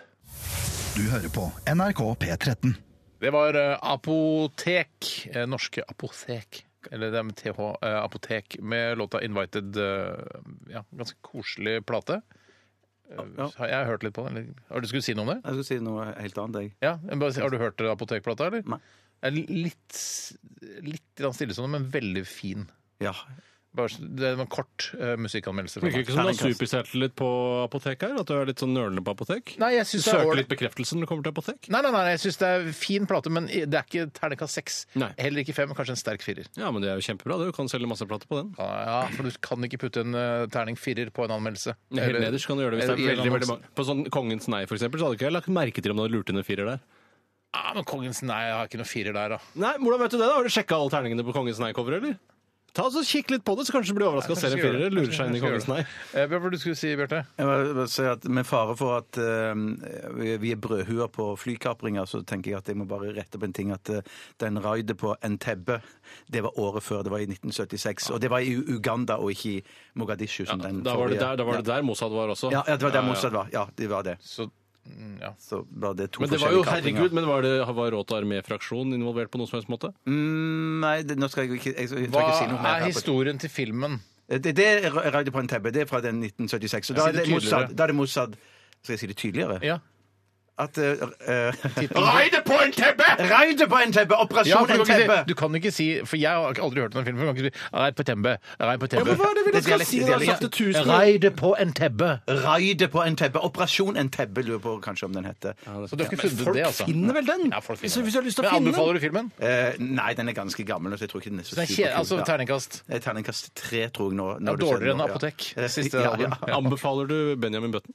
Speaker 7: Du hører på NRK P13.
Speaker 5: Det var eh, Apotek. eh, norske Apotek. Eller det er med TH. eh, apotek med låta 'Invited'. eh, ja, ganske koselig plate. Eh, Jeg har hørt litt på den. eller- Har du skulle si noe om det?
Speaker 3: Jeg skulle si noe helt annet, jeg.
Speaker 5: Ja, jeg bare, sier, Har du hørt Apotekplata, eller?
Speaker 3: Nei.
Speaker 5: Det er Litt, litt grann stille som det, men veldig fin.
Speaker 3: Ja.
Speaker 5: Bare, så- det var en kort eh, musikkanmeldelse. fra
Speaker 6: Virker
Speaker 5: meg.
Speaker 6: ikke som du har superselvtillit på apotek her? At du er litt sånn nølende på apotek?
Speaker 5: Nei, jeg synes det er
Speaker 6: Søker
Speaker 5: ålreit.
Speaker 6: litt bekreftelse når du kommer til apotek?
Speaker 5: Nei, nei, nei, jeg syns det er fin plate, men det er ikke terningkast seks.
Speaker 6: Nei.
Speaker 5: Heller ikke fem, kanskje en sterk firer.
Speaker 6: Ja, men det er jo kjempebra. det. Du kan selge masse plater på den.
Speaker 5: Ja, for du kan ikke putte en eh, terning firer på en anmeldelse.
Speaker 6: Helt
Speaker 5: Eller-
Speaker 6: nederst kan du gjøre det hvis det
Speaker 5: Eller-
Speaker 6: er veldig, veldig
Speaker 5: eller-
Speaker 6: mange. På sånn Kongens nei, for eksempel, så hadde ikke jeg lagt merke til om du hadde lurt inn en firer der.
Speaker 5: Ja, men Kongens Nei jeg har ikke noe firer der, da.
Speaker 6: Nei, hvordan vet du det da? Har du sjekka alle terningene på Kongens nei-coveret, eller? Ta og så Kikk litt på det, så kanskje du blir overraska og ser
Speaker 5: Kanskje
Speaker 6: en
Speaker 5: jeg gjør
Speaker 6: firer. Lurer
Speaker 5: det.
Speaker 6: seg inn i
Speaker 5: Kanskje jeg
Speaker 6: Kongens nei.
Speaker 5: gjør det. Eh, Hva var det du skulle si, Bjarte?
Speaker 3: Jeg vil bare si at Med fare for at eh, vi- vi er brødhuer på flykapringer, så tenker jeg at jeg må bare rette opp en ting. At eh, den raidet på Entebbe, det var året før. Det var i 1976. Og det var i U- Uganda og ikke i Mogadishu. som den
Speaker 6: Da var det
Speaker 3: forrige-
Speaker 6: der, da var det der Mossad var også.
Speaker 3: Ja, ja, det var der
Speaker 6: Ja, ja.
Speaker 3: Mossad var. Ja, det var det.
Speaker 5: Så, mm, ja.
Speaker 3: Så var det to
Speaker 6: Men det var jo,
Speaker 3: forskjellige kapringer.
Speaker 6: herregud, men var, det, var Råd til arméfraksjon involvert på noen som helst måte?
Speaker 3: Mm, nei, det, nå skal jeg jo ikke, jeg, skal- jeg, skal ikke si noe mer.
Speaker 5: Hva er
Speaker 3: her på-
Speaker 5: historien til filmen?
Speaker 3: Det, det er Ra- Radio på en tabbe. Det er fra den 1976. Og da
Speaker 5: Si
Speaker 3: er
Speaker 5: det
Speaker 3: det Mossad.
Speaker 5: tydeligere.
Speaker 3: Da er det Mossad skal jeg si det tydeligere?
Speaker 5: Ja.
Speaker 3: At eh, eh, <laughs>
Speaker 6: Ah,
Speaker 5: Raide på en tebbe!
Speaker 3: Raidet på en tebbe!
Speaker 5: Ja,
Speaker 3: Operasjon
Speaker 5: for du, kan
Speaker 3: en
Speaker 5: ikke
Speaker 3: tebbe!
Speaker 5: si, du kan ikke si For jeg har aldri hørt den filmen. for Du kan ikke si 'Raid på tebbe', 'Raid på
Speaker 6: men hva
Speaker 5: tebbe'.
Speaker 6: er det vi
Speaker 3: Det er
Speaker 6: skal
Speaker 3: dialekt-
Speaker 6: si? da?
Speaker 3: dialekt.
Speaker 6: Sagt det tusen ganger.
Speaker 5: Raide på en tebbe.
Speaker 3: Raidet på en tebbe. Operasjon en tebbe, lurer på kanskje om den heter.
Speaker 5: Så du har ikke
Speaker 6: Men
Speaker 5: funnet
Speaker 6: folk
Speaker 5: det, altså?
Speaker 6: finner vel den?
Speaker 5: Ja, folk finner
Speaker 6: Så hvis du har lyst til
Speaker 5: Men
Speaker 6: å finne den-
Speaker 5: Anbefaler du filmen?
Speaker 3: Eh, nei, den er ganske gammel, så jeg tror ikke den er så
Speaker 5: Den er kje, altså
Speaker 3: superkul.
Speaker 5: Terningkast.
Speaker 3: Ja. Eh, Terningkast tre, tror jeg nå.
Speaker 5: Det
Speaker 3: når
Speaker 5: er
Speaker 3: du ser den
Speaker 5: dårligere enn
Speaker 3: nå, ja.
Speaker 5: Apotek.
Speaker 3: Eh,
Speaker 5: Siste
Speaker 3: ja,
Speaker 5: album.
Speaker 3: ja.
Speaker 5: Ja.
Speaker 6: Anbefaler du Benjamin Button?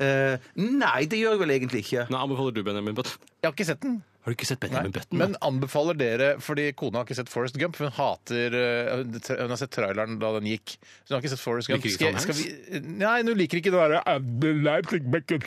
Speaker 3: Eh, nei, det gjør jeg vel egentlig ikke.
Speaker 6: Nei, anbefaler du Benjamin Button?
Speaker 5: Jeg har ikke sett den.
Speaker 6: Har du ikke sett Benjamin Button?
Speaker 5: Men anbefaler dere, fordi kona har ikke sett Forrest Gump. for Hun hater eh, Hun har sett traileren da den gikk. Så hun har ikke sett Forrest Gump.
Speaker 6: Liker ikke Tom
Speaker 5: vi, nei, hun liker ikke det derre "I'm the life that make you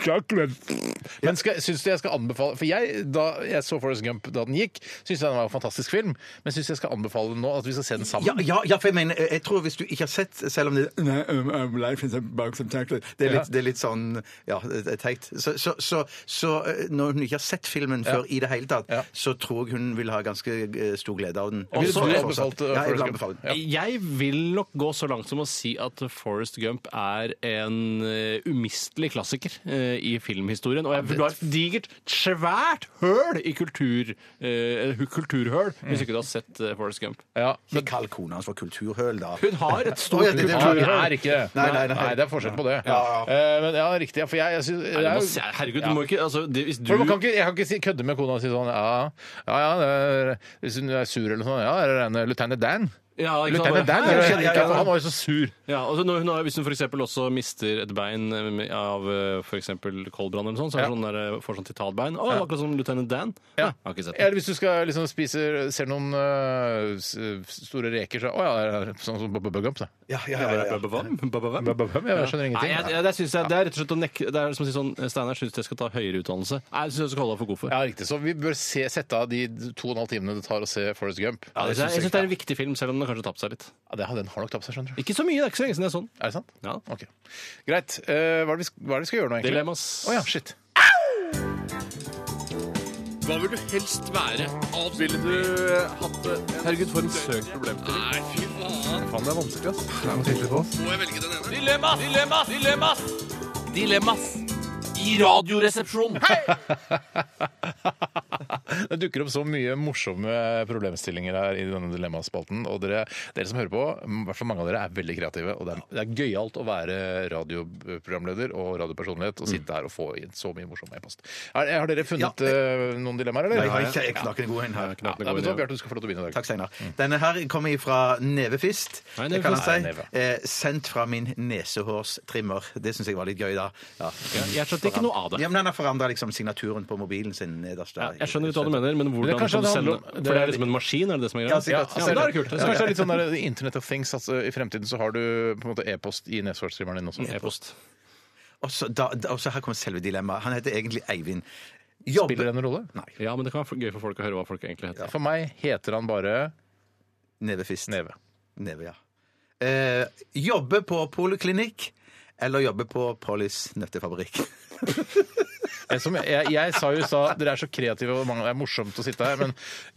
Speaker 5: chocolate." Men skal, syns du jeg skal anbefale For jeg, da jeg så Forrest Gump da den gikk, syns jeg den var en fantastisk film. Men syns jeg skal anbefale den nå, at vi skal se den sammen.
Speaker 3: Ja, ja, ja, for jeg mener, eh, jeg tror hvis du ikke har sett, selv om det Nei, um, um, life is a box of chocolate. det er, litt, det er litt sånn ja, det er teit. Så, så, så, så eh, når hun ikke har sett filmen før i det hele tatt,
Speaker 5: Ja.
Speaker 3: så tror jeg hun vil ha ganske eh, stor glede av den.
Speaker 5: Jeg ville
Speaker 3: Også-
Speaker 5: du anbefalt,
Speaker 3: fortsatt.
Speaker 5: eh,
Speaker 3: ja, jeg
Speaker 5: Forrest
Speaker 3: vil
Speaker 5: Gump?
Speaker 3: anbefale den.
Speaker 5: Ja.
Speaker 6: Jeg vil nok gå så langt som å si at Forrest Gump er en eh, umistelig klassiker eh, i filmhistorien. Og Og jeg la et digert, svært høl i kultur, eh, kulturhøl, hvis ikke du har sett eh, Forrest Gump.
Speaker 5: Mm. Ja,
Speaker 3: Ikke kall kona hans for kulturhøl, da.
Speaker 6: Hun har et
Speaker 3: Å,
Speaker 6: stort
Speaker 3: ja, det- det-
Speaker 5: Kultur
Speaker 6: kulturhøl.
Speaker 5: er ikke det.
Speaker 3: Nei, nei, nei.
Speaker 5: det er forskjell på det.
Speaker 3: Ja.
Speaker 5: Eh, men ja, riktig. ja, For jeg, jeg syns
Speaker 6: Nei, du må se- Herregud, du må ikke altså, det, Hvis du
Speaker 5: For man kan ikke, jeg kan ikke si, kødde med kona og si sånn Ja, ja, ja det er, hvis hun er sur eller sånn Ja, er det en lieutenant Dan?
Speaker 6: ja, ikke sant,
Speaker 5: Lieutenant
Speaker 6: bare,
Speaker 5: Dan?
Speaker 6: «Hei,
Speaker 5: eller- Ja,
Speaker 6: jeg kjenner ikke
Speaker 5: for
Speaker 6: han».
Speaker 5: Han var jo så sur.
Speaker 6: Ja, altså når hun har, Hvis hun for eksempel også mister et bein eh, av f.eks. koldbrann, eller sånn, så er det
Speaker 5: Ja.
Speaker 6: sånn der, eh, får sånn titanbein. Å, akkurat som løytnant Dan.
Speaker 5: Ja.
Speaker 6: Nei, jeg har ikke sett det.
Speaker 5: Eller hvis du skal liksom spise Ser noen øh, s- store reker, så Å ja, det er sånn som Bubba Gump, da.
Speaker 3: Ja, ja, ja, ja.
Speaker 6: Bubba-bam? Bubba-bam?
Speaker 5: Bubba Gump, ja, jeg skjønner
Speaker 6: Nei,
Speaker 5: ingenting.
Speaker 6: jeg, jeg, det synes jeg, det er rett og slett å nekke Det er som å si sånn Steinar syns jeg skal ta høyere utdannelse. Nei, jeg syns jeg skal holde deg for god for.
Speaker 5: Ja, riktig. Så vi bør se, sette av de to og en halv timene det tar å se Forrest Gump.
Speaker 6: Ja, jeg jeg syns det er en viktig film, selv om den kanskje har tapt seg litt.
Speaker 5: Ja, det, den har nok tapt seg, skjønner du.
Speaker 6: Ikke så mye, det er ikke så lenge siden det er sånn.
Speaker 5: Er det sant?
Speaker 6: Ja.
Speaker 5: Ok. Greit. Eh, hva, er det vi, sk- hva er det vi skal gjøre nå, egentlig?
Speaker 6: Dilemmas.
Speaker 5: Å ja, shit.
Speaker 6: Hva vil du helst være? Ville du hatt det? Herregud, for en søk problemstilling. Nei, fy faen.
Speaker 5: Faen, det er vanskelig, ass.
Speaker 6: Må jeg velge den ene? Dilemmas! Dilemmas! Dilemmas! Dilemmas! I radioresepsjonen!
Speaker 5: Det dukker opp så mye morsomme problemstillinger her i denne dilemmaspalten. Og dere, dere som hører på, i hvert fall mange av dere, er veldig kreative. Og det er, det er gøyalt å være radioprogramleder og radiopersonlighet og sitte her og få inn så mye morsom e-post. Er- Har dere funnet eh, noen dilemmaer, eller?
Speaker 3: Nei, jeg har ikke jeg knakk en god en
Speaker 5: Ja,
Speaker 3: her.
Speaker 5: da vet du hva, Bjarte, du skal få lov til å begynne i dag.
Speaker 3: Takk, Steinar. Denne her kommer fra Nevefist.
Speaker 6: Nei,
Speaker 3: Det kan
Speaker 6: Nevefist.
Speaker 3: han
Speaker 5: Nei,
Speaker 3: si.
Speaker 5: neve.
Speaker 3: Eh, sendt fra min nesehårstrimmer. Det syns jeg var litt gøy, da. Ja.
Speaker 6: Jeg skjønte ikke noe av det.
Speaker 3: Ja, men han har forandra liksom signaturen på mobilen sin nederst. der.
Speaker 6: Jeg skjønner ikke hva du mener, men
Speaker 5: Det
Speaker 6: hvordan
Speaker 5: er kanskje
Speaker 6: kan du
Speaker 5: det handler
Speaker 6: sende
Speaker 5: om-
Speaker 6: For det er liksom en maskin, er det det som er greia?
Speaker 3: Ja, sikkert.
Speaker 6: Ja, men da er det kult. Det
Speaker 5: Så kanskje det
Speaker 6: er
Speaker 5: er
Speaker 6: sikkert.
Speaker 5: litt sånn der Internet of Things. Altså, I fremtiden så har du på en måte e-post i nesvart-streameren din også.
Speaker 6: E-post.
Speaker 3: Og så da- da- og så her kommer selve dilemmaet. Han heter egentlig Eivind. Jobbe-
Speaker 5: Spiller det noen rolle?
Speaker 3: Nei.
Speaker 6: Ja, men det kan være gøy for folk å høre hva folk egentlig heter.
Speaker 5: For meg heter han bare
Speaker 3: Nevefist.
Speaker 5: Neve.
Speaker 3: Neve, ja. Eh, jobbe på poliklinikk eller jobbe på Pollys nøttefabrikk.
Speaker 5: Eh, Som jeg, jeg, jeg sa jo i stad, dere er så kreative og mange, det er morsomt å sitte her, men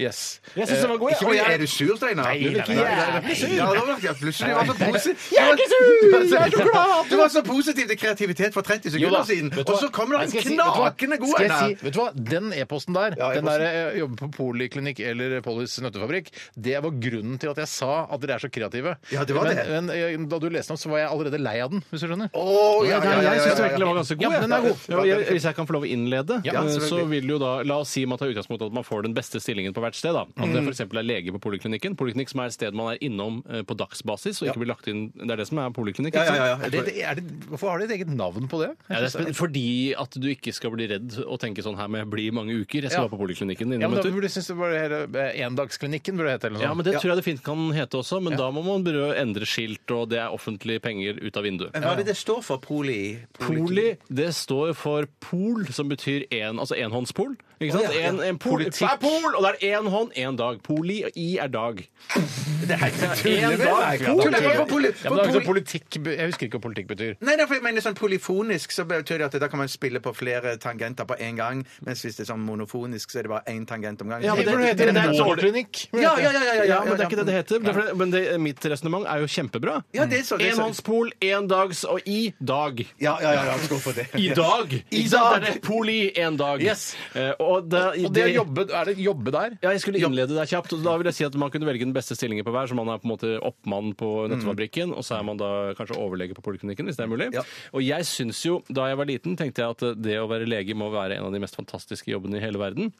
Speaker 5: yes.
Speaker 6: Jeg syns den var god,
Speaker 3: Ikke fordi er du sur, Steinar?
Speaker 5: Nei, nei, nei, nei, nei.
Speaker 3: Ja, da ble jeg plutselig du var så positiv.
Speaker 6: Jeg er ikke sur!
Speaker 3: Du var så-
Speaker 6: Jeg er så glad!
Speaker 3: Du var så positiv til kreativitet for 30
Speaker 5: Jo
Speaker 3: sekunder
Speaker 5: da,
Speaker 3: siden,
Speaker 5: vet du
Speaker 3: og
Speaker 5: hva?
Speaker 3: så kommer
Speaker 5: Nei,
Speaker 3: det
Speaker 5: skal
Speaker 3: en
Speaker 5: jeg si- vet du hva?
Speaker 3: knakende god
Speaker 5: Skal
Speaker 3: en
Speaker 5: jeg
Speaker 3: her.
Speaker 5: si- Vet du hva, den e-posten der,
Speaker 3: Ja,
Speaker 5: den
Speaker 3: e-posten.
Speaker 5: der eh, jobbe på poliklinikk eller Pollys nøttefabrikk, det var grunnen til at jeg sa at dere er så kreative.
Speaker 3: Ja, det var
Speaker 5: men,
Speaker 3: det.
Speaker 5: Men eh, da du leste den opp, så var jeg allerede lei av den, hvis du skjønner.
Speaker 3: Å, ja, ja, ja, ja,
Speaker 6: Jeg syns
Speaker 3: ja,
Speaker 6: egentlig
Speaker 3: ja.
Speaker 6: den var ganske god.
Speaker 5: Ja,
Speaker 6: jeg.
Speaker 5: den er god.
Speaker 6: Ja, jeg, hvis jeg kan få lov å innlede,
Speaker 5: Ja,
Speaker 6: eh, så
Speaker 3: selvfølgelig.
Speaker 6: vil jo da La oss si man tar utgangspunkt i at man får den beste stillingen på hvert sted. da. At det f.eks. er lege på poliklinikken. Poliklinikk som er et sted man er innom eh, på dagsbasis og ikke blir lagt inn Det er det som er poliklinikk. ikke
Speaker 3: Ja, ja, ja,
Speaker 6: sant?
Speaker 3: ja.
Speaker 5: Er det, er det, hvorfor har de et eget navn på det?
Speaker 6: Ja, det er spen- fordi at du ikke skal bli redd og tenke sånn her med 'bli mange uker'. Jeg skal
Speaker 5: Ja.
Speaker 6: være på poliklinikken
Speaker 5: Ja,
Speaker 6: innom
Speaker 5: men da
Speaker 6: en tur.
Speaker 5: burde jeg synes det var Endagsklinikken burde det hete. eller noe
Speaker 6: Ja,
Speaker 5: sånt.
Speaker 6: men Det tror jeg det fint kan hete også, men da må man begynne å endre skilt, og det er offentlige penger ut av vinduet.
Speaker 3: Men Hva er det det står for, poli?
Speaker 6: Poli det står for pol, som betyr en, altså enhåndspol. Ikke sant?
Speaker 3: Å, ja, ja.
Speaker 6: En, en pol,
Speaker 5: Politikk.
Speaker 6: Hva er pol, og det er én hånd, én dag. Poli, og i er dag.
Speaker 3: Det er ikke
Speaker 6: En dag,
Speaker 3: Poli-
Speaker 6: pol.
Speaker 3: Nei, for poli-
Speaker 5: Ja, men det er jo
Speaker 3: for
Speaker 5: ikke
Speaker 3: poli-
Speaker 5: politikk, jeg husker ikke hva politikk betyr.
Speaker 3: Nei, nei, for jeg mener sånn Polyfonisk så betyr det at da kan man spille på flere tangenter på én gang. Mens hvis det er sånn monofonisk, så er det bare én tangent om gangen.
Speaker 6: Ja, men det-
Speaker 5: Hvorfor
Speaker 6: det-
Speaker 5: heter det,
Speaker 6: det er så-
Speaker 5: Målklinikk?
Speaker 3: ja, ja, ja, ja, ja,
Speaker 6: Ja, men det er ikke det det heter. Det er fordi- Men det, mitt resonnement er jo kjempebra.
Speaker 3: Ja, det er så- det er så-
Speaker 6: Enhåndspol, én dags og i dag.
Speaker 3: Ja, ja, ja, ja, skål for det.
Speaker 6: I dag! I dag er det poli én dag.
Speaker 5: Yes.
Speaker 6: Eh, og det,
Speaker 5: Og det å jobbe, er det jobbe der?
Speaker 6: Ja, jeg skulle innlede deg kjapt. og Da vil jeg si at Man kunne velge den beste stillingen på hver. så Man er på en måte oppmann på nøttefabrikken, og så er man da kanskje overlege på poliklinikken. hvis det er mulig.
Speaker 3: Ja.
Speaker 6: Og jeg synes jo, Da jeg var liten, tenkte jeg at eh, det å være lege må være en av de mest fantastiske jobbene i hele verden.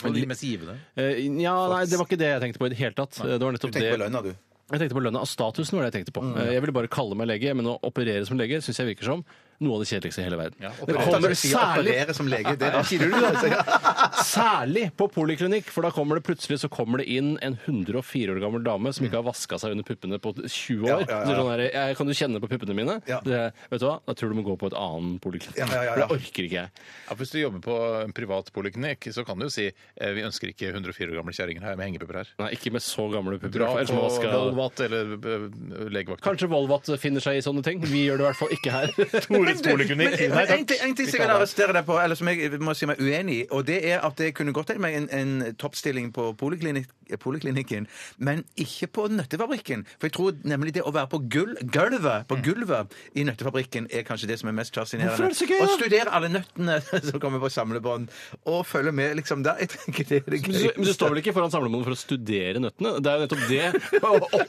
Speaker 5: de mest givende.
Speaker 6: Eh, ja, nei, Det var ikke det jeg tenkte på i det hele tatt. Eh, Det var nettopp
Speaker 3: Tenk på
Speaker 6: det.
Speaker 3: lønna, du.
Speaker 6: Jeg tenkte på lønna. og Statusen var det jeg tenkte på. Eh, Jeg ville bare kalle meg lege, men å operere som lege syns jeg virker som noe av det kjedeligste i hele verden. det
Speaker 3: Ofte
Speaker 6: kommer
Speaker 3: når du sier
Speaker 6: særlig
Speaker 3: operere som lege. Det er sier du det, altså.
Speaker 6: <laughs>
Speaker 3: Ja.
Speaker 6: Særlig på poliklinikk, for da kommer det plutselig så kommer det inn en 104 år gammel dame som ikke har vaska seg under puppene på 20 år.
Speaker 3: Ja, ja, ja.
Speaker 6: Så Sånn der, jeg, kan du kjenne på puppene mine?
Speaker 3: Ja.
Speaker 6: Det, vet du hva? Da tror jeg du må gå på et annen poliklinikk.
Speaker 3: Ja, ja, ja, ja.
Speaker 6: For det orker ikke jeg.
Speaker 5: Ja, hvis du jobber på en privat poliklinikk, så kan du jo si eh, vi ønsker ikke 104 år gamle kjerringer her med hengepupper her.
Speaker 6: Nei, ikke med så gamle pupper.
Speaker 5: Dra
Speaker 6: i
Speaker 5: på
Speaker 6: hvert fall, ellers må jeg vaske-
Speaker 5: Volvat eller eh, legevakt.
Speaker 6: Kanskje Volvat finner seg i sånne ting. Vi gjør det i hvert fall ikke
Speaker 3: <laughs>
Speaker 6: her.
Speaker 5: Torets poliklinikk. Nei,
Speaker 3: Men, men en, ting,
Speaker 5: takk.
Speaker 3: en ting som jeg kan arrestere deg på, eller som jeg må si meg uenig i, og det er at jeg kunne godt tenkt meg en, en toppstilling på poliklinikk, poliklinik- poliklinikken, men ikke på nøttefabrikken. For jeg tror nemlig det å være på gull, gulvet, på gulvet i nøttefabrikken er kanskje det som er mest
Speaker 6: Mm.
Speaker 3: fascinerende.
Speaker 6: Hvorfor er det så gøy,
Speaker 3: Å
Speaker 6: da?
Speaker 3: studere alle nøttene <laughs> som kommer på samlebånd, og følge med liksom der. Jeg tenker det er det
Speaker 6: Men du-
Speaker 3: gøyeste.
Speaker 6: Men du står vel ikke foran samlebonden for å studere nøttene? Det er jo nettopp
Speaker 3: <laughs>
Speaker 6: det.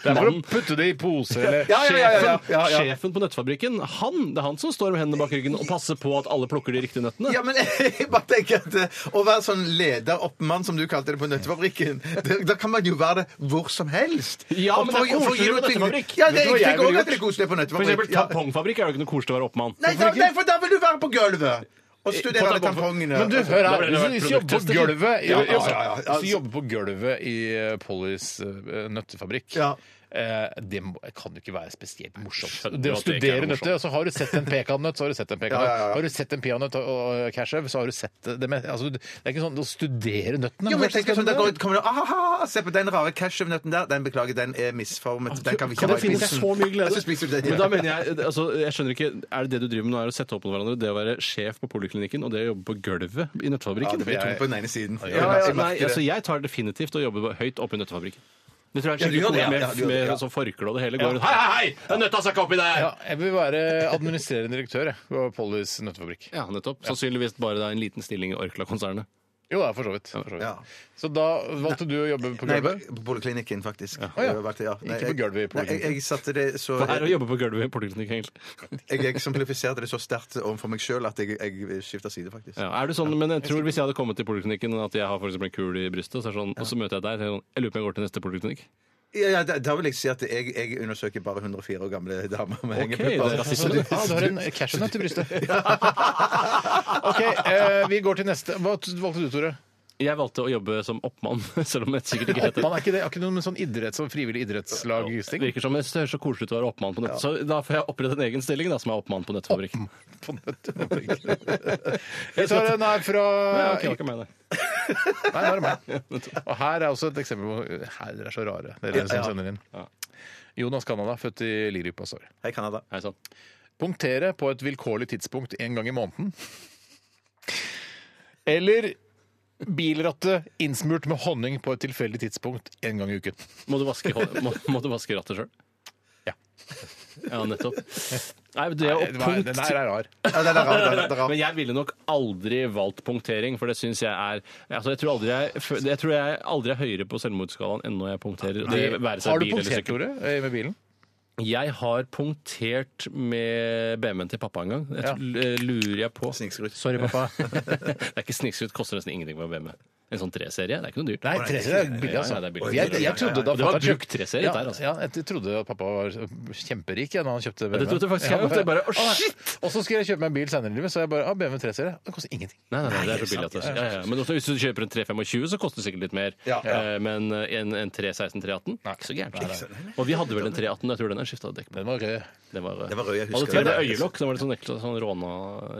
Speaker 6: Oppmannen,
Speaker 5: putte det i pose eller
Speaker 3: Ja, ja, ja, ja, ja, ja, ja.
Speaker 6: sjefen på nøttefabrikken, han, det er han som står med hendene bak ryggen og passer på at alle plukker de riktige nøttene.
Speaker 3: <laughs> Ja, men jeg bare tenker at eh, Å være sånn leder-oppmann, som du kalte det på Nøttefabrikken det, Da kan man jo være det hvor som helst.
Speaker 6: Ja,
Speaker 3: Og
Speaker 6: men det er
Speaker 3: for- og for å gi
Speaker 6: koseligere
Speaker 3: noe
Speaker 6: på
Speaker 3: tyngde-
Speaker 6: Nøttefabrikk.
Speaker 3: Ja,
Speaker 6: Vet
Speaker 3: det,
Speaker 6: du hva
Speaker 3: jeg
Speaker 6: jeg
Speaker 3: tenker
Speaker 6: ville
Speaker 3: også at det er
Speaker 6: gjort?
Speaker 3: koselig på
Speaker 6: For
Speaker 3: Nøttefabrikk.
Speaker 6: eksempel
Speaker 3: Ja.
Speaker 6: tampongfabrikk er det jo ikke noe koselig å være oppmann.
Speaker 3: Nei, da, nei, for da vil du være på gulvet! Og
Speaker 6: Eh,
Speaker 3: studere alle
Speaker 6: tampongfabrik-
Speaker 3: tampongene.
Speaker 5: Men du,
Speaker 3: Og så-
Speaker 5: hør
Speaker 6: Da
Speaker 5: her.
Speaker 6: ble det
Speaker 5: Hvis du-
Speaker 6: vært
Speaker 5: hvis du jobber på
Speaker 6: produkttester.
Speaker 5: gulvet i-
Speaker 6: Ja,
Speaker 5: altså,
Speaker 3: ja, ja, ja.
Speaker 5: Hvis du jobber på gulvet i eh, Pollys eh, nøttefabrikk
Speaker 3: Ja.
Speaker 5: eh, Det må- kan jo ikke være spesielt morsomt.
Speaker 6: Skjønner
Speaker 5: Det å
Speaker 6: at det ikke er
Speaker 5: studere nøtter altså Har du sett en pekannøtt, så har du sett en pekannøtt.
Speaker 3: Ja, ja, ja.
Speaker 5: Har du sett en peanøtt og- og cashew, så har du sett det med altså, Det er ikke sånn å studere nøttene.
Speaker 3: Jo,
Speaker 5: Hvordan
Speaker 3: men jeg tenker
Speaker 5: skal
Speaker 3: sånn,
Speaker 5: du
Speaker 3: da
Speaker 5: gjøre
Speaker 3: går- kommer det, aha, Se på den rare cashewnøtten der. Den beklager, den er misformet. Den kan vi ikke
Speaker 6: Kan
Speaker 3: ha
Speaker 6: det
Speaker 3: i
Speaker 6: finnes
Speaker 3: spissen.
Speaker 6: så mye glede?
Speaker 3: Ja, så spiser du den.
Speaker 6: Men da mener jeg, altså, jeg skjønner ikke, Er det det du driver med nå, er å sette opp mot hverandre? Det å være sjef på poliklinikken og det å jobbe på gulvet i
Speaker 3: Ja,
Speaker 6: nøttefabrikken?
Speaker 3: det blir tungt på den ene siden.
Speaker 6: Ja, ja,
Speaker 3: Jeg merker
Speaker 6: nei,
Speaker 3: det.
Speaker 6: altså, jeg tar definitivt å jobbe høyt oppe i nøttefabrikken. Det tror jeg
Speaker 3: Ja,
Speaker 6: er
Speaker 3: du
Speaker 6: skikkelig
Speaker 3: gjør det,
Speaker 6: koselig
Speaker 3: ja,
Speaker 6: med,
Speaker 3: ja, du gjør det,
Speaker 6: med
Speaker 3: ja.
Speaker 6: sånn forkle og det hele. Går rundt, hei, hei, hei! Den nøtta skal ikke oppi der!
Speaker 5: Ja, jeg vil være administrerende direktør jeg, på Pollys nøttefabrikk.
Speaker 6: Ja, nettopp. Sannsynligvis bare det er en liten stilling i Orkla-konsernet.
Speaker 5: Jo da, for så vidt. For så, vidt.
Speaker 3: Ja.
Speaker 5: så da valgte du å jobbe på
Speaker 3: Nei,
Speaker 5: gulvet?
Speaker 3: på poliklinikken, faktisk.
Speaker 5: Å, ja.
Speaker 3: Jeg har vært det, ja. Nei,
Speaker 5: Ikke på
Speaker 3: jeg-
Speaker 5: gulvet i
Speaker 3: Nei, jeg, jeg satte det så
Speaker 6: Hva er det å jobbe på gulvet i poliklinikken, egentlig?
Speaker 3: jeg eksemplifiserte det så sterkt overfor meg sjøl at jeg, jeg skifta side, faktisk.
Speaker 6: Ja, er det sånn, men jeg tror Hvis jeg hadde kommet til poliklinikken at jeg har for eksempel en kul i brystet, så er det sånn, og så møter jeg deg så er det sånn, Jeg lurer på om jeg går til neste poliklinikk.
Speaker 3: Ja, ja, da, da vil jeg si at jeg, jeg undersøker bare 104 år gamle damer med
Speaker 6: det er
Speaker 5: Så du, ah, du har en cashewnøtt i brystet. OK, eh, vi går til neste. Hva t- valgte du, Tore?
Speaker 6: Jeg valgte å jobbe som oppmann, <laughs> selv om jeg sikkert ikke heter
Speaker 5: Oppmann er ikke det? Er ikke noe med sånn idretts- og frivillig
Speaker 6: det.
Speaker 5: idrettslagsting?
Speaker 6: virker som det høres så koselig ut å være oppmann på nett. Så da får jeg opprette en egen stilling da, som er oppmann på nettfabrikken.
Speaker 5: På
Speaker 6: <laughs>
Speaker 5: nøttefabrikken. Jeg tar en her fra
Speaker 6: Ja, ok, det var ikke meg, nei.
Speaker 5: Nei, det er meg. Og her er også et eksempel på Her, dere er så rare, dere som sender inn. Jonas Canada, født i Lirup Astor.
Speaker 3: Hei, Canada.
Speaker 6: Hei sånn. sann.
Speaker 5: Punktere på et vilkårlig tidspunkt en gang i måneden. Eller bilrattet innsmurt med honning på et tilfeldig tidspunkt en gang i uken.
Speaker 6: Må du vaske, hå- må, må du vaske rattet sjøl?
Speaker 5: Ja.
Speaker 6: Ja, nettopp. Nei, det er
Speaker 5: Det
Speaker 6: jo
Speaker 5: var- Den
Speaker 6: punkt
Speaker 5: her er rar.
Speaker 3: Ja, det er rart, det er- det er rart.
Speaker 6: Men jeg ville nok aldri valgt punktering, for det syns jeg er altså Jeg tror aldri jeg, jeg, tror jeg aldri er høyere på selvmordsskalaen enn når jeg punkterer. Det være seg
Speaker 5: Har du
Speaker 6: bil eller
Speaker 5: punktert,
Speaker 6: sykkel.
Speaker 5: Tore, eh, med bilen?
Speaker 6: Jeg har punktert med BMW-en til pappa en gang. Jeg
Speaker 5: Ja.
Speaker 6: tror- eh, lurer jeg på <laughs>
Speaker 3: Snikskryt.
Speaker 6: Sorry, pappa. det er ikke snikskrutt. Koster nesten ingenting med BMW. En sånn treserie. Det er ikke noe dyrt.
Speaker 5: Nei, treserie er billig, altså.
Speaker 6: Ja, ja, det er billig.
Speaker 5: Jeg, jeg trodde da
Speaker 6: Og det var
Speaker 5: pappa kjøpte-
Speaker 6: brukt treserie
Speaker 5: ja,
Speaker 6: der, altså.
Speaker 5: Ja, jeg trodde at pappa var kjemperik ja, da han kjøpte BMW.
Speaker 6: det trodde faktisk jeg også. Jeg bare, «Å, shit!»
Speaker 5: Og så skulle jeg kjøpe meg en bil senere i livet, så jeg bare ah, BMW 3-serie. Det koster ingenting.
Speaker 6: Nei, nei, nei, det er så billig at det ja, ja. Men også, hvis du kjøper en 325, så koster det sikkert litt mer.
Speaker 3: Ja.
Speaker 6: Eh, Men en, en 316-318 ikke så gærent. Og vi hadde vel en 318, jeg tror den er skifta dekk på.
Speaker 5: Den var rød.
Speaker 6: Det var,
Speaker 3: Det var rød, jeg husker
Speaker 6: Hadde til og med
Speaker 3: det.
Speaker 6: øyelokk. Da var det sånn, ekle- sånn råna,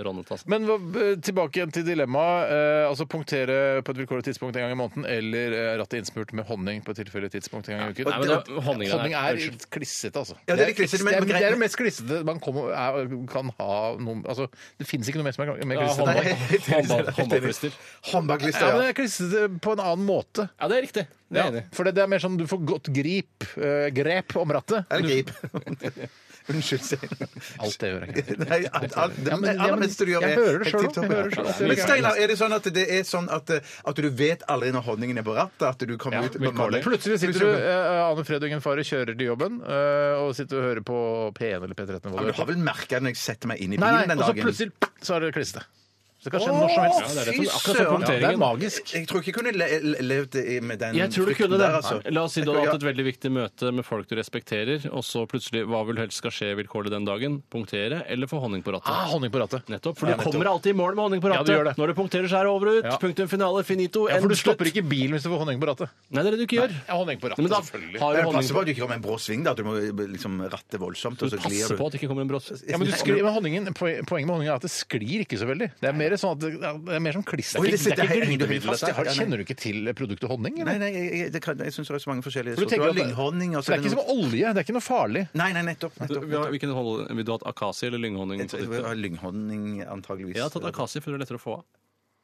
Speaker 6: rånetass.
Speaker 5: Men hva- eh, tilbake igjen til dilemmaet. Eh, altså punktere på et vilkårlig tidspunkt en gang i måneden, eller eh, rattet innsmurt med honning på et tilfeldig tidspunkt en gang i uken.
Speaker 6: Nei, men det var- honningen er-
Speaker 5: honning er
Speaker 6: unnskyld.
Speaker 5: klissete, altså.
Speaker 3: Ja, det er litt klissete, men-
Speaker 5: det, er, det er
Speaker 3: men-
Speaker 5: det mest klissete man kommer, er, kan ha noen Altså, det finnes ikke noe mer som er mer
Speaker 6: Ja,
Speaker 5: klissete.
Speaker 6: håndball-
Speaker 5: Nei.
Speaker 6: håndball- Håndballklister.
Speaker 3: Håndbaklister,
Speaker 5: Ja, men det
Speaker 3: ja.
Speaker 5: er klissete på en annen måte.
Speaker 6: Ja, det er riktig. Det
Speaker 5: Ja,
Speaker 6: er jeg enig. i.
Speaker 5: for det, det er mer sånn du får godt grip, eh, grep om rattet.
Speaker 3: Eller grip. Unnskyld, Steinar.
Speaker 5: Alt det gjør jeg ikke.
Speaker 3: Nei, alt, alt, det
Speaker 5: Ja, men- ja,
Speaker 3: aller
Speaker 5: men
Speaker 3: meste du gjør,
Speaker 5: jeg
Speaker 3: er
Speaker 5: hører det
Speaker 3: helt
Speaker 5: selv,
Speaker 3: tipp topp,
Speaker 5: jeg
Speaker 3: ja.
Speaker 5: hører det selv.
Speaker 3: Ja, Men Steinar, er det sånn at det er sånn at, at du vet aldri når honningen er på rattet? At du kommer
Speaker 6: Ja,
Speaker 3: ut
Speaker 6: vilkårlig.
Speaker 5: Plutselig sitter du, eh, Ane Fred og Ingen Fare kjører til jobben, eh, og sitter og hører på P1 eller P13. eller hva det
Speaker 3: Ja, men
Speaker 5: er.
Speaker 3: Du har vel merka det når jeg setter meg inn i
Speaker 5: Nei, nei,
Speaker 3: bilen den
Speaker 5: og så
Speaker 6: altså,
Speaker 3: dagen?
Speaker 5: plutselig så er det klissete. Så det kan skje når som
Speaker 6: Ja,
Speaker 5: helst.
Speaker 6: det er det
Speaker 3: Fy
Speaker 6: som, akkurat som
Speaker 5: Ja, det
Speaker 3: søren.
Speaker 5: er
Speaker 6: punkteringen.
Speaker 5: magisk.
Speaker 3: Jeg tror ikke jeg kunne le le- levd i- med den
Speaker 6: Jeg tror du
Speaker 3: frykten
Speaker 6: kunne det.
Speaker 3: der, altså.
Speaker 6: La oss si du hadde
Speaker 3: Jeg tror-
Speaker 6: hatt et veldig viktig møte med folk du respekterer, og så plutselig hva vil helst skal skje vilkårlig den dagen? Punktere eller få honning på rattet?
Speaker 5: Ah, honning på rattet.
Speaker 6: Nettopp, for du kommer alltid i mål med honning på
Speaker 5: Ja,
Speaker 6: rattet.
Speaker 5: du gjør det.
Speaker 6: Når det punkterer, så er det over og ut.
Speaker 5: Ja.
Speaker 6: Punktum finale, finito.
Speaker 5: Ja,
Speaker 6: end,
Speaker 5: for du
Speaker 6: slutt.
Speaker 5: stopper ikke bilen hvis du får honning på rattet.
Speaker 6: Nei, det er det du ikke gjør.
Speaker 5: Ja, honning på rattet,
Speaker 6: Nei, men da
Speaker 5: selvfølgelig.
Speaker 6: Har
Speaker 3: Men
Speaker 6: du honning
Speaker 3: passe på at du ikke kommer med en brå sving, da. At du må liksom ratte voldsomt, og så
Speaker 6: du
Speaker 3: glir
Speaker 6: passer
Speaker 3: du.
Speaker 6: på at det ikke kommer en brått
Speaker 5: Ja, men du sklir, men honningen, poen- Poenget med honningen er at det sklir ikke så veldig. Det er mer sånn at det, det er mer som klister. Det
Speaker 3: Oi, det
Speaker 5: er
Speaker 3: sitter
Speaker 5: ikke
Speaker 3: helt- henger du helt
Speaker 5: glidemiddel,
Speaker 3: fast,
Speaker 5: dette her.
Speaker 3: ja, nei.
Speaker 5: Kjenner du ikke til produktet honning?
Speaker 3: Nei,
Speaker 5: Eller?
Speaker 3: nei, jeg, jeg, det kan, jeg syns det er så mange forskjellige
Speaker 5: For du
Speaker 3: sorter. Du
Speaker 5: tenker
Speaker 3: har
Speaker 5: at det-
Speaker 3: lynghonning
Speaker 5: Det
Speaker 3: og så
Speaker 5: er ikke som
Speaker 3: noe-
Speaker 5: olje. Det er ikke noe farlig.
Speaker 3: Nei, nei, nettopp. nettopp, nettopp.
Speaker 6: Hvilken hold- vil du ha hatt akasi eller lynghonning?
Speaker 3: Jeg tror jeg har Lynghonning, antageligvis.
Speaker 6: Jeg har tatt akasi, for det er lettere å få av.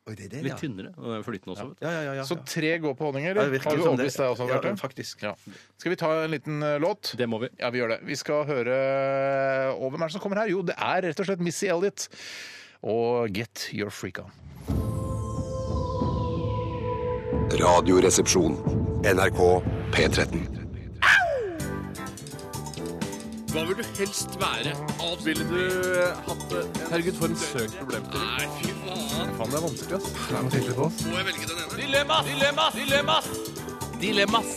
Speaker 3: Oi, det er det,
Speaker 6: Litt tynnere. Og den er flytende også. vet du.
Speaker 3: Ja, ja, ja, ja.
Speaker 5: Så tre går på honning,
Speaker 3: Ja,
Speaker 5: eller?
Speaker 3: det virker
Speaker 5: Har vi
Speaker 3: som det.
Speaker 5: overbevist deg også,
Speaker 3: Ja,
Speaker 5: Bjarte?
Speaker 3: faktisk.
Speaker 5: Ja. Skal vi ta en liten eh, låt?
Speaker 6: Det må vi.
Speaker 5: Ja, vi gjør det. Vi skal høre Og hvem er det som kommer her? Jo, det er rett og slett Missy Elliot og Get Your Freak On.
Speaker 1: Radioresepsjon. NRK P13.
Speaker 6: Hva vil du helst være? Ville du eh, hatt det? Herregud, for en søk problemstilling. Nei, fy faen. Faen, det er vanskelig, ass. Det er noe tydelig på oss. Må jeg velge den ene? Dilemmas! Dilemmas! Dilemmas! Dilemmas!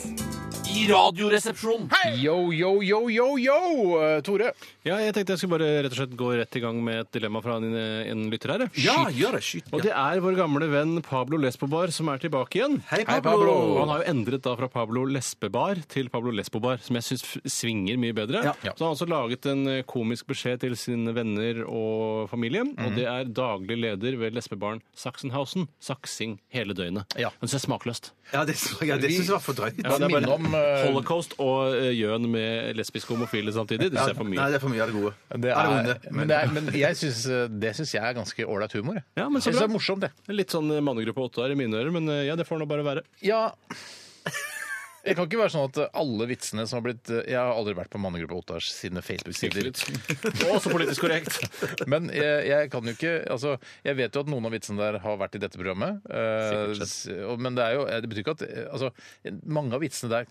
Speaker 6: I radioresepsjonen.
Speaker 5: Yo, yo, yo, yo, yo! Eh, Tore.
Speaker 6: Ja, jeg tenkte jeg skulle bare rett og slett gå rett i gang med et dilemma fra en, en lytter her. jeg.
Speaker 3: Ja, gjør det. Skyt.
Speaker 6: Og det er vår gamle venn Pablo Lesbobar som er tilbake igjen.
Speaker 3: Hei, Pablo.
Speaker 6: Og Han har jo endret da fra Pablo Lesbebar til Pablo Lesbobar, som jeg syns svinger mye bedre.
Speaker 3: Ja.
Speaker 6: Så han har også laget en eh, komisk beskjed til sine venner og familie,
Speaker 3: Mhm.
Speaker 6: og det er daglig leder ved lesbebaren Sachsenhausen, saksing hele døgnet.
Speaker 5: Ja.
Speaker 6: Men det er smakløst.
Speaker 3: Ja, det, ja, det syns jeg var for drøyt.
Speaker 5: Bare
Speaker 6: det er bare-
Speaker 5: minne om eh,
Speaker 6: Holocaust og eh, gjøn med lesbiske homofile samtidig, det ser jeg for
Speaker 3: Nei,
Speaker 6: mye.
Speaker 3: det er for mye av det gode.
Speaker 5: det
Speaker 3: Av
Speaker 5: er,
Speaker 3: det vonde.
Speaker 5: men det er, men jeg synes, eh, det syns jeg er ganske ålreit humor. jeg.
Speaker 6: Ja, men så
Speaker 5: jeg synes
Speaker 6: bra.
Speaker 5: det er morsomt, det.
Speaker 6: Litt sånn eh, mannegruppe Ottar i mine ører, men eh, ja, det får nå bare være.
Speaker 5: Ja. Det kan ikke være sånn at alle vitsene som har blitt eh, Jeg har aldri vært på Mannegruppa Ottars sine Facebook-sider.
Speaker 6: Også politisk korrekt.
Speaker 5: Men jeg, jeg kan jo ikke altså, Jeg vet jo at noen av vitsene der har vært i dette programmet. eh, s- og- men det, er jo, det betyr ikke at eh, altså, Mange av vitsene der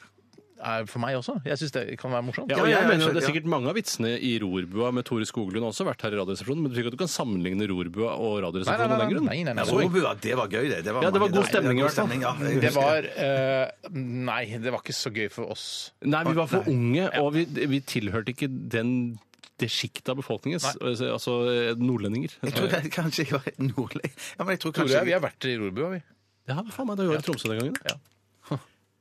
Speaker 5: er for meg også. Jeg syns det kan være morsomt.
Speaker 6: Ja,
Speaker 3: Ja,
Speaker 6: og
Speaker 3: ja,
Speaker 6: jeg
Speaker 3: ja,
Speaker 6: mener
Speaker 3: skjønner,
Speaker 6: at det er
Speaker 3: ja.
Speaker 6: sikkert mange av vitsene i Rorbua med Tore Skoglund har også vært her i Radioresepsjonen, men det betyr ikke at du kan sammenligne Rorbua og Radioresepsjonen av den grunn.
Speaker 5: nei, nei, nei,
Speaker 3: Ja, Robua, det var gøy, det. det var
Speaker 6: Ja, det var
Speaker 3: mange-
Speaker 6: god stemning i
Speaker 3: god
Speaker 6: hvert fall.
Speaker 3: stemning, ja, jeg
Speaker 5: Det
Speaker 3: husker
Speaker 5: var eh, Nei, det var ikke så gøy for oss.
Speaker 6: Nei, vi var for unge, og vi, vi tilhørte ikke den det sjiktet av befolkningen, s- altså eh, nordlendinger.
Speaker 3: Jeg tror jeg, kanskje jeg var nordlig. Ja, men jeg tror
Speaker 5: Tore,
Speaker 3: kanskje
Speaker 5: vi har vært i Rorbua, vi.
Speaker 6: Ja, faen meg, det var jo i Tromsø den gangen. da.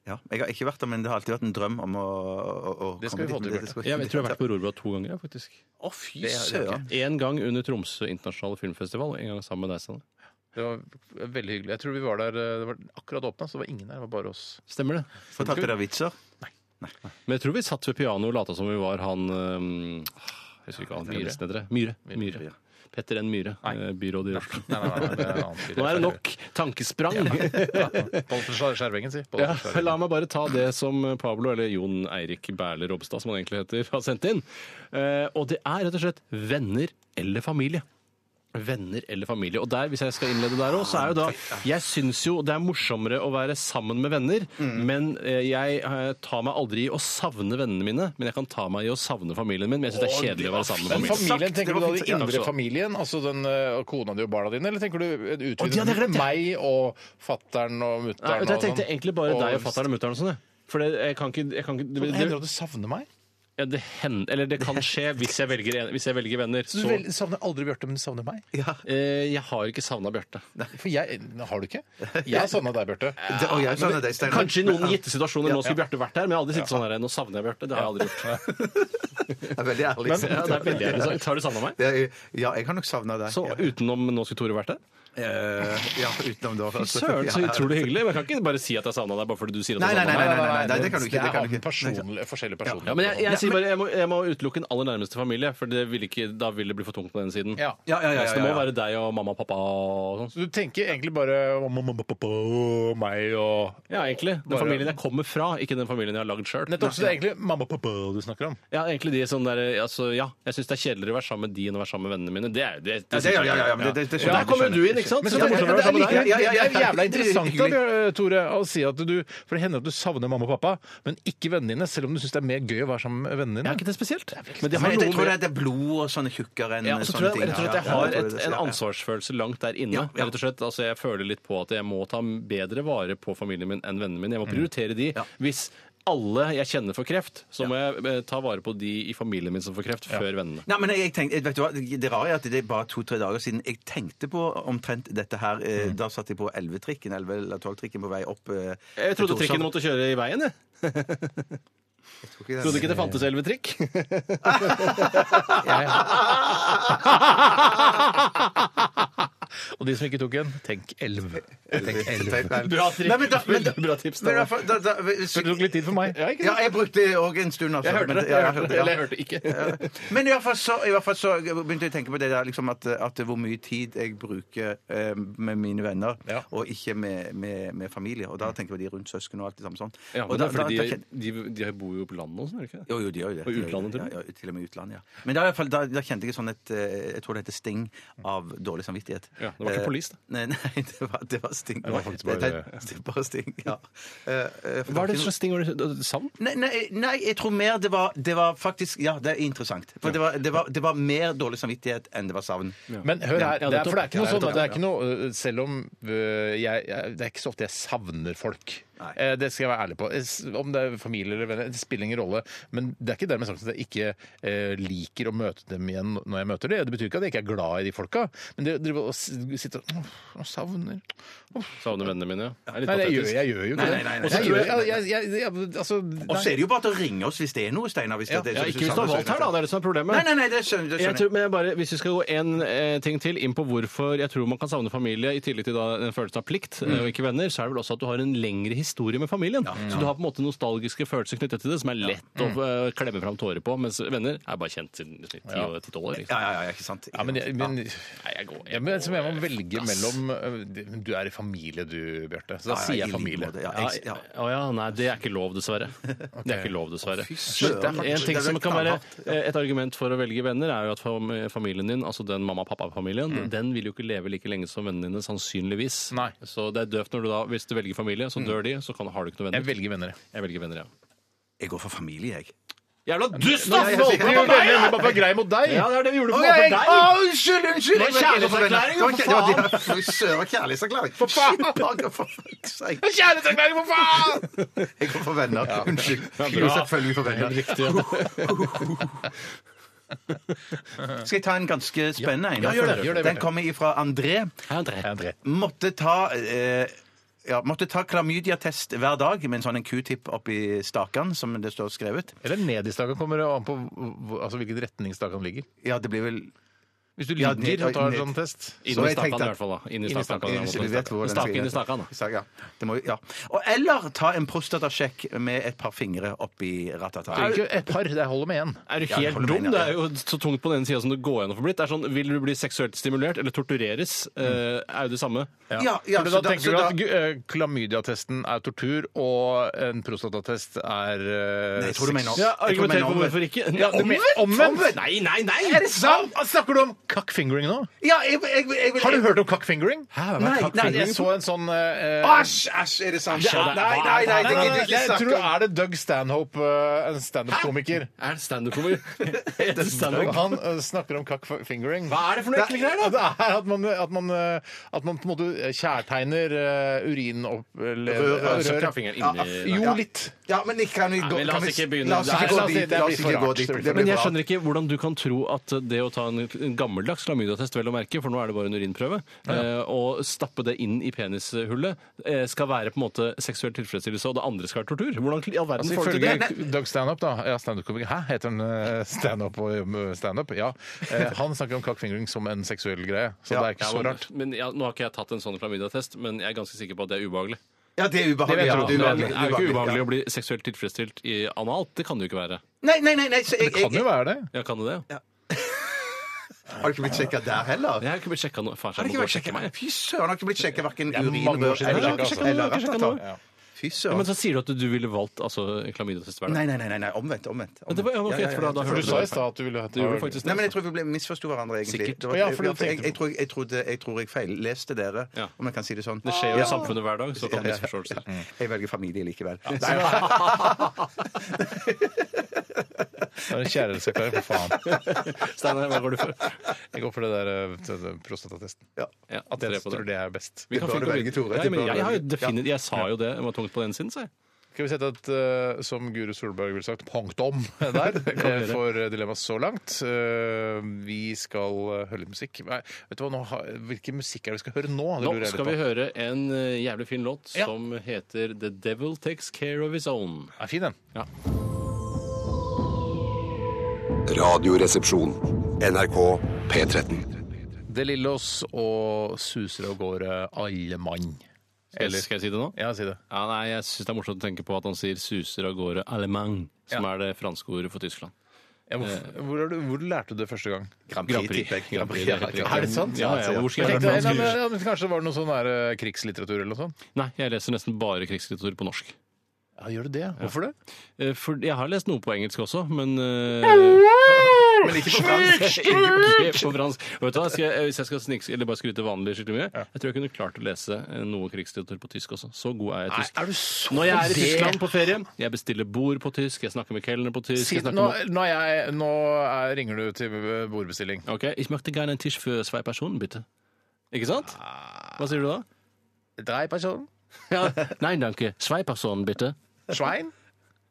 Speaker 3: ja, Jeg har ikke vært der, men det har alltid vært en drøm om å, å, å
Speaker 5: Det skal vi få til, Bjarte.
Speaker 6: Jeg, jeg tror jeg har vært på Rorbua to ganger, jeg, faktisk.
Speaker 3: Å, fy søren.
Speaker 6: En gang under Tromsø internasjonale filmfestival, og en gang sammen med deg, Sanne.
Speaker 5: Det var veldig hyggelig. Jeg tror vi var der eh, Det var akkurat åpna, så det var ingen der. Det var bare oss.
Speaker 6: Stemmer det?
Speaker 3: Fortalte dere vitser?
Speaker 6: Men jeg tror vi satt ved pianoet og lata som vi var han eh, Jeg husker ikke hva han
Speaker 5: Myhre.
Speaker 6: nesten heter. det. Myhre. Myhre.
Speaker 3: Myhre.
Speaker 6: Petter N. Myhre, eh, byråd i Oslo. <laughs>
Speaker 5: Nei, nei, nei, det er en annen fyr.
Speaker 6: Nå er det nok tankesprang.
Speaker 5: Balthazar Skjervengen, si.
Speaker 6: Ja,
Speaker 5: Balthazar <laughs> Skjervengen.
Speaker 6: <laughs> la meg bare ta det som Pablo, eller Jon Eirik Berle Robstad, som han egentlig heter, har sendt inn. Eh, og det er rett og slett venner eller familie. Venner eller familie. Og der, hvis jeg skal innlede der òg, så er jo da Jeg syns jo det er morsommere å være sammen med venner, men eh, jeg eh, tar meg aldri i å savne vennene mine, men jeg kan ta meg i å savne familien min. Men jeg syns det er kjedelig å være sammen med
Speaker 5: Men
Speaker 6: familien.
Speaker 5: familien, tenker du da den
Speaker 6: Ja,
Speaker 5: indre
Speaker 6: så-
Speaker 5: familien, altså den ø, kona di og barna dine, eller tenker du en
Speaker 6: Å, de hadde
Speaker 5: utvidet
Speaker 6: glemt det.
Speaker 5: meg og fattern og mutter'n
Speaker 6: Nei, vet
Speaker 5: og
Speaker 6: du, jeg tenkte egentlig bare deg og fatter'n og mutter'n og sånn, jeg. For det, jeg kan ikke, jeg kan ikke
Speaker 5: Men
Speaker 6: det-
Speaker 5: Hender det at du savner meg?
Speaker 6: Ja, det hen, eller det kan skje hvis jeg velger, en- hvis jeg velger venner.
Speaker 5: Du
Speaker 6: Så,
Speaker 5: vel- savner aldri Bjarte, men du savner meg?
Speaker 3: Ja.
Speaker 6: eh, jeg har ikke savna Bjarte.
Speaker 5: For jeg Har du ikke? Jeg har savna deg, Bjarte.
Speaker 3: Det, og jeg savner deg, Steinar.
Speaker 6: Kanskje i noen gitte situasjoner. Nå skulle Bjarte vært her, men jeg har aldri sittet sånn her. Nå savner jeg Bjarte. Det har jeg aldri gjort.
Speaker 3: <laughs> Jeg er veldig ærlig.
Speaker 6: Men, ja, det er veldig ærlig sagt. Har du savna meg?
Speaker 3: Det er- Ja, jeg har nok savna deg.
Speaker 6: Så utenom Nå skulle Tore vært her?
Speaker 3: Eh, ja, utenom da.
Speaker 6: Fy
Speaker 3: altså.
Speaker 6: søren, så utrolig hyggelig. Men jeg kan ikke bare si at jeg savna deg bare fordi du sier at
Speaker 3: Nei,
Speaker 6: jeg
Speaker 3: nei, nei,
Speaker 6: savna deg.
Speaker 3: nei, nei, nei, nei, det kan du ikke. Det
Speaker 5: er
Speaker 3: kan du
Speaker 5: han
Speaker 3: ikke.
Speaker 5: personlig, forskjellige personer.
Speaker 6: Ja, men jeg, jeg, sier bare, jeg, må, jeg må utelukke den aller nærmeste familie, for det vil ikke, da vil det bli for tungt på den siden.
Speaker 5: Ja.
Speaker 3: Ja, ja, ja,
Speaker 6: Så
Speaker 3: ja,
Speaker 6: det må
Speaker 3: ja, ja.
Speaker 6: være deg og mamma og pappa og sånn.
Speaker 5: Så du tenker egentlig bare om- om- om- om- om meg og
Speaker 6: Ja, egentlig. Den
Speaker 5: Bare-
Speaker 6: familien jeg kommer fra, ikke den familien jeg har lagd sjøl.
Speaker 5: Nettopp, så det er egentlig mamma og pappa du snakker om.
Speaker 6: Ja, egentlig de som der, altså, ja, jeg syns det er kjedeligere å være sammen med de enn å være sammen med vennene mine. Det er, det,
Speaker 3: Ja,
Speaker 6: det,
Speaker 3: det, ja, ja, ja, men det, det,
Speaker 6: der
Speaker 3: det skjønner jeg, det
Speaker 6: kommer
Speaker 3: skjønner
Speaker 6: du
Speaker 3: jeg.
Speaker 6: inn, ikke sant?
Speaker 5: Men
Speaker 6: Så
Speaker 5: så
Speaker 6: det
Speaker 5: det,
Speaker 6: er
Speaker 5: det,
Speaker 6: morsommere å være
Speaker 5: er
Speaker 6: sammen med
Speaker 5: like,
Speaker 6: deg.
Speaker 5: det
Speaker 3: Ja, ja, ja,
Speaker 5: er jævla
Speaker 3: hyggelig.
Speaker 5: interessant da, Bjør- Tore, å si at du For det hender at du savner mamma og pappa, men ikke vennene dine, selv om du syns det er mer gøy å være sammen med vennene
Speaker 6: Er
Speaker 5: dine. <laughs>
Speaker 6: ikke det spesielt? Men det
Speaker 3: Men
Speaker 6: har
Speaker 3: jeg, jeg tror
Speaker 6: noe
Speaker 3: det
Speaker 6: med
Speaker 3: er- det er blod og sånne tjukkere enn
Speaker 6: ja, og så tror jeg
Speaker 3: sånne
Speaker 6: rett
Speaker 3: ting.
Speaker 6: og slett
Speaker 3: Ja,
Speaker 6: jeg
Speaker 3: ja,
Speaker 6: har
Speaker 3: jeg
Speaker 6: et,
Speaker 3: tror det,
Speaker 6: en
Speaker 3: ja, ja.
Speaker 6: ansvarsfølelse langt der inne.
Speaker 3: Ja, ja.
Speaker 6: rett og slett. Altså, Jeg føler litt på at jeg må ta bedre vare på familien min enn vennene mine.
Speaker 3: Mm.
Speaker 6: Jeg må prioritere de. Hvis alle jeg kjenner får kreft, så må jeg eh, ta vare på de i familien min som får kreft, før vennene.
Speaker 3: Nei, men jeg tenkte, vet du hva, Det rare er at det er bare to-tre dager siden jeg tenkte på omtrent dette her. eh, Da satt jeg på 11-trikken 11 eller 12-trikken på vei opp. eh,
Speaker 6: Jeg
Speaker 3: til
Speaker 6: trodde
Speaker 3: Torshov. <laughs>
Speaker 6: trikken måtte kjøre i veien, jeg.
Speaker 3: Jeg
Speaker 6: <laughs>
Speaker 3: tror ikke det.
Speaker 6: Trodde ikke det fantes elleve trikk.
Speaker 5: Og de som ikke tok en, tenk elv. Tenk elv.
Speaker 6: Bra tips.
Speaker 3: Nei, men da- men da-
Speaker 6: Bra tips,
Speaker 3: Men i
Speaker 6: da.
Speaker 3: hvert fall, da- da- hvis-
Speaker 5: Så det tok litt tid for meg. Ja,
Speaker 3: Ja, jeg brukte det òg en stund. Altså.
Speaker 5: Jeg hørte
Speaker 3: Men-
Speaker 5: det.
Speaker 3: ja,
Speaker 5: Jeg hørte det.
Speaker 3: ja.
Speaker 5: Eller jeg hørte ikke.
Speaker 3: Men i hvert, fall så, i hvert fall så begynte jeg å tenke på det der liksom at, at hvor mye tid jeg bruker eh, med mine venner,
Speaker 5: Ja.
Speaker 3: og ikke med, med, med familie. Og da tenker jeg på de rundt søsken og alt det samme sånn.
Speaker 6: Mm. Ja,
Speaker 3: og
Speaker 6: men det er
Speaker 3: da-
Speaker 6: fordi
Speaker 3: da-
Speaker 6: de,
Speaker 3: da-
Speaker 6: de, de bor jo på landet og sånn, gjør de ikke det?
Speaker 3: jo, jo, de gjør jo det.
Speaker 6: Og
Speaker 3: De gjør
Speaker 6: utlandet,
Speaker 3: det.
Speaker 6: til og med.
Speaker 3: Ja, ja, til og med utlandet, ja. Men da, i hvert fall, da, da kjente jeg sånn et eh, Jeg tror det heter sting av dårlig samvittighet.
Speaker 6: Ja, det var ikke
Speaker 3: Eh,
Speaker 6: police, da.
Speaker 3: Nei, nei <laughs> det, var, det var sting.
Speaker 5: Det var faktisk bare-
Speaker 3: det- bare sting, ja. Eh, eh, for
Speaker 6: Hva er det
Speaker 3: ikke noe-
Speaker 6: slags ting? Var det savn?
Speaker 3: Nei, nei, nei, jeg tror mer det var, det var faktisk Ja, det er interessant. For det, var, det, var, det var mer dårlig samvittighet enn det var savn.
Speaker 5: Men hør her, det er,
Speaker 6: Ja, nettopp.
Speaker 5: for det er ikke noe
Speaker 6: Ja,
Speaker 5: sånn
Speaker 6: nettopp.
Speaker 5: at det er ikke noe øh, Selv om øh, jeg, jeg Det er ikke så ofte jeg savner folk.
Speaker 3: Nei.
Speaker 5: Eh, Det skal jeg være ærlig på. Jeg s- Om det er familie eller venner, det spiller ingen rolle. Men det er ikke dermed sagt at jeg ikke eh, liker å møte dem igjen når jeg møter dem. Det betyr ikke at jeg ikke er glad i de folka, men det driver og s- sitter og «Åh, jeg savner
Speaker 6: Savner vennene mine, ja. Det er litt
Speaker 5: Nei, det gjør,
Speaker 6: patetisk.
Speaker 5: jeg gjør jo ikke
Speaker 3: Nei,
Speaker 5: det.
Speaker 3: nei, nei, nei.
Speaker 5: Og så tror jeg- jeg- jeg- jeg- altså,
Speaker 3: Og så
Speaker 5: nei.
Speaker 3: er det jo bare til å ringe oss hvis det er noe, Steinar. Hvis
Speaker 5: Ja,
Speaker 3: det,
Speaker 6: Ja, ikke hvis du har valgt her, da. Det er det som er problemet.
Speaker 3: Nei, nei, nei, det skjønner
Speaker 6: Jeg
Speaker 3: det skjønner jeg.
Speaker 6: tror, men jeg bare, hvis vi skal gå en eh, ting til inn på hvorfor jeg tror man kan savne familie, i tillegg til da en følelse av plikt eh, og ikke venner, så er det vel også at du har en lengre historie med familien. Så du har på en måte nostalgiske følelser knyttet til det, som er lett å eh, klemme fram tårer på, mens venner er bare kjent siden liksom, ti år. ti-tolv år,
Speaker 3: Ja,
Speaker 6: Liksom.
Speaker 3: ja, ja, ikke sant.
Speaker 5: Ja, men, jeg- men,
Speaker 6: Nei, jeg går,
Speaker 5: ja,
Speaker 6: jeg
Speaker 5: men så
Speaker 6: går.
Speaker 5: må jeg må velge mellom øh, Du er i familie, du, Bjarte. Så da
Speaker 3: Ja, ja,
Speaker 5: sier
Speaker 3: i
Speaker 5: jeg
Speaker 3: like
Speaker 5: familie.
Speaker 3: måte, ja,
Speaker 6: Ja,
Speaker 3: jeg- ja.
Speaker 6: Å ja, nei, det er ikke lov, dessverre. Det er ikke lov, dessverre.
Speaker 3: søren.
Speaker 6: Men en ting
Speaker 3: Det er
Speaker 6: som
Speaker 3: vel
Speaker 6: kan være
Speaker 3: knallhardt,
Speaker 6: eh, et argument for å velge venner, er jo at fam- familien din, altså den mamma- og pappa-familien,
Speaker 3: Mm.
Speaker 6: den vil jo ikke leve like lenge som vennene dine, sannsynligvis.
Speaker 5: Nei.
Speaker 6: Så det er døvt når du da, hvis du velger familie,
Speaker 3: Mm.
Speaker 6: så dør de, så kan, har du ikke noen
Speaker 5: Jeg
Speaker 6: venner.
Speaker 5: velger venner.
Speaker 6: Jeg velger venner, ja.
Speaker 3: Jeg går for familie, jeg.
Speaker 6: Jævla dust,
Speaker 5: Nå
Speaker 6: da!
Speaker 5: valgte vi jo venner, vi bare var grei mot deg!
Speaker 6: Ja, det er det vi gjorde
Speaker 3: Å,
Speaker 6: på
Speaker 3: jeg-
Speaker 6: deg!
Speaker 3: Å, unnskyld, unnskyld!
Speaker 6: Det er kjærlighetserklæring, for
Speaker 3: jo, faen! Søren, kjærlighetserklæring. For faen! Shit, Margaret, for fuck's sake.
Speaker 5: Kjærlighetserklæring, for faen!
Speaker 3: Jeg går for venner. Unnskyld. Jo, selvfølgelig for venner. Skal jeg ta en ganske spennende en?
Speaker 5: Ja, gjør det, gjør det,
Speaker 3: Den
Speaker 5: Bjarte.
Speaker 3: kommer ifra André. måtte ta eh, ja, måtte ta klamydiatest hver dag med en sånn en q-tip oppi stakan, som det står skrevet.
Speaker 5: Eller ned i staken kommer det an på hvor- altså, hvilken retning staken ligger.
Speaker 3: Ja, det blir vel
Speaker 5: Hvis du
Speaker 3: Ja,
Speaker 5: ligger
Speaker 3: ned-
Speaker 5: og tar en
Speaker 3: ned.
Speaker 5: sånn test
Speaker 3: Så
Speaker 6: Inn i
Speaker 3: jeg
Speaker 6: stakan
Speaker 3: tenkte
Speaker 6: i
Speaker 3: at-
Speaker 6: hvert fall, da. Inn i
Speaker 5: Inn i
Speaker 6: stakan.
Speaker 5: stakan,
Speaker 6: ja,
Speaker 5: inn i
Speaker 3: Så vi vet hvor den
Speaker 6: Staken inn i
Speaker 3: skal-
Speaker 6: stakan, da.
Speaker 3: Stakan, ja. Det må, jo- ja. Og eller ta en prostatasjekk med et par fingre oppi
Speaker 5: Det er
Speaker 3: ratata.
Speaker 5: ikke et par, det holder med én.
Speaker 6: Er du
Speaker 3: Ja,
Speaker 6: helt
Speaker 3: jeg holder med
Speaker 6: dum?
Speaker 3: deg,
Speaker 6: Det
Speaker 3: ja.
Speaker 6: er jo så tungt på den ene sida som det går gjennom for blitt. Det er sånn, Vil du bli seksuelt stimulert eller tortureres,
Speaker 3: Mm.
Speaker 6: eh, er jo det samme.
Speaker 3: Ja, ja,
Speaker 5: for
Speaker 3: så
Speaker 5: da
Speaker 3: da- så
Speaker 5: tenker du
Speaker 3: da-
Speaker 5: at eh, klamydiatesten er tortur, og en prostatatest er eh,
Speaker 3: Nei, jeg
Speaker 5: sex.
Speaker 3: tror du mener-
Speaker 6: Ja,
Speaker 3: Jeg tror det
Speaker 6: Argumenter
Speaker 3: mener
Speaker 6: for
Speaker 3: omvendt.
Speaker 6: hvorfor ikke.
Speaker 5: Ja,
Speaker 6: det mener-
Speaker 5: omvendt?
Speaker 6: Omvendt? Nei, nei, nei!
Speaker 5: Er det sant? Snakker du om cockfingering nå?
Speaker 3: Ja, jeg, jeg, jeg, jeg,
Speaker 5: Har du hørt om cockfingering?
Speaker 6: Hæ, hva er
Speaker 3: Nei,
Speaker 6: cockfingering?
Speaker 3: nei,
Speaker 5: Jeg så en sånn eh,
Speaker 3: Æsj! æsj, Er det sant?
Speaker 6: Æsj, ja, det er-
Speaker 3: Ah, Nei, nei, nei, det gidder
Speaker 5: Nei,
Speaker 3: jeg
Speaker 5: nei,
Speaker 3: ikke
Speaker 5: jeg tror
Speaker 3: snakke om.
Speaker 5: er det Doug Stanhope, eh, en standup-komiker.
Speaker 6: Er det standup-komiker? Er det standup?
Speaker 5: Han eh, snakker om cockfingering.
Speaker 6: Hva er det for noe ekle greier, da?
Speaker 5: Det er at man, at man, eh, at man på en måte kjærtegner eh, urin opp eller- eh,
Speaker 3: Rører,
Speaker 5: Ja,
Speaker 6: Så
Speaker 5: rører.
Speaker 6: tar fingeren inn i-
Speaker 5: Jo, litt.
Speaker 3: Ja, men ikke kan vi gå
Speaker 6: men la
Speaker 3: kan
Speaker 6: oss
Speaker 3: vi-
Speaker 6: ikke begynne
Speaker 3: La oss
Speaker 6: der.
Speaker 3: ikke
Speaker 5: La
Speaker 3: gå
Speaker 5: oss-
Speaker 3: dit.
Speaker 5: det
Speaker 3: La
Speaker 5: blir
Speaker 3: oss
Speaker 5: for
Speaker 3: ikke gå
Speaker 5: rart,
Speaker 3: dit.
Speaker 5: det blir
Speaker 3: Det
Speaker 5: for
Speaker 3: blir
Speaker 6: Men jeg
Speaker 3: for rart.
Speaker 6: skjønner ikke hvordan du kan tro at det å ta en en gammeldags klamydiatest, vel å merke, for nå er det bare en urinprøve, eh, og stappe det inn i penishullet, eh, skal være på en måte seksuell tilfredsstillelse, og det andre skal være tortur. Hvordan i all verden
Speaker 5: Altså,
Speaker 6: får du til det?
Speaker 5: ifølge Doug Stanhope, da ja, standup-komiker Hæ, heter han eh, standup og jobber med standup? Ja. Eh, Han snakker om cockfingering som en seksuell greie, så det er ikke
Speaker 6: Ja,
Speaker 5: så
Speaker 6: men,
Speaker 5: rart.
Speaker 6: men ja, Nå har ikke jeg tatt en sånn klamydiatest, men jeg er ganske sikker på at det er ubehagelig.
Speaker 3: Ja, det er ubehagelig.
Speaker 5: Det vet
Speaker 3: ja,
Speaker 5: du.
Speaker 3: det er
Speaker 6: det
Speaker 3: ubehagelig,
Speaker 6: er jo ikke
Speaker 3: ja.
Speaker 6: ubehagelig å bli seksuelt tilfredsstilt i analt. Det kan det jo ikke være.
Speaker 3: Nei, nei, nei. nei så jeg,
Speaker 5: Det kan
Speaker 3: jeg,
Speaker 5: jo være det.
Speaker 6: Ja, kan det det?
Speaker 3: har du ikke blitt sjekka der heller?
Speaker 6: Jeg har ikke blitt sjekka nå. Faen,
Speaker 3: Har
Speaker 6: jeg
Speaker 3: det
Speaker 6: må gå
Speaker 3: ikke
Speaker 6: og
Speaker 3: vært
Speaker 6: sjekke
Speaker 3: sjekka?
Speaker 6: meg.
Speaker 3: Fy søren, har ikke blitt sjekka verken
Speaker 5: er
Speaker 3: urin,
Speaker 5: mange år
Speaker 3: rør
Speaker 5: siden jeg
Speaker 3: eller,
Speaker 5: sjekket, altså.
Speaker 3: eller
Speaker 6: Jeg har ikke sjekket
Speaker 3: ratata.
Speaker 6: noe.
Speaker 3: Fy
Speaker 6: Ja, men
Speaker 3: søren.
Speaker 6: så sier du at du ville valgt altså, klamydiatest hver dag.
Speaker 3: Nei, nei, nei, nei, nei, omvendt. omvendt.
Speaker 6: Men det var, ja, ok,
Speaker 3: Ja, ja, ja.
Speaker 6: for da, da
Speaker 5: For
Speaker 6: hørte
Speaker 5: du sa i
Speaker 6: det.
Speaker 5: stad at du ville
Speaker 6: Det gjorde du faktisk.
Speaker 3: Nei, men Jeg tror vi ble misforsto hverandre. egentlig.
Speaker 6: Sikkert.
Speaker 3: Det var-
Speaker 5: Ja, for du
Speaker 3: jeg, jeg,
Speaker 5: tenkte-
Speaker 3: jeg, tror- jeg, trodde- jeg tror jeg feilleste dere,
Speaker 6: Ja.
Speaker 3: om jeg kan si det sånn.
Speaker 6: Det skjer jo
Speaker 3: Ja. Mm.
Speaker 6: i samfunnet hver dag, så kan det misforståelser.
Speaker 3: Jeg velger familie likevel.
Speaker 5: Det er en kjærlighetserklæring, for faen.
Speaker 6: Steinar, hva går du for?
Speaker 5: Jeg går for det der eh, t- t- prostatatesten.
Speaker 6: Ja,
Speaker 5: At
Speaker 6: tre
Speaker 5: jeg
Speaker 6: på det.
Speaker 5: tror det er best.
Speaker 6: Vi kan
Speaker 3: bør
Speaker 6: fint
Speaker 3: du
Speaker 6: gå
Speaker 3: velge,
Speaker 6: videre.
Speaker 3: Tore.
Speaker 6: Ja,
Speaker 3: Det
Speaker 6: men
Speaker 3: bør du
Speaker 6: jeg, har jo
Speaker 3: velge.
Speaker 6: definitivt, jeg sa jo det, det var tungt på den siden, sa jeg.
Speaker 5: Skal vi sette et, eh, som Guru Solberg ville sagt, punktum der eh, for eh, Dilemmas så langt. Eh, vi skal eh, høre litt musikk. Nei, vet du hva, nå har, Hvilken musikk er det vi skal høre nå? Det
Speaker 6: Nå
Speaker 5: lurer jeg litt
Speaker 6: skal
Speaker 5: på.
Speaker 6: vi høre en eh, jævlig fin låt
Speaker 5: Ja.
Speaker 6: som heter The Devil Takes Care of His Own.
Speaker 5: Er fin, den.
Speaker 1: Radioresepsjon. NRK P13.
Speaker 5: Det er Lillås og suser av gårde alle mann.
Speaker 6: Eller skal jeg si det nå?
Speaker 5: Ja, si det.
Speaker 6: Ja, nei, jeg syns det er morsomt å tenke på at han sier 'suser av gårde allemand', som er det franske ordet for Tyskland.
Speaker 5: Ja, hvor, hvor, er du, hvor lærte du det første gang?
Speaker 3: Grand
Speaker 6: Grand
Speaker 3: Prix,
Speaker 6: Prix.
Speaker 3: tipper jeg.
Speaker 6: Grand Prix, det
Speaker 3: Ja,
Speaker 6: er helt
Speaker 3: ja.
Speaker 6: riktig.
Speaker 3: Er det sant?
Speaker 6: Ja, ja, hvor skal
Speaker 5: Jeg
Speaker 6: jeg
Speaker 5: tenkte,
Speaker 6: lære
Speaker 5: nei,
Speaker 6: fransk?
Speaker 5: men, ja, men kanskje det var noe sånn der, eh, krigslitteratur eller noe sånt?
Speaker 6: Nei, jeg leser nesten bare krigslitteratur på norsk.
Speaker 5: Ja, Gjør du det? Hvorfor det?
Speaker 6: Eh, For jeg har lest noe på engelsk også, men eh,
Speaker 3: Men ikke på fransk.
Speaker 6: <laughs> ikke på fransk. Og Vet du hva, skal jeg, Hvis jeg skal snikse, eller bare skryte vanlig skikkelig mye, jeg tror jeg kunne klart å lese eh, noe krigslitteratur på tysk også. Så god er jeg i tysk.
Speaker 5: er du så
Speaker 6: Når jeg er i
Speaker 5: det-
Speaker 6: Tyskland på ferie, jeg bestiller bord på tysk, jeg snakker med kelneren på tysk
Speaker 5: Si,
Speaker 6: jeg
Speaker 5: nå,
Speaker 6: snakker med...
Speaker 5: nå, er jeg, nå er, ringer du til eh, bordbestilling.
Speaker 6: Ok, ich möchte gerne en Tisch für zwei Personen, bitte. Ikke sant? Hva sier du da?
Speaker 5: Drei personer. <laughs>
Speaker 6: Ja. Nein, danke. Zwei Personen, bitte.
Speaker 5: Svein?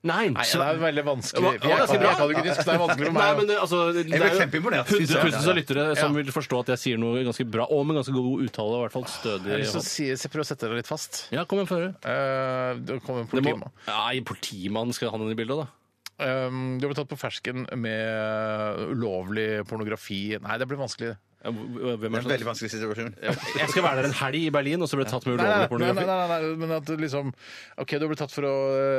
Speaker 6: Nein.
Speaker 5: Nei, det er veldig vanskelig.
Speaker 6: Hva-
Speaker 5: Jeg, jeg,
Speaker 6: hva-
Speaker 5: altså, jeg, kan jo ikke tysk, så det er vanskelig for
Speaker 6: Nei,
Speaker 5: meg.
Speaker 6: men det, altså, det
Speaker 3: Jeg
Speaker 6: er
Speaker 3: ble
Speaker 6: jo
Speaker 3: kjempeimponert.
Speaker 6: Hundretusenvis av lyttere som
Speaker 5: Ja.
Speaker 6: vil forstå at jeg sier noe ganske bra, og med ganske god uttale. og I hvert fall stødig.
Speaker 5: Jeg har lyst til å si, se- prøve å sette deg litt fast.
Speaker 6: Ja, kom igjen, føre.
Speaker 5: Eh, det kom en
Speaker 6: Det må-
Speaker 5: politimann.
Speaker 6: Nei, politimannen skal ha den i bildet, da.
Speaker 5: Um, du har blitt tatt på fersken med ulovlig pornografi. Nei, det blir vanskelig.
Speaker 6: Ja, hv- Hvem er det?
Speaker 3: Veldig vanskelig situasjon.
Speaker 6: som- Jeg skal være der en helg i Berlin, og så ble jeg tatt med
Speaker 5: Nei,
Speaker 6: ulovlig
Speaker 5: nei, nei, nei,
Speaker 6: pornografi.
Speaker 5: nei, nei, men at du liksom OK, du har blitt tatt for å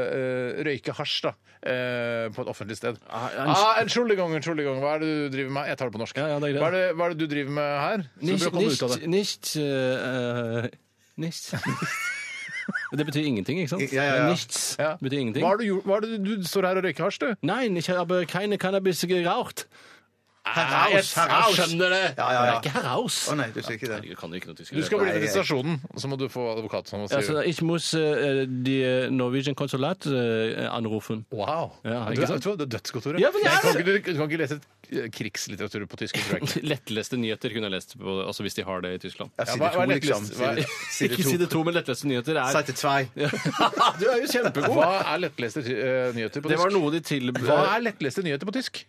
Speaker 5: eh, røyke hasj, da. eh, på et offentlig sted.
Speaker 6: Ah, ja, en-
Speaker 5: Ah, Entschuldigung, entschuldigung. Hva er det du driver med? Jeg tar det på norsk.
Speaker 6: Ja, ja, det er greit.
Speaker 5: hva, er det, hva er det du driver med her? Så du bør
Speaker 6: Nicht,
Speaker 5: komme ut av
Speaker 6: nicht,
Speaker 5: det.
Speaker 6: nicht, eh, eh, nicht. <laughs> Det betyr ingenting, ikke sant?
Speaker 3: Ja, ja, ja.
Speaker 6: Nichts
Speaker 5: Ja.
Speaker 6: betyr ingenting.
Speaker 5: Hva er det du, gjorde- hva er det du, du står her og røyker hasj, du?
Speaker 6: Nein, ich habe keine Cannabis geraucht.
Speaker 3: Heraus, heraus.
Speaker 6: Jeg skjønner det!
Speaker 3: Ja, ja, ja.
Speaker 6: Det er ikke heraus.
Speaker 3: Å nei, du sier ikke det.
Speaker 6: Herregud, kan du ikke noe tysk?
Speaker 5: Du skal bli med til
Speaker 3: Nei, jeg-
Speaker 5: stasjonen, og så må du få advokat som
Speaker 6: Ja,
Speaker 5: sier
Speaker 6: så Altså, ich muss eh, die Norwegian Konsulat eh, anrufen.
Speaker 5: Wow!
Speaker 6: Ja,
Speaker 5: du,
Speaker 6: ikke
Speaker 5: er-
Speaker 6: sant?
Speaker 5: vet du hva, det er dødsgodt, Tore.
Speaker 6: Ja, men jeg
Speaker 5: Jeg
Speaker 6: er-
Speaker 5: kan, ikke, du, du kan ikke lese eh, krigslitteratur på tysk. Tror jeg ikke.
Speaker 6: Lettleste nyheter kunne jeg lest på, altså hvis de har det i Tyskland.
Speaker 3: Ja,
Speaker 5: hva-
Speaker 3: Side
Speaker 5: hva er
Speaker 3: to,
Speaker 5: lettlest?
Speaker 3: liksom.
Speaker 5: Hva er-
Speaker 3: Side- Side
Speaker 6: Ikke
Speaker 3: to.
Speaker 6: side to, men lettleste nyheter er
Speaker 3: Side two.
Speaker 6: Du er jo kjempegod!
Speaker 5: Hva er lettleste eh, nyheter på
Speaker 6: Det var
Speaker 5: tysk?
Speaker 6: noe de tilbød
Speaker 5: Hva er lettleste nyheter på tysk?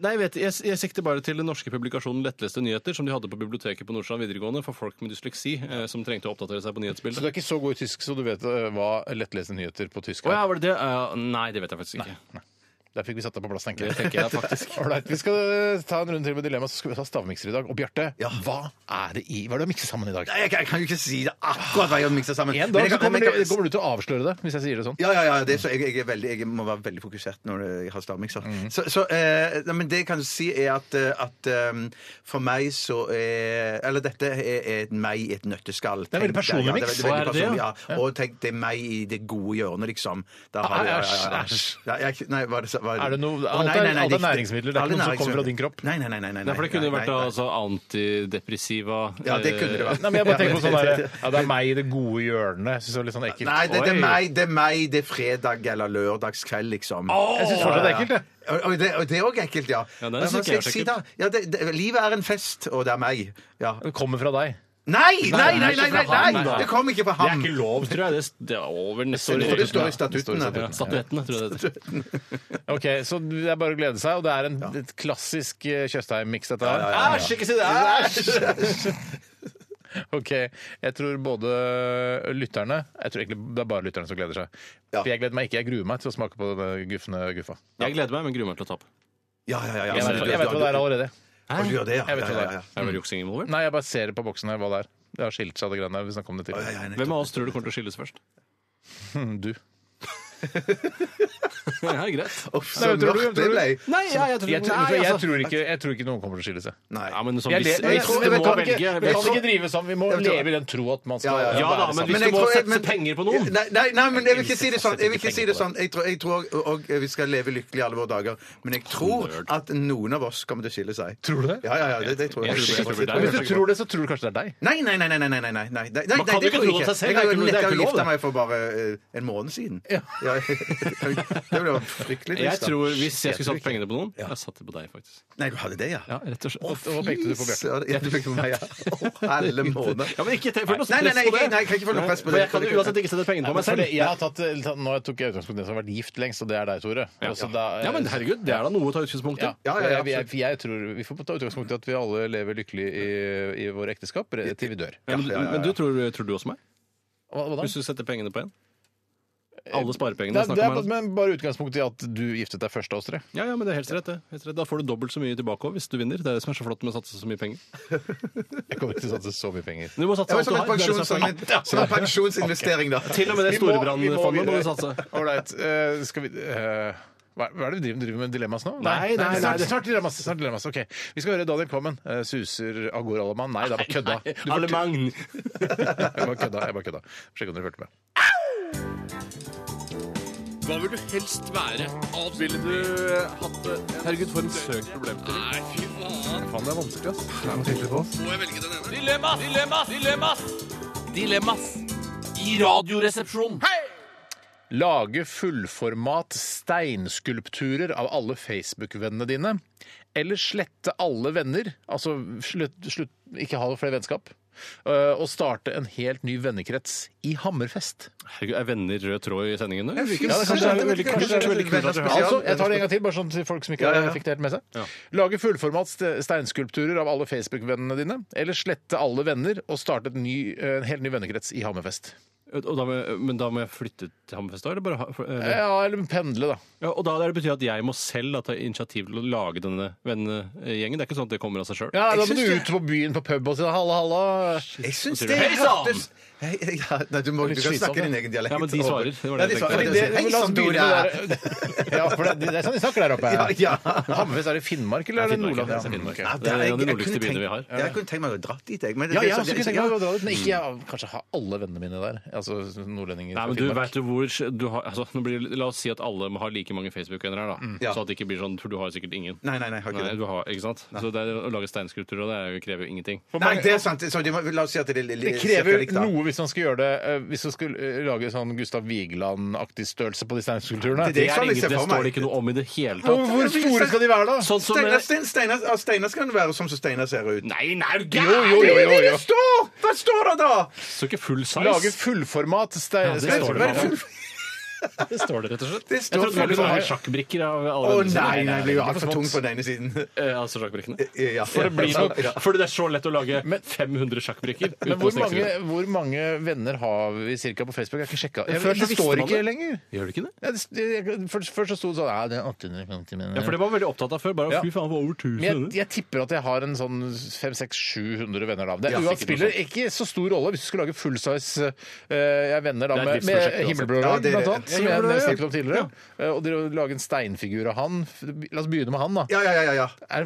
Speaker 6: Nei, jeg vet, jeg, jeg sikter bare til den norske publikasjonen Lettleste nyheter, som de hadde på biblioteket på Nordstrand videregående for folk med dysleksi eh, som trengte å oppdatere seg på
Speaker 5: Så du
Speaker 6: nyhetsbildet.
Speaker 5: er ikke så god i tysk, så du vet eh, hva lettleste nyheter på tysk
Speaker 6: Å ja,
Speaker 5: er?
Speaker 6: var det det? Eh, nei, det vet jeg faktisk ikke.
Speaker 5: Der fikk vi satt deg på plass, tenker
Speaker 6: Det
Speaker 5: jeg.
Speaker 6: tenker jeg
Speaker 5: <laughs>
Speaker 6: faktisk.
Speaker 5: Alright, vi skal eh, ta en runde til med dilemma, så skal vi ta stavmikser i dag. Og Bjarte,
Speaker 3: Ja.
Speaker 5: hva er det i Hva er det å mikse sammen i dag?
Speaker 3: Nei, jeg, kan- jeg kan jo ikke si det akkurat hva jeg har miksa sammen.
Speaker 5: En
Speaker 3: Men
Speaker 5: dag
Speaker 3: jeg
Speaker 5: så
Speaker 3: kan- men
Speaker 5: kommer, du,
Speaker 3: jeg kan-
Speaker 5: kommer du til å avsløre det, hvis jeg sier det sånn.
Speaker 3: Ja, ja, ja. Det, er så jeg, jeg, er veldig, jeg må være veldig fokusert når jeg har stavmikser.
Speaker 5: Mhm.
Speaker 3: Så, så, eh, nei, men det jeg kan si, er at, eh, at eh, for meg så er Eller dette er, er et meg i et nøtteskall.
Speaker 5: er veldig
Speaker 3: Tenk
Speaker 5: personlig
Speaker 3: ja, det er
Speaker 5: miks.
Speaker 3: veldig- veldig
Speaker 6: Hva er det,
Speaker 3: personlig, Ja. Og tenk, det er meg i det gode hjørnet, liksom. Da har vi-
Speaker 5: Ah, Æsj, æsj.
Speaker 3: Ja, jeg- Nei, hva er det så- hva
Speaker 5: Er det noe-
Speaker 3: Å,
Speaker 5: alt
Speaker 3: nei,
Speaker 5: er-
Speaker 3: nei, nei,
Speaker 5: alt er
Speaker 3: ikke-
Speaker 5: næringsmidler, det er
Speaker 3: alle
Speaker 5: ikke noe som kommer fra din kropp.
Speaker 3: Nei, nei, nei. nei, nei,
Speaker 6: Nei, for det kunne jo
Speaker 3: nei,
Speaker 6: vært
Speaker 3: nei, nei.
Speaker 6: altså, antidepressiva eh,
Speaker 3: Ja, det kunne det vært.
Speaker 5: Nei, men jeg bare tenker på sånn der, ja, Det er meg i det gode hjørnet. Jeg synes det er litt sånn ekkelt.
Speaker 3: Nei, det, det,
Speaker 5: Oi.
Speaker 3: er meg, det er meg, det er fredag eller lørdagskveld, liksom.
Speaker 5: Jeg syns fortsatt det er ekkelt, jeg.
Speaker 3: Og, og det, og det er òg ekkelt, ja.
Speaker 6: Ja, det
Speaker 3: Men
Speaker 6: synes
Speaker 3: hva
Speaker 6: ikke jeg er
Speaker 3: skal jeg si
Speaker 6: så
Speaker 3: da? Ja, det, det, livet er en fest, og det er meg. Ja.
Speaker 5: Det kommer fra deg.
Speaker 3: Nei, nei, nei! nei, nei,
Speaker 6: fra
Speaker 3: nei,
Speaker 6: ham, da.
Speaker 3: Det kom ikke fra
Speaker 6: Det er
Speaker 3: ham.
Speaker 6: ikke lov, tror jeg. Det, det er over nesten.
Speaker 3: står- for det står i
Speaker 6: Ja,
Speaker 3: statuttene.
Speaker 6: Ja, statuettene, tror jeg det heter.
Speaker 5: Ok, Så det er bare å glede seg. Og det er en et klassisk eh, Tjøstheim-miks, dette her.
Speaker 6: Æsj, ikke si det! Æsj!
Speaker 5: <laughs> Ok, Jeg tror både lytterne Jeg tror egentlig det er bare lytterne som gleder seg.
Speaker 3: Ja.
Speaker 5: For jeg gleder meg ikke. Jeg gruer meg til å smake på denne gufne guffa.
Speaker 6: Jeg gleder meg, men gruer meg til å tape.
Speaker 3: Ja, ja, ja. ja.
Speaker 5: Jeg vet, jeg vet hva det er allerede.
Speaker 3: Å, Du gjør det, ja.
Speaker 5: Jeg vet
Speaker 3: ja,
Speaker 5: hva det
Speaker 3: ja,
Speaker 5: er.
Speaker 3: ja.
Speaker 6: Er det bare juksing involvert?
Speaker 5: Nei, jeg bare ser på boksen her hva det er. Det har skilt seg, det greiene der. Vi snakka om det
Speaker 3: Å, ja,
Speaker 5: tidligere.
Speaker 3: ja, nettopp.
Speaker 6: Hvem av oss tror du kommer til å skilles først?
Speaker 5: Du.
Speaker 6: Ja, greit.
Speaker 3: Uff,
Speaker 5: Nei,
Speaker 3: så
Speaker 5: hvem tror du? Hvem
Speaker 3: mørkt det
Speaker 5: tror du?
Speaker 3: ble.
Speaker 6: Nei, ja, jeg tror,
Speaker 5: Jeg tror,
Speaker 6: nei,
Speaker 5: jeg,
Speaker 6: altså.
Speaker 5: tror ikke, jeg tror ikke noen kommer til å skille seg.
Speaker 3: Nei.
Speaker 6: Ja, men sånn,
Speaker 5: Jeg,
Speaker 6: hvis,
Speaker 5: le-
Speaker 6: hvis
Speaker 5: jeg, tror-
Speaker 6: du
Speaker 5: vi
Speaker 6: må
Speaker 5: kan
Speaker 6: velge
Speaker 5: ikke, vi kan ikke drive sammen. Vi må
Speaker 3: Jeg tror-
Speaker 5: leve i den tro at man skal
Speaker 3: Ja, ja, ja.
Speaker 6: Ja da, men hvis
Speaker 3: jeg
Speaker 6: du må
Speaker 3: tror-
Speaker 6: sette
Speaker 3: men-
Speaker 6: penger på noen
Speaker 3: Nei, nei, nei, men jeg vil ikke si det
Speaker 5: Setter
Speaker 3: sånn. Jeg vil ikke
Speaker 5: ikke
Speaker 3: si det
Speaker 5: penger
Speaker 3: sånn. Jeg tror, jeg tror og, og vi skal leve lykkelig alle våre dager, men jeg tror at noen av oss kommer til å skille seg.
Speaker 5: Tror du det?
Speaker 3: Ja, ja, ja, det, det tror jeg.
Speaker 6: Jeg tror- jeg tror det blir
Speaker 5: Men
Speaker 6: deg.
Speaker 5: Hvis du tror det, så tror du kanskje det er deg.
Speaker 3: Nei, nei, nei, nei, nei, nei, nei, nei, nei, nei, nei,
Speaker 6: Man
Speaker 3: nei
Speaker 6: kan
Speaker 3: det
Speaker 6: jo ikke
Speaker 3: tror
Speaker 6: tro
Speaker 3: jeg
Speaker 6: det
Speaker 3: ikke.
Speaker 6: seg selv,
Speaker 3: Jeg har
Speaker 6: det er ikke
Speaker 3: jo
Speaker 6: lov, det er
Speaker 3: nettopp
Speaker 6: ikke lov,
Speaker 3: gifta
Speaker 6: det.
Speaker 3: meg for bare eh, en måned siden.
Speaker 5: Ja.
Speaker 3: <laughs> Ja, det ble jo fryktelig
Speaker 6: Jeg
Speaker 3: trist. da.
Speaker 6: tror, Hvis jeg skulle satt pengene på noen Jeg satte det på deg, faktisk.
Speaker 3: Nei, du hadde det, ja.
Speaker 6: Ja, rett og slett.
Speaker 5: Og pekte du på Bjarte.
Speaker 3: Søren, Jeg fikk meg, ja. Å, Alle måneder.
Speaker 6: <laughs> Ja, men sånn ikke tenk- føl noe
Speaker 3: Nei, nei, nei,
Speaker 6: stress på det.
Speaker 3: jeg- nei, jeg kan ikke få noe press på
Speaker 6: For
Speaker 3: det.
Speaker 6: Jeg kan jo uansett ikke sette pengene på meg
Speaker 5: For
Speaker 6: selv.
Speaker 5: det, jeg har tatt, eller tatt, nå tok jeg utgangspunkt i den som har vært gift lengst, og det er deg, Tore. Og så da- eh,
Speaker 6: Ja, men herregud, det er da noe å ta utgangspunkt i.
Speaker 5: ja.
Speaker 3: Ja, ja, ja,
Speaker 5: jeg, jeg, jeg tror Vi får ta utgangspunkt i at vi alle lever lykkelig i, i våre ekteskap re- til vi dør.
Speaker 6: Men, men du tror, tror du også meg?
Speaker 5: Hva, hva da?
Speaker 6: Hvis du setter pengene på en? Alle sparepengene
Speaker 5: Nei, det
Speaker 6: vi snakker
Speaker 5: er,
Speaker 6: om her.
Speaker 5: men bare utgangspunktet i at du giftet deg først av oss tre.
Speaker 6: Ja, ja, men det er helt rett, det. Helt rett. Da får du dobbelt så mye tilbake også, hvis du vinner. Det er det som er så flott med å satse så mye penger.
Speaker 5: Jeg kommer ikke til å satse så mye penger.
Speaker 6: Men Du må satse
Speaker 3: Det var
Speaker 6: alt du
Speaker 3: som en
Speaker 6: har. Det er det
Speaker 3: pensjons-
Speaker 6: som er poenget.
Speaker 3: som en pensjonsinvestering, da.
Speaker 6: Til og med det
Speaker 5: Vi må- vi må
Speaker 6: Storebrannfondet
Speaker 5: videre.
Speaker 6: må du satse.
Speaker 5: Ålreit. eh, skal vi eh, hva hva er det vi driver, driver med dilemmas nå?
Speaker 6: Nei, nei, nei,
Speaker 5: snart,
Speaker 6: det-
Speaker 5: snart dilemmas. snart dilemmas, ok. Vi skal høre Daniel Kvammen. eh, suser av gårde alle mann. Nei, det er bare kødda. Du får-
Speaker 6: Allemagn.
Speaker 5: <laughs> Jeg bare kødda. jeg bare kødda. Sjekk om dere hørte med.
Speaker 6: Hva vil du helst være? Ville du hatt det? Herregud, for en søk problemstilling. Nei, fy faen.
Speaker 5: Faen, det er vanskelig, ass.
Speaker 6: Må jeg velge den ene? Dilemmas! Dilemmas! Dilemmas! Dilemmas! I radioresepsjonen!
Speaker 5: Lage fullformat steinskulpturer av alle Facebook-vennene dine. Eller slette alle venner, altså slutt, slutt, ikke ha flere vennskap. øh, Og starte en helt ny vennekrets i Hammerfest.
Speaker 6: Herregud, er venner rød tråd i sendingen nå?
Speaker 3: fy
Speaker 6: Ja, det er kanskje
Speaker 3: søren,
Speaker 6: det er veldig
Speaker 3: det er
Speaker 6: kult. Det er veldig kult at dere har-
Speaker 5: Altså, jeg tar det en gang til, bare sånn til folk som ikke
Speaker 3: Ja, ja, ja.
Speaker 5: fikk det helt med seg. Lage fullformat ste- steinskulpturer av alle Facebook-vennene dine. Eller slette alle venner og starte en, ny, øh, en helt ny vennekrets i Hammerfest.
Speaker 6: Og da må jeg- Men da må jeg flytte til Hammerfest da, eller bare ha eller?
Speaker 5: Ja, eller pendle, da.
Speaker 6: Ja, og da det betyr at jeg må selv da, ta initiativ til å lage denne vennegjengen. Det er ikke sånn at det kommer av seg sjøl.
Speaker 5: Ja, da må
Speaker 3: Jeg syns
Speaker 5: du
Speaker 3: det-
Speaker 5: ut på byen på pub og si halla, halla.
Speaker 3: Jeg syns
Speaker 6: sier
Speaker 3: det
Speaker 6: du, «Hei sann!»
Speaker 3: hørtes Hei, ja, Nei, du, må, du kan snakke din egen dialekt.
Speaker 6: Ja, men de svarer. Det var det jeg tenkte.
Speaker 3: Ja, de svarer.
Speaker 5: Fordi
Speaker 3: Det, sånn,
Speaker 5: det-
Speaker 3: Hei
Speaker 5: la oss
Speaker 3: sann,
Speaker 5: begynne
Speaker 3: Dora!
Speaker 5: med det der. <laughs> Ja, for det, det er sånn de snakker der oppe.
Speaker 3: Ja, ja.
Speaker 5: Hammerfest, er det Finnmark eller er det Nordland?
Speaker 6: Det er Finnmark, ja.
Speaker 3: Ja,
Speaker 6: Det er
Speaker 3: jeg-
Speaker 6: en av de
Speaker 3: jeg
Speaker 6: nordligste
Speaker 3: kunne
Speaker 6: byene vi
Speaker 3: tenkt-
Speaker 6: har.
Speaker 3: Ja, jeg kunne tenkt meg å dra dit, jeg. Men det-
Speaker 5: Ja, sånn- jeg
Speaker 3: det-
Speaker 5: også
Speaker 3: det-
Speaker 5: kunne tenke meg å
Speaker 3: ja.
Speaker 5: dra dit, men ikke jeg, kanskje ha alle vennene mine der. Altså nordlendinger
Speaker 6: Nei,
Speaker 5: fra
Speaker 6: men du
Speaker 5: Finnmark.
Speaker 6: vet jo hvor du har, altså, nå blir, det- La oss si at alle har like mange Facebook-venner her, da.
Speaker 5: Mm.
Speaker 3: Ja.
Speaker 6: Så at det ikke blir sånn For du har jo sikkert ingen.
Speaker 3: Nei, nei, nei, jeg har ikke
Speaker 6: Nei,
Speaker 3: det.
Speaker 6: du har, ikke sant? Så det er, å lage steinskulpturer det er jo- krever jo ingenting.
Speaker 3: Nei, det er sant. Så de må, la oss si at det,
Speaker 5: Det krever noe hvis man skal gjøre det eh, Hvis man skal eh, lage sånn Gustav Vigeland-aktig størrelse på de steinskulpturene.
Speaker 3: Det- det- er sånn jeg
Speaker 6: ingen-
Speaker 3: ser
Speaker 6: det
Speaker 3: for
Speaker 6: står
Speaker 3: meg.
Speaker 6: det ikke noe om i det hele
Speaker 5: Hvor,
Speaker 6: tatt.
Speaker 5: hvor store skal de være, da?
Speaker 6: Sånn som
Speaker 3: Steinar, Stein- Steinar, ja, Steinar skal være som så Steinar ser ut.
Speaker 6: Nei, nei, er du
Speaker 5: Jo,
Speaker 6: gæren?
Speaker 5: jo, jo,
Speaker 3: Det er
Speaker 5: jo,
Speaker 3: det
Speaker 5: jo.
Speaker 3: det står! Hva står det da?
Speaker 6: Så ikke full size?
Speaker 5: Lage fullformat stein...
Speaker 6: Ja, det
Speaker 5: stein-
Speaker 6: står det
Speaker 5: Hva er
Speaker 6: bare.
Speaker 5: full-
Speaker 6: det <laughs> står det, rett og slett.
Speaker 3: Det
Speaker 6: Jeg
Speaker 3: står
Speaker 6: trodde det var
Speaker 3: full
Speaker 6: litt sånn her
Speaker 5: size.
Speaker 6: sjakkbrikker av alle
Speaker 3: Å
Speaker 6: vennene sine.
Speaker 3: nei, nei, det blir
Speaker 5: det
Speaker 3: jo
Speaker 5: blir
Speaker 3: altfor
Speaker 5: for
Speaker 3: tung
Speaker 5: smått.
Speaker 3: på den ene siden.
Speaker 6: Eh, Altså sjakkbrikkene.
Speaker 3: Ja.
Speaker 5: For det blir nok-
Speaker 3: Ja.
Speaker 6: Fordi det er så lett å lage 500 sjakkbrikker. uten
Speaker 5: Men
Speaker 6: å
Speaker 5: hvor
Speaker 6: stikke
Speaker 5: mange,
Speaker 6: seg ut.
Speaker 5: hvor mange venner har vi cirka på Facebook? Jeg har ikke sjekka. Jeg-
Speaker 6: Før så
Speaker 5: Det
Speaker 6: visste
Speaker 5: står
Speaker 6: man
Speaker 5: ikke
Speaker 6: det.
Speaker 5: lenger.
Speaker 6: Gjør du ikke det?
Speaker 5: Ja, det, det, jeg- først, først så sto det sånn Ja, det er 850 men
Speaker 6: Ja, for det var veldig opptatt av før. Bare,
Speaker 5: Ja.
Speaker 6: fy faen, det var over
Speaker 5: Men
Speaker 6: 1000.
Speaker 5: jeg,
Speaker 6: venner.
Speaker 5: jeg tipper at jeg har en sånn 500-600-700 venner. da. Det
Speaker 6: Ja,
Speaker 5: er uansett
Speaker 6: sikkert
Speaker 5: spiller
Speaker 6: noe
Speaker 5: ikke så stor rolle hvis du skulle lage fullsize uh, venner da,
Speaker 6: Det er
Speaker 5: med, med
Speaker 6: et livsprosjekt,
Speaker 5: himmelblå
Speaker 3: altså. Ja,
Speaker 5: lag,
Speaker 3: det er
Speaker 5: blant
Speaker 3: det.
Speaker 5: annet,
Speaker 3: Ja,
Speaker 5: som jeg
Speaker 3: himmelblå lag, ja.
Speaker 5: snakket om tidligere. Eh, og det å lage en steinfigur av han La oss begynne med han, da.
Speaker 3: Ja, ja, ja, ja.
Speaker 5: Er,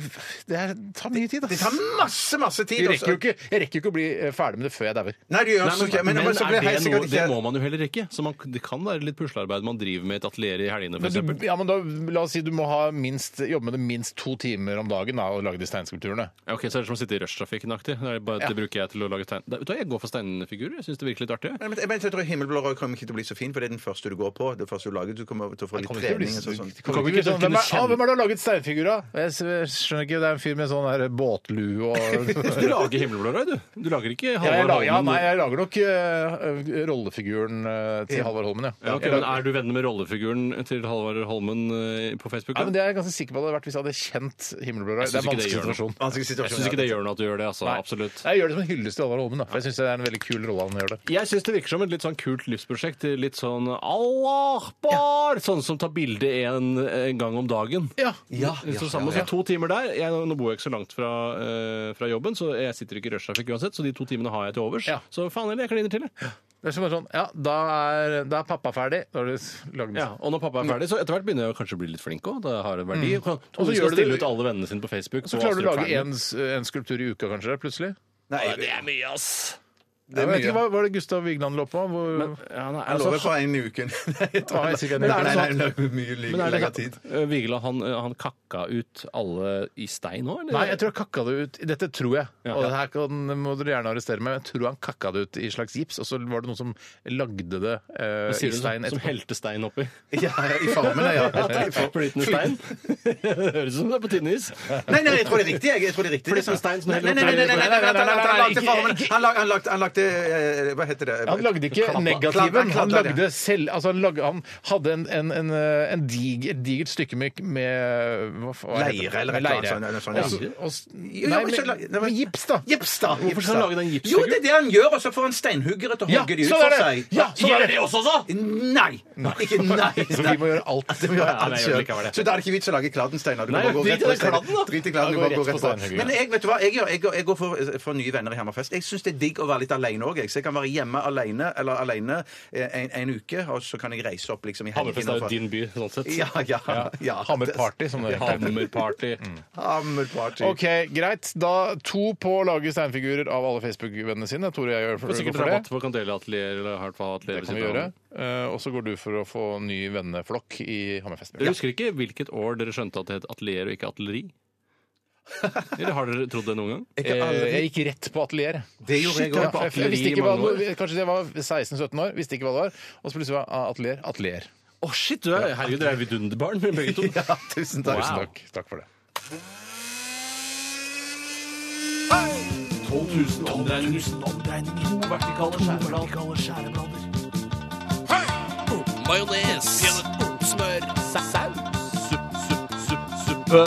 Speaker 5: det er, tar mye tid,
Speaker 3: Det tar
Speaker 5: ass.
Speaker 3: masse, masse tid.
Speaker 5: Jeg rekker, jo
Speaker 3: også.
Speaker 5: ikke, jeg rekker jo ikke å bli eh, ferdig med det før jeg dauer.
Speaker 3: Nei, det gjør
Speaker 6: Nei,
Speaker 3: også ikke. Men, men så
Speaker 6: er
Speaker 3: blir jeg
Speaker 6: det,
Speaker 3: sikkert
Speaker 6: noe, det må
Speaker 3: ikke
Speaker 6: man jo heller ikke. Så man, det kan være litt puslearbeid man driver med i et atelier i helgene,
Speaker 5: Men
Speaker 6: f.eks.
Speaker 5: du, ja, men da, la oss si du må ha minst, jobbe med det minst to timer om dagen da, og lage de steinskulpturene.
Speaker 6: Ja, ok, så er det som å sitte i rushtrafikken-aktig. Det, er bare- det bruker jeg til å lage tegn. Da- Vet du hva, jeg går for steinfigurer. Jeg syns det virker litt artig.
Speaker 5: <laughs>
Speaker 3: Nei, men jeg, men jeg tror Himmelblå rød kommer ikke til å bli så fin, for det er den første du går på. Det første du lager, du kommer til å få litt
Speaker 5: Kommer ikke til å bli-
Speaker 3: trening. og sånn.
Speaker 5: kommer
Speaker 6: Kommer
Speaker 5: ikke
Speaker 6: ikke til å
Speaker 5: sånn, Hvem er
Speaker 6: kunne
Speaker 5: ah,
Speaker 6: kjenne-
Speaker 5: hvem er det som har laget steinfigura? Jeg s- jeg skjønner ikke, det er en fyr med sånn her båtlue og
Speaker 6: Du lager himmelblå røy, du. Du lager ikke
Speaker 5: Ja, <laughs> jeg
Speaker 6: Halvard
Speaker 5: lager, ja,
Speaker 6: Holmen.
Speaker 5: nei, jeg lager nok eh, rollefiguren eh, til Halvard Holmen, ja.
Speaker 6: Ja, ok,
Speaker 5: Jeg
Speaker 6: men
Speaker 5: lager-
Speaker 6: er du venner med rollefiguren til Halvard Holmen eh, på Facebook?
Speaker 5: ja,
Speaker 6: da?
Speaker 5: men Det er jeg ganske sikker på at det hadde vært hvis jeg hadde kjent Himmelblå Rai.
Speaker 6: Jeg
Speaker 5: Det er en
Speaker 6: syns ikke det
Speaker 5: vanskelig
Speaker 6: gjør noe.
Speaker 5: situasjon.
Speaker 3: Vanskelig situasjon.
Speaker 6: Jeg syns ikke det gjør noe at du gjør det. altså,
Speaker 5: Nei.
Speaker 6: absolutt.
Speaker 5: Jeg gjør det som en hyllest til Halvard Holmen, da. for Jeg syns det er en veldig kul rolle han gjør det.
Speaker 6: Jeg syns det virker som et litt sånn kult livsprosjekt. Litt sånn Allah akbar! Sånn som tar bilde en, en gang om dagen.
Speaker 5: Ja.
Speaker 3: Ja, ja,
Speaker 6: så sammen,
Speaker 3: ja, ja.
Speaker 6: så to timer der. Jeg, nå bor jeg ikke så langt fra, eh, fra jobben, så jeg sitter ikke i rushtrafikk uansett, så de to timene har jeg til overs.
Speaker 5: Ja.
Speaker 6: Så faen heller, jeg kliner til, jeg.
Speaker 5: Det er som bare sånn, ja, da er, da er pappa ferdig. Da har du s- lagd
Speaker 6: Ja,
Speaker 5: ja.
Speaker 6: og når pappa er ferdig, så etter hvert begynner jeg å kanskje bli litt flink òg. Det har en verdi. Kan-
Speaker 5: Og så
Speaker 6: Tore
Speaker 5: gjør
Speaker 6: skal
Speaker 5: du det-
Speaker 6: stille ut alle vennene sine på Facebook.
Speaker 5: Så
Speaker 6: på
Speaker 5: klarer du å
Speaker 6: Astrup
Speaker 5: lage
Speaker 6: Fearnley.
Speaker 5: en, s- en skulptur i uka, kanskje, plutselig.
Speaker 3: Nei,
Speaker 6: Ja, Det er mye, ass!
Speaker 5: Jeg vet ikke,
Speaker 3: mye.
Speaker 5: hva var det Gustav Vigeland lå på? Hvor,
Speaker 6: Ja, nei,
Speaker 3: Jeg lover
Speaker 6: altså,
Speaker 3: for en uke. <laughs> Nei, jeg tror-
Speaker 5: Ah, jeg er sikker- Men
Speaker 3: Nei,
Speaker 5: er det
Speaker 3: nei,
Speaker 5: sånn-
Speaker 3: nei, det er mye
Speaker 6: men er
Speaker 3: lengre
Speaker 5: <laughs>
Speaker 6: det,
Speaker 3: tid.
Speaker 6: Eh, Vigeland, han, han kakka ut alle i stein nå, eller?
Speaker 5: Nei, jeg tror jeg kakka det ut. Dette tror jeg.
Speaker 6: Ja.
Speaker 5: Og det her kan, må dere gjerne arrestere meg, men jeg tror han kakka det ut i slags gips, og så var det noen som lagde det eh,
Speaker 6: Sier
Speaker 5: i
Speaker 6: du sånn
Speaker 5: stein
Speaker 6: som, som
Speaker 5: etterpå.
Speaker 6: helte stein oppi.
Speaker 3: Ja, ja, I formen,
Speaker 5: <laughs>
Speaker 3: ja. I form-
Speaker 6: Flytende stein. <laughs> det høres ut som det er på tynn is.
Speaker 3: Nei, nei, jeg tror det er riktig. Jeg, jeg tror det er
Speaker 5: sånn
Speaker 3: riktig.
Speaker 6: det er som stein som
Speaker 3: sånn Nei,
Speaker 6: heller
Speaker 3: nei, nei, nei, nei, nei, nei, nei, nei, nei, nei, nei, nei, nei, nei, nei, han lagde- han lagde- han lagde ikke eh, Hva heter det?
Speaker 5: Han lagde ikke
Speaker 3: Kladder.
Speaker 5: negativen.
Speaker 3: Kladder,
Speaker 5: Han
Speaker 3: kladder, ja.
Speaker 5: lagde selv altså han, lagde, han hadde en, en, en, en dig, et digert stykke med, med hva, f- hva heter det?
Speaker 3: Leire eller et
Speaker 5: Leire.
Speaker 3: eller annet sånt, eller sånt, ja.
Speaker 5: Og s- og s-
Speaker 3: Jo,
Speaker 5: Nei,
Speaker 3: jo, men så la-
Speaker 5: med, med gips, da.
Speaker 3: Gips, da.
Speaker 6: Hvorfor skal han lage den gipsfiguren?
Speaker 3: Jo, det er det han gjør, og så får han steinhuggere til å
Speaker 5: Ja,
Speaker 3: hogge de ut
Speaker 5: sånn er
Speaker 3: for
Speaker 5: det.
Speaker 3: seg.
Speaker 5: Ja, sånn er det.
Speaker 6: også, da!
Speaker 3: Nei! Ikke nei.
Speaker 5: <laughs> Så vi må gjøre
Speaker 3: <laughs>
Speaker 5: alt.
Speaker 3: Det må gjøre
Speaker 6: nei,
Speaker 3: alt
Speaker 6: jeg gjør
Speaker 3: selv.
Speaker 6: likevel det.
Speaker 3: Så da er det ikke vits å lage Kladenstein. og du
Speaker 6: Nei,
Speaker 3: bare går
Speaker 6: drit i
Speaker 3: rett på
Speaker 6: den
Speaker 3: steinen.
Speaker 6: kladden, da.
Speaker 3: Drit i kladden,
Speaker 5: Da
Speaker 3: du
Speaker 5: går
Speaker 3: bare
Speaker 5: jeg
Speaker 3: går
Speaker 5: rett på
Speaker 3: rett på.
Speaker 5: steinhuggeren.
Speaker 3: Men jeg, vet du hva, jeg, gjør, jeg, går- jeg går for, for nye venner i Hammerfest. Jeg syns det er digg å være litt alene òg. Så jeg kan være hjemme alene, eller alene eh, en, en uke, og så kan jeg reise opp liksom i helgen.
Speaker 6: Hammerfest er
Speaker 3: og
Speaker 6: jo
Speaker 3: få-
Speaker 6: din by, sånn sett.
Speaker 3: Ja, ja. ja.
Speaker 5: Hammerparty, som det heter.
Speaker 6: Hammerparty.
Speaker 3: Hammerparty.
Speaker 5: OK, greit. Da to på å lage steinfigurer av alle Facebook-vennene sine. Tore og jeg gjør
Speaker 6: Får
Speaker 5: for,
Speaker 6: sikkert
Speaker 5: for
Speaker 6: rabatt
Speaker 5: det.
Speaker 6: på Candela-atelier eller har et atelier
Speaker 5: Det
Speaker 6: ved
Speaker 5: kan vi
Speaker 6: siden
Speaker 5: gjøre.
Speaker 6: av.
Speaker 5: Eh, og så går du for å få ny venneflokk i Hammerfest. Eh,
Speaker 6: Dere husker ikke hvilket år dere skjønte at det het atelier og ikke atelieri? Eller har dere trodd det noen gang?
Speaker 5: Eh, Jeg gikk rett på atelier.
Speaker 3: Det gjorde jeg
Speaker 5: Ja,
Speaker 3: òg.
Speaker 5: for jeg, jeg
Speaker 6: atelier
Speaker 5: visste
Speaker 6: i
Speaker 5: ikke hva,
Speaker 6: mange
Speaker 5: kanskje jeg var 16-17 år, visste ikke hva det var. Og så plutselig var ah, atelier. Atelier.
Speaker 6: Å, shit! Du er, herregud, dere er vidunderbarn, begge to.
Speaker 3: Ja, tusen takk.
Speaker 5: Tusen takk. Takk for det.
Speaker 6: 12 000 omdreininger. To vertikale skjæreblader. Majones. Smør. Saus. Supp, supp, supp, suppe.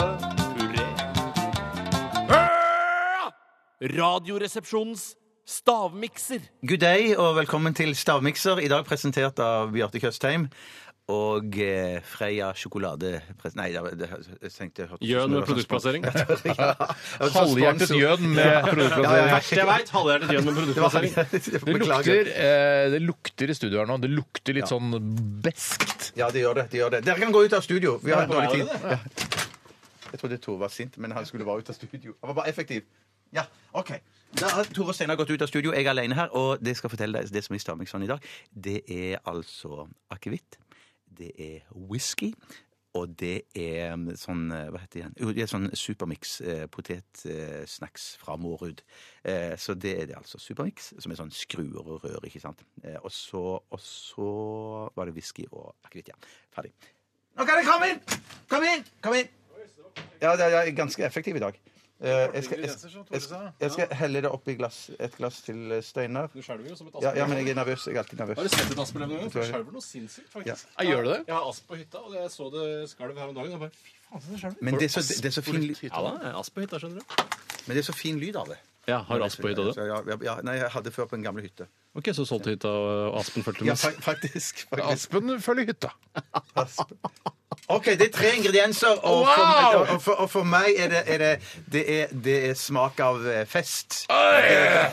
Speaker 6: Puré. Radioresepsjonens stavmikser.
Speaker 3: Good day, og velkommen til Stavmikser. I dag presentert av Bjarte Tjøstheim og eh, Freia sjokolade... pres- Nei, det, det, jeg tenkte jeg hørte
Speaker 6: Gjøn med produktplassering.
Speaker 5: Halvhjertet gjøn med
Speaker 3: Altså, Ja, ja,
Speaker 5: produktplassering.
Speaker 6: Verste jeg veit! Halvhjertet gjøn med produktplassering.
Speaker 5: Det lukter, eh, det lukter i studio her nå. Det lukter litt sånn beskt.
Speaker 3: Ja, det gjør det. det gjør det. Dere kan gå ut av studio. Vi har dårlig tid.
Speaker 6: det,
Speaker 3: Ja. Jeg trodde Tore var sint, men han skulle bare ut av studio. Han var bare effektiv. Ja, OK. Da har Tore og Steinar gått ut av studio. Jeg er alene her, og det skal fortelle deg det som er i Stamikson sånn i dag. Det er altså akevitt. Det er whisky. Og det er sånn eh, Hva heter det igjen? Jo, det er sånn Supermix eh, potetsnacks fra Mårud. Eh, så det er det altså. Supermix, som er sånn skruer og rør, ikke sant. Eh, og, så, og så var det whisky og akevitt, ja. Ferdig. Nå kan dere komme inn! Kom inn! Kom inn! Ja, det er jeg er ganske effektiv i dag. Eh, Jeg skal, jeg, jeg, skal- jeg skal helle det oppi glass, et glass til eh, Steinar.
Speaker 6: Du skjelver jo som et
Speaker 3: Ja, ja, men jeg er nervøs. Jeg er alltid nervøs.
Speaker 6: Har du sett et Asperlem noen gang? For det skjelver noe sinnssykt, faktisk.
Speaker 5: Ja, gjør det det?
Speaker 6: Jeg har asp på hytta, og jeg så det skalv her om dagen. og Jeg bare, fy faen, så det skjelver.
Speaker 3: Men det er så, det er så, fin, ly-
Speaker 6: Ja da, asp på hytta, skjønner du.
Speaker 3: men det er så fin lyd av det.
Speaker 6: Ja, har asp på hytta, du.
Speaker 3: Så Ja, ja, ja, nei, jeg hadde før på en gamle hytte.
Speaker 6: Ok, så solgte hytta, og aspen fulgte
Speaker 3: Ja,
Speaker 6: med.
Speaker 3: fa- faktisk. faktisk.
Speaker 5: Aspen følger hytta.
Speaker 3: Asp. OK, det er tre ingredienser, og for,
Speaker 5: Wow!
Speaker 3: og for, og for meg er det, er det, det, er, det er smak av eh, fest.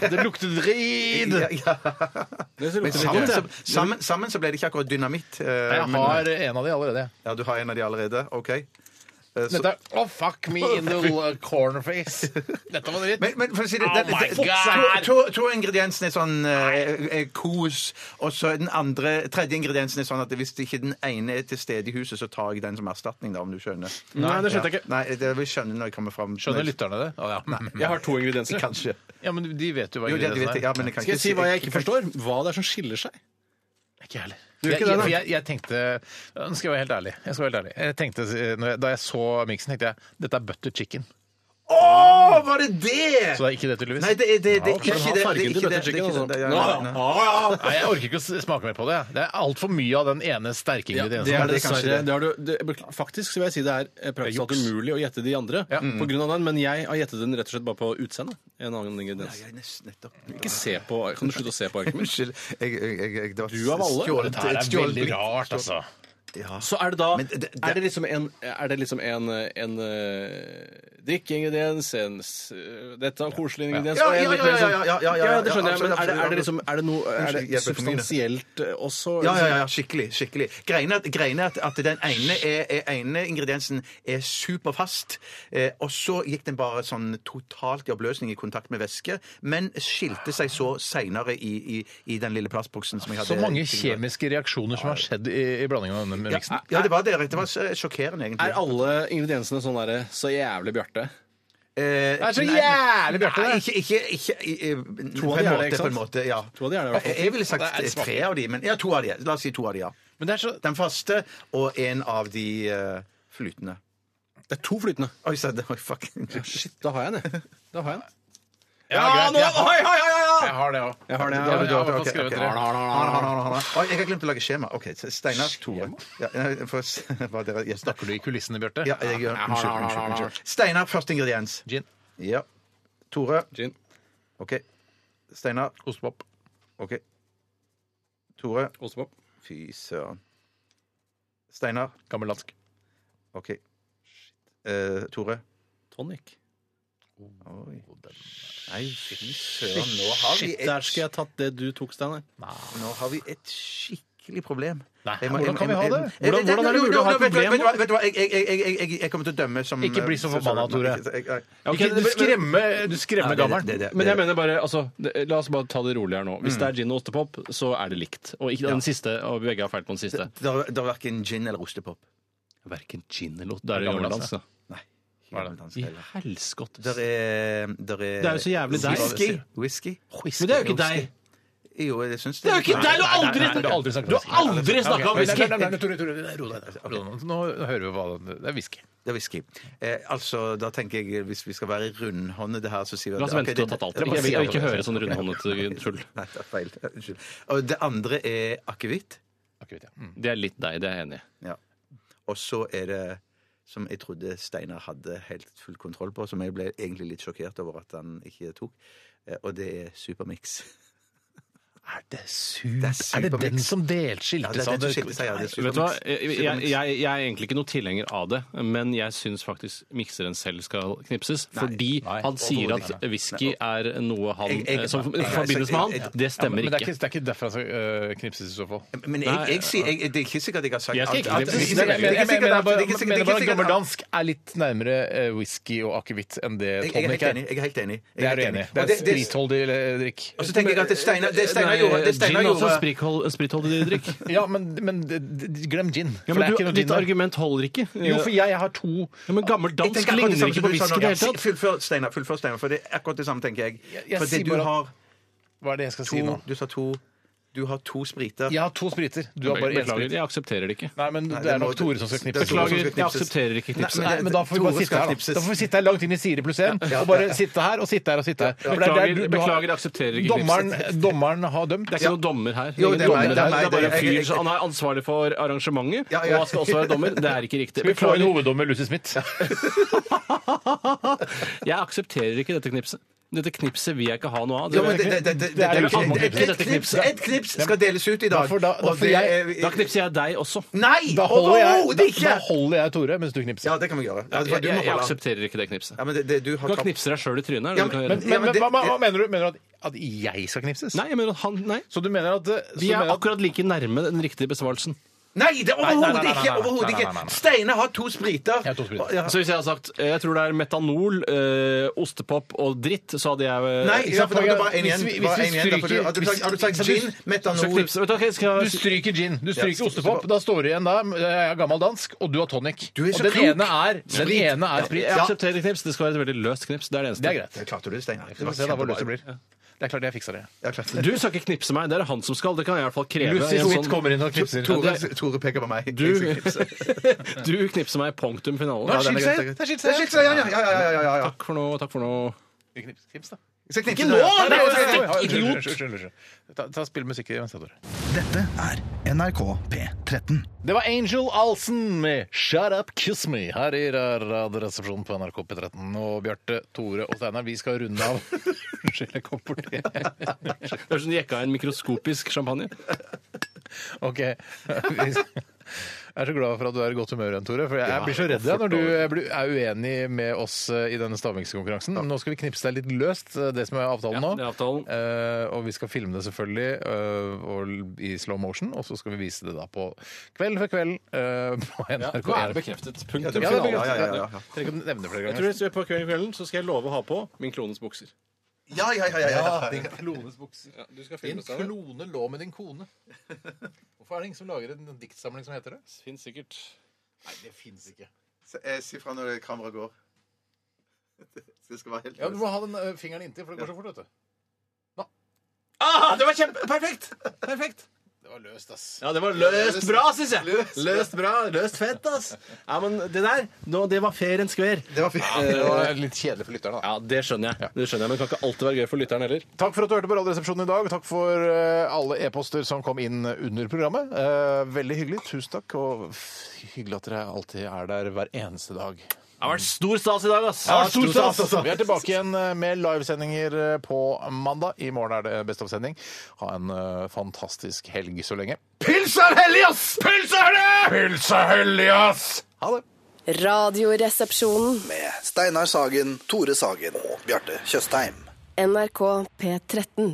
Speaker 5: Det lukter drit!
Speaker 3: Ja, ja. Men sammen,
Speaker 6: litt,
Speaker 3: så, sammen, sammen så ble det ikke akkurat dynamitt. eh,
Speaker 5: Jeg
Speaker 3: men-
Speaker 5: har en av de allerede.
Speaker 3: Ja, du har en av de allerede? OK. Eh, så-
Speaker 5: Dette er Oh, fuck me in the
Speaker 3: <laughs>
Speaker 5: l- cornerface. Dette var dritt.
Speaker 3: Men, men for å si det,
Speaker 5: Oh
Speaker 3: det,
Speaker 5: my
Speaker 3: det,
Speaker 5: God!
Speaker 3: to, to, to ingrediensene er sånn eh, eh, kos, og så er den andre, tredje ingrediensen er sånn at hvis ikke den ene er til stede i huset, så tar jeg den som erstatning, da, om du skjønner.
Speaker 5: Nei, det skjønte jeg ikke.
Speaker 3: Nei, det vil jeg skjønne når jeg kommer fram.
Speaker 5: Skjønner lytterne det? Å, ja.
Speaker 6: Jeg har to ingredienser.
Speaker 3: Kanskje.
Speaker 5: ja, men de vet jo hva
Speaker 3: Jo, det, det
Speaker 5: ingrediensene
Speaker 3: vet jeg, ja, men jeg kan
Speaker 6: Skal jeg si hva jeg ikke forstår? Hva det er som skiller seg?
Speaker 5: Ikke heller.
Speaker 6: gjør
Speaker 5: Jeg,
Speaker 6: ikke det, da?
Speaker 5: jeg, jeg, jeg tenkte ja, Nå skal jeg være helt ærlig. Jeg skal være helt ærlig. Jeg tenkte, eh, når jeg, da jeg så miksen, tenkte jeg dette er butter chicken.
Speaker 3: Å, var det det?!
Speaker 5: Så det er ikke det, tydeligvis.
Speaker 3: Nei, det er det, det, er
Speaker 6: ok.
Speaker 3: ikke det.
Speaker 6: Fargen til
Speaker 3: Det er ikke det.
Speaker 6: butter
Speaker 3: det, er
Speaker 6: chicken,
Speaker 3: ikke det.
Speaker 6: altså.
Speaker 3: Ja, ja, ja.
Speaker 5: Nei, jeg orker ikke å s- smake mer på det. jeg. Det er altfor mye av den ene sterke
Speaker 6: Ja, det
Speaker 5: ingrediensen.
Speaker 6: er
Speaker 3: det er kanskje
Speaker 6: dessverre
Speaker 3: det.
Speaker 6: det har du, det, bekl- Faktisk så vil jeg si det er eh, praktisk talt umulig å gjette de andre
Speaker 5: Ja.
Speaker 6: på grunn av den, men jeg har gjettet den rett og slett bare på utseendet. En annen ingrediens.
Speaker 3: Jeg er nesten- nettopp.
Speaker 6: Ikke se på, kan du slutte å se på arket mitt?
Speaker 3: Unnskyld. Jeg, jeg, jeg, jeg, det var
Speaker 6: Du av alle?
Speaker 3: stjålet-
Speaker 5: Dette her
Speaker 3: et
Speaker 5: er
Speaker 3: stjålet
Speaker 5: veldig
Speaker 3: blikk.
Speaker 5: rart, altså.
Speaker 3: Ja.
Speaker 6: <laughs> Så er det da
Speaker 3: Men det- det-
Speaker 6: Er det liksom en, er det liksom en, en eh, drikkeingrediens, en s- eh, dette er koselig ingrediens
Speaker 3: Ja,
Speaker 6: og en
Speaker 3: ja, ja,
Speaker 6: litt mer sånn-
Speaker 3: ja, ja, ja, ja, ja,
Speaker 6: ja, det skjønner
Speaker 3: ja,
Speaker 6: jeg, men er det, er det
Speaker 3: absolutt,
Speaker 6: liksom Er det noe er
Speaker 3: Unnskyld, jeg
Speaker 6: det
Speaker 3: ble for mye.
Speaker 6: substansielt eh, også?
Speaker 3: Ja, ja, ja,
Speaker 5: Altså-
Speaker 3: ja, skikkelig. skikkelig. Greiene er at, greien er at, at den ene, er, er, ene ingrediensen er superfast, eh, og så gikk den bare sånn totalt i oppløsning i kontakt med væske, men skilte seg så seinere i, i, i den lille plastboksen som jeg hadde.
Speaker 5: Så mange kjemiske reaksjoner som har skjedd i, i blandingen av denne miksen.
Speaker 3: Ja, det var det. Det var så sjokkerende, egentlig.
Speaker 6: Er alle ingrediensene sånn derre så jævlig Bjarte?
Speaker 3: Eh,
Speaker 5: Det er så
Speaker 3: nei,
Speaker 5: jævlig Bjarte, det.
Speaker 3: nei, Ikke, ikke, ikke i- i- på,
Speaker 6: av
Speaker 3: en
Speaker 6: de er det,
Speaker 3: måte,
Speaker 6: ikke
Speaker 3: på en
Speaker 6: sant?
Speaker 3: måte. Ja.
Speaker 6: To av de er det, i hvert fall.
Speaker 3: Jeg ville sagt
Speaker 5: Det er et
Speaker 3: tre av de, men ja, to av de. La oss si to av de, ja.
Speaker 5: Men det er så
Speaker 3: Den faste og en av de eh, flytende.
Speaker 6: Det er to flytende.
Speaker 3: Oi, sa det var fucking
Speaker 6: Shit, da har jeg den, jeg. Da har jeg den.
Speaker 5: Ja, greit. Jeg har-
Speaker 6: oi, oi, oi, oi, oi!
Speaker 5: Jeg har det òg.
Speaker 6: Jeg har det,
Speaker 5: jeg har i hvert fall
Speaker 3: Ok, ok.
Speaker 5: skrevet tre.
Speaker 3: Harne, harne, harne, harne, harne, harne. Oi, jeg har glemt å lage skjema. Ok, så Steinar Tore. Ja, nei, for, <laughs> hva dere gjester.
Speaker 5: Snakker du i kulissene, Bjarte?
Speaker 3: Ja, jeg gjør Unnskyld. unnskyld, unnskyld. Steinar, første ingrediens.
Speaker 5: Gin.
Speaker 3: Ja. Tore.
Speaker 6: Gin.
Speaker 3: OK. Steinar.
Speaker 5: Ostepop.
Speaker 3: OK. Tore.
Speaker 6: Ostepop.
Speaker 3: Fy søren. Steinar.
Speaker 5: Gammeldansk.
Speaker 3: OK. Eh, Tore.
Speaker 8: Tonic.
Speaker 3: Oi. Nei, fy søren. Nå har vi
Speaker 8: Der
Speaker 3: et,
Speaker 8: skulle jeg tatt det du tok, Steinar.
Speaker 3: nå har vi et skikkelig problem.
Speaker 5: Nei,
Speaker 3: Jeg må-
Speaker 5: hvordan kan vi
Speaker 3: jeg-
Speaker 5: ha
Speaker 3: jeg-
Speaker 5: det?
Speaker 3: jeg-
Speaker 8: Hvordan- hvordan er det mulig å ha et
Speaker 3: Vet du hva,
Speaker 8: problem
Speaker 3: vet du hva, vet du hva, jeg- jeg- jeg- jeg- jeg- Jeg kommer til å dømme som
Speaker 5: Ikke bli så forbanna, Tore.
Speaker 3: Jeg- jeg-
Speaker 5: Ikke, du skremmer, du skremmer gammelen.
Speaker 3: det- det- det-
Speaker 6: Men jeg mener bare, altså, det- la oss bare ta det rolig her nå. Hvis det er gin og ostepop, så er det likt. Og ikke den siste, og begge har feil på den siste.
Speaker 3: Det er det er verken gin eller ostepop.
Speaker 6: Verken gin eller ost. Det er det gammeldans, da.
Speaker 5: er det?
Speaker 3: Gammeldans,
Speaker 6: I
Speaker 3: eller-
Speaker 6: helskottes.
Speaker 3: Der er der er
Speaker 6: Det er jo så jævlig deg.
Speaker 3: Whisky. Whisky.
Speaker 6: Men det er jo ikke deg!
Speaker 3: Jo, jeg syns
Speaker 8: Det er jo ikke deg! Du
Speaker 5: Nei,
Speaker 8: har
Speaker 5: nei,
Speaker 8: aldri
Speaker 5: nei, du har aldri snakket
Speaker 8: Du
Speaker 5: om
Speaker 8: har aldri snakka om
Speaker 5: Ok, nei,
Speaker 8: whisky!
Speaker 5: nei, nei, nei, Tore, Tore, ro deg ned. Ro deg ned. Nå hører vi hva det det er whisky.
Speaker 3: Det er whisky. Eh, altså, da tenker jeg, hvis vi skal være rundhåndede her, så sier vi at-
Speaker 6: La oss
Speaker 3: ok,
Speaker 6: vente til du har
Speaker 3: det-
Speaker 6: tatt alt.
Speaker 3: det-
Speaker 6: Jeg vil- jeg vil ikke høre sånn
Speaker 3: Ok.
Speaker 6: rundhåndet tull.
Speaker 3: Nei, det er feil. Unnskyld. Og det andre er akevitt.
Speaker 5: Akkurat, ja. Mm.
Speaker 6: Det er litt deg, det er jeg enig i.
Speaker 3: Ja. Og så er det som jeg trodde Steinar hadde helt full kontroll på, som jeg ble egentlig litt sjokkert over at han ikke tok, eh, og det er Supermix.
Speaker 5: Er det surt?
Speaker 3: Det
Speaker 5: Er,
Speaker 3: er
Speaker 5: det den
Speaker 3: supermix.
Speaker 5: som delskilte sånn?
Speaker 3: Ja, det er
Speaker 5: seg?
Speaker 3: den som skilte seg, ja, det er
Speaker 6: Vet du hva? Jeg,
Speaker 3: Supermix.
Speaker 6: jeg, jeg, jeg er egentlig ikke noe tilhenger av det, men jeg syns faktisk mikseren selv skal knipses. Fordi
Speaker 5: Nei,
Speaker 6: han sier
Speaker 5: overhodet
Speaker 6: at whisky er noe han
Speaker 3: Jeg- jeg-
Speaker 6: eh, som
Speaker 3: jeg- jeg-
Speaker 6: forbindes med
Speaker 3: jeg-
Speaker 6: han. Det
Speaker 5: Ja, men
Speaker 6: stemmer
Speaker 5: det er ikke,
Speaker 6: ikke.
Speaker 5: det er ikke derfor han skal øh, knipses i så fall.
Speaker 3: Men jeg, jeg, sier- jeg, det er ikke sikkert jeg har sagt
Speaker 6: Jeg skal ikke
Speaker 3: alt- alt-
Speaker 6: knipse.
Speaker 3: det
Speaker 5: Jeg
Speaker 3: er ikke sikkert- det er ikke sikkert
Speaker 5: mener
Speaker 3: alt- det er
Speaker 5: bare-
Speaker 3: ikke sikkert- det er
Speaker 5: mener
Speaker 3: ikke
Speaker 5: bare at
Speaker 3: sikkert alt-
Speaker 5: gammeldansk er litt nærmere eh, whisky og akevitt enn det
Speaker 3: Jeg, jeg
Speaker 5: tonic
Speaker 3: er
Speaker 5: er.
Speaker 3: helt enig. jeg er helt enig. Jeg
Speaker 5: Det er
Speaker 3: helt
Speaker 5: du enig i.
Speaker 3: Og
Speaker 5: Det er spritholdig eh, drikk.
Speaker 3: Og så tenker jeg at det Steinar det Steinar
Speaker 6: Nei, eh,
Speaker 3: gjorde, det Steinar
Speaker 6: Gin er også
Speaker 3: gjorde
Speaker 6: sprithold- spritholdig drikk.
Speaker 5: Ja, men, men d- d- glem gin. for
Speaker 6: Ja,
Speaker 5: det
Speaker 6: men
Speaker 5: er
Speaker 6: du,
Speaker 5: ikke noe gin
Speaker 6: ditt
Speaker 5: der.
Speaker 6: argument holder ikke.
Speaker 5: Jo, for jeg har to
Speaker 6: ja, men gammel
Speaker 3: Jeg
Speaker 6: dansk
Speaker 3: tenker akkurat det
Speaker 6: ligner
Speaker 3: samme
Speaker 6: ikke
Speaker 3: som
Speaker 6: på
Speaker 3: du sa
Speaker 6: whisky
Speaker 3: nå.
Speaker 6: i det hele
Speaker 3: Ja,
Speaker 6: tatt.
Speaker 3: Fullfør, Steinar. Fullfør, Steinar. For det er akkurat det samme, tenker jeg.
Speaker 5: Jeg- jeg
Speaker 3: for det
Speaker 5: sier
Speaker 3: du
Speaker 5: bare-
Speaker 3: har
Speaker 5: Hva er det jeg skal
Speaker 3: to,
Speaker 5: si nå?
Speaker 3: Du sa to Du har to spriter.
Speaker 5: Jeg har to spriter. Du har bare én sprit.
Speaker 6: Beklager, jeg aksepterer det ikke.
Speaker 5: Nei, men
Speaker 3: Nei,
Speaker 5: det er
Speaker 3: det må
Speaker 5: nok
Speaker 3: du-
Speaker 5: Tore som skal knipse.
Speaker 3: det er Tore som
Speaker 6: Beklager,
Speaker 3: skal
Speaker 6: jeg aksepterer ikke knipset.
Speaker 5: Nei, men da får vi
Speaker 3: Tore
Speaker 5: bare sitte
Speaker 3: skal
Speaker 5: her, da.
Speaker 3: knipses.
Speaker 5: Da får vi sitte her langt inn i Siri pluss én, og bare sitte her og sitte her og sitte her. For det er der
Speaker 6: Beklager,
Speaker 5: du- du har-
Speaker 6: beklager, jeg aksepterer ikke
Speaker 5: Dommeren,
Speaker 6: knipset.
Speaker 5: dommeren har dømt.
Speaker 6: Det er ikke noen dommer her.
Speaker 3: Jo,
Speaker 6: Ingen
Speaker 3: det er meg,
Speaker 6: dommer
Speaker 3: det er
Speaker 6: her.
Speaker 3: meg,
Speaker 6: det er bare
Speaker 3: det er-
Speaker 6: en fyr
Speaker 3: jeg-
Speaker 6: som han er ansvarlig for arrangementet,
Speaker 3: Ja, ja.
Speaker 6: og han skal også være dommer. Det er ikke riktig.
Speaker 5: Skal vi få en
Speaker 6: Beklager.
Speaker 5: hoveddommer, Lucy Smith?
Speaker 6: <laughs> Jeg aksepterer ikke dette knipset. Dette knipset vil jeg ikke ha noe av.
Speaker 3: Jo, men det- det- det- det- det-
Speaker 5: er jo ikke
Speaker 3: et-
Speaker 5: annet
Speaker 3: et- Et knips- et knips skal deles ut i dag.
Speaker 5: Da får da- da
Speaker 3: Og
Speaker 5: får
Speaker 3: det
Speaker 5: jeg-
Speaker 3: er-
Speaker 6: Da knipser jeg deg også.
Speaker 3: Nei!
Speaker 5: <laughs> Da holder jeg,
Speaker 3: Overhodet
Speaker 5: da,
Speaker 3: ikke!
Speaker 5: da holder jeg Tore mens du knipser.
Speaker 3: Ja, det kan vi gjøre. Ja, det-
Speaker 6: Jeg,
Speaker 3: du må
Speaker 6: jeg, jeg
Speaker 3: holde.
Speaker 6: aksepterer ikke det knipset.
Speaker 3: Ja, men det, det, du har
Speaker 6: Du kan
Speaker 3: tapt.
Speaker 6: knipse deg sjøl i trynet. Er
Speaker 3: Ja,
Speaker 6: det du kan
Speaker 5: Men,
Speaker 6: gjøre.
Speaker 5: men, men,
Speaker 3: det-
Speaker 5: hva, hva
Speaker 3: det-
Speaker 5: mener du? Mener du at, at jeg skal knipses?
Speaker 6: Nei, jeg mener at han Nei.
Speaker 5: Så du mener at eh, så
Speaker 6: Vi
Speaker 5: du
Speaker 6: er
Speaker 5: mener at,
Speaker 6: akkurat like nærme den riktige besvarelsen.
Speaker 3: Nei, det er
Speaker 5: Nei, nei,
Speaker 3: overhodet
Speaker 5: nei, nei,
Speaker 3: ikke!
Speaker 5: nei, nei,
Speaker 3: Overhodet
Speaker 5: nei, nei, nei,
Speaker 3: ikke.
Speaker 5: nei.
Speaker 3: Steinar har to spriter.
Speaker 5: Jeg har to spriter.
Speaker 3: Ja.
Speaker 6: Så hvis jeg hadde sagt eh, jeg tror det er metanol, eh, ostepop og dritt, så hadde jeg eh,
Speaker 3: Nei,
Speaker 5: Ikke
Speaker 3: ja,
Speaker 5: sant,
Speaker 3: for da er det bare
Speaker 5: for
Speaker 3: én
Speaker 5: jeg- hvis
Speaker 3: igjen.
Speaker 5: vi-
Speaker 3: Bare
Speaker 5: hvis vi
Speaker 3: en igjen, da får du-
Speaker 5: stryker-
Speaker 3: Har du sagt- har du sagt
Speaker 5: hvis-
Speaker 3: gin,
Speaker 6: så
Speaker 3: metanol
Speaker 6: knipser- Vet du hva, jeg skal-
Speaker 5: du stryker gin, du stryker
Speaker 3: Ja,
Speaker 5: ostepop. Da står det igjen da jeg er gammel dansk, og du har tonic.
Speaker 3: Du er så
Speaker 5: og den
Speaker 3: klok.
Speaker 5: ene er, den
Speaker 3: Sprit.
Speaker 5: ene er sprit.
Speaker 6: Jeg aksepterer knips. Det skal være et veldig løst knips. Det er det eneste.
Speaker 5: Det er greit.
Speaker 3: Ja, Klarte du det, Steinar?
Speaker 5: Vi får se da hvor løst det blir. Det er klart jeg fikser det.
Speaker 3: Ja, klart.
Speaker 6: Du skal ikke knipse meg. Det er det han som skal. Det kan jeg i hvert fall kreve.
Speaker 5: Lucy
Speaker 6: i en
Speaker 5: Smith
Speaker 6: sånn-
Speaker 5: kommer inn og knipser.
Speaker 3: Tore,
Speaker 5: Ja, det-
Speaker 3: Tore peker på meg.
Speaker 6: Du, du knipser meg. Punktum
Speaker 5: Nå
Speaker 6: finale.
Speaker 5: er det
Speaker 3: den er
Speaker 5: skilt seg!
Speaker 3: greit,
Speaker 5: Det er skilt
Speaker 3: Det er
Speaker 5: seg!
Speaker 3: skilt, ja, ja, ja, ja, ja, ja, ja.
Speaker 6: Takk for nå. Takk for nå.
Speaker 5: Knips, knips, da.
Speaker 3: Jeg skal knipse
Speaker 5: Nå!
Speaker 3: deg.
Speaker 5: Nei,
Speaker 3: Nei,
Speaker 5: oi,
Speaker 3: nei,
Speaker 5: oi,
Speaker 3: nei,
Speaker 5: oi,
Speaker 3: nei.
Speaker 5: Unnskyld, unnskyld, unnskyld. Ta- ta- Spill musikk i venstre, Tore.
Speaker 7: Dette er NRK P13.
Speaker 5: Det var Angel Alsen med 'Shut Up Kiss Me' her i Radioresepsjonen på NRK P13. Og Bjarte, Tore og Steinar, vi skal runde av. Unnskyld, jeg kom borti
Speaker 6: Det er som du jekka en mikroskopisk champagne.
Speaker 5: OK. <laughs> Jeg er så glad for at du er i godt humør igjen, Tore. For jeg blir så redd jeg, når du blir- er uenig med oss eh, i denne stavmikskonkurransen. Nå skal vi knipse deg litt løst, eh, det som er avtalen
Speaker 6: Ja,
Speaker 5: nå.
Speaker 6: det er avtalen.
Speaker 5: Eh, og vi skal filme det selvfølgelig eh, og i slow motion, og så skal vi vise det da på Kveld for kveld eh, <laughs> på NRK.
Speaker 6: bekreftet. Punktum
Speaker 5: Ja, det er bekreftet.
Speaker 3: Ja, ja, ja, ja, ja.
Speaker 5: Trenger ikke å nevne det flere
Speaker 6: Jeg
Speaker 5: ganger.
Speaker 6: tror jeg ser på kvelden, kvelden så skal jeg love å ha på min klones bukser.
Speaker 3: Ja, ja, ja, ja, ja.
Speaker 5: Din klones bukser.
Speaker 6: Du skal
Speaker 5: Din klone lå med din <laughs> kone. Hvorfor er det ingen som lager en diktsamling som heter det?
Speaker 6: Fins sikkert.
Speaker 5: Nei, det fins ikke.
Speaker 3: Si fra når kameraet går. <laughs> Det skal være helt
Speaker 5: Ja, Du må ha den eh, ø, fingeren inntil, for det går så fort, vet du.
Speaker 6: Ah, det var kjempe... Perfekt! Perfekt.
Speaker 5: Det var løst, ass.
Speaker 6: Ja, det var løst bra, syns jeg! Løst bra, løst fett, ass. Ja, men det der, nå, det var fair and square.
Speaker 3: Det var fint.
Speaker 5: Det var litt kjedelig for lytterne, da.
Speaker 6: Ja, det skjønner jeg. Det skjønner jeg, Men det kan ikke alltid være gøy for lytteren heller.
Speaker 5: Takk for at du hørte på Radioresepsjonen i dag. Takk for eh, alle e-poster som kom inn under programmet. Eh, Veldig hyggelig. Tusen takk. Og f- hyggelig at dere alltid er der hver eneste dag.
Speaker 6: Det har vært stor stas i dag, ass.
Speaker 5: Vi er tilbake igjen eh, med livesendinger eh, på mandag. I morgen er det Best of-sending. Ha en eh, fantastisk helg så lenge. Pils er hellig, ass! Pils er det! Pils er hellig, ass! Ha det.
Speaker 9: Radioresepsjonen.
Speaker 7: Med Steinar Sagen, Tore Sagen og Bjarte Tjøstheim.
Speaker 9: NRK P13.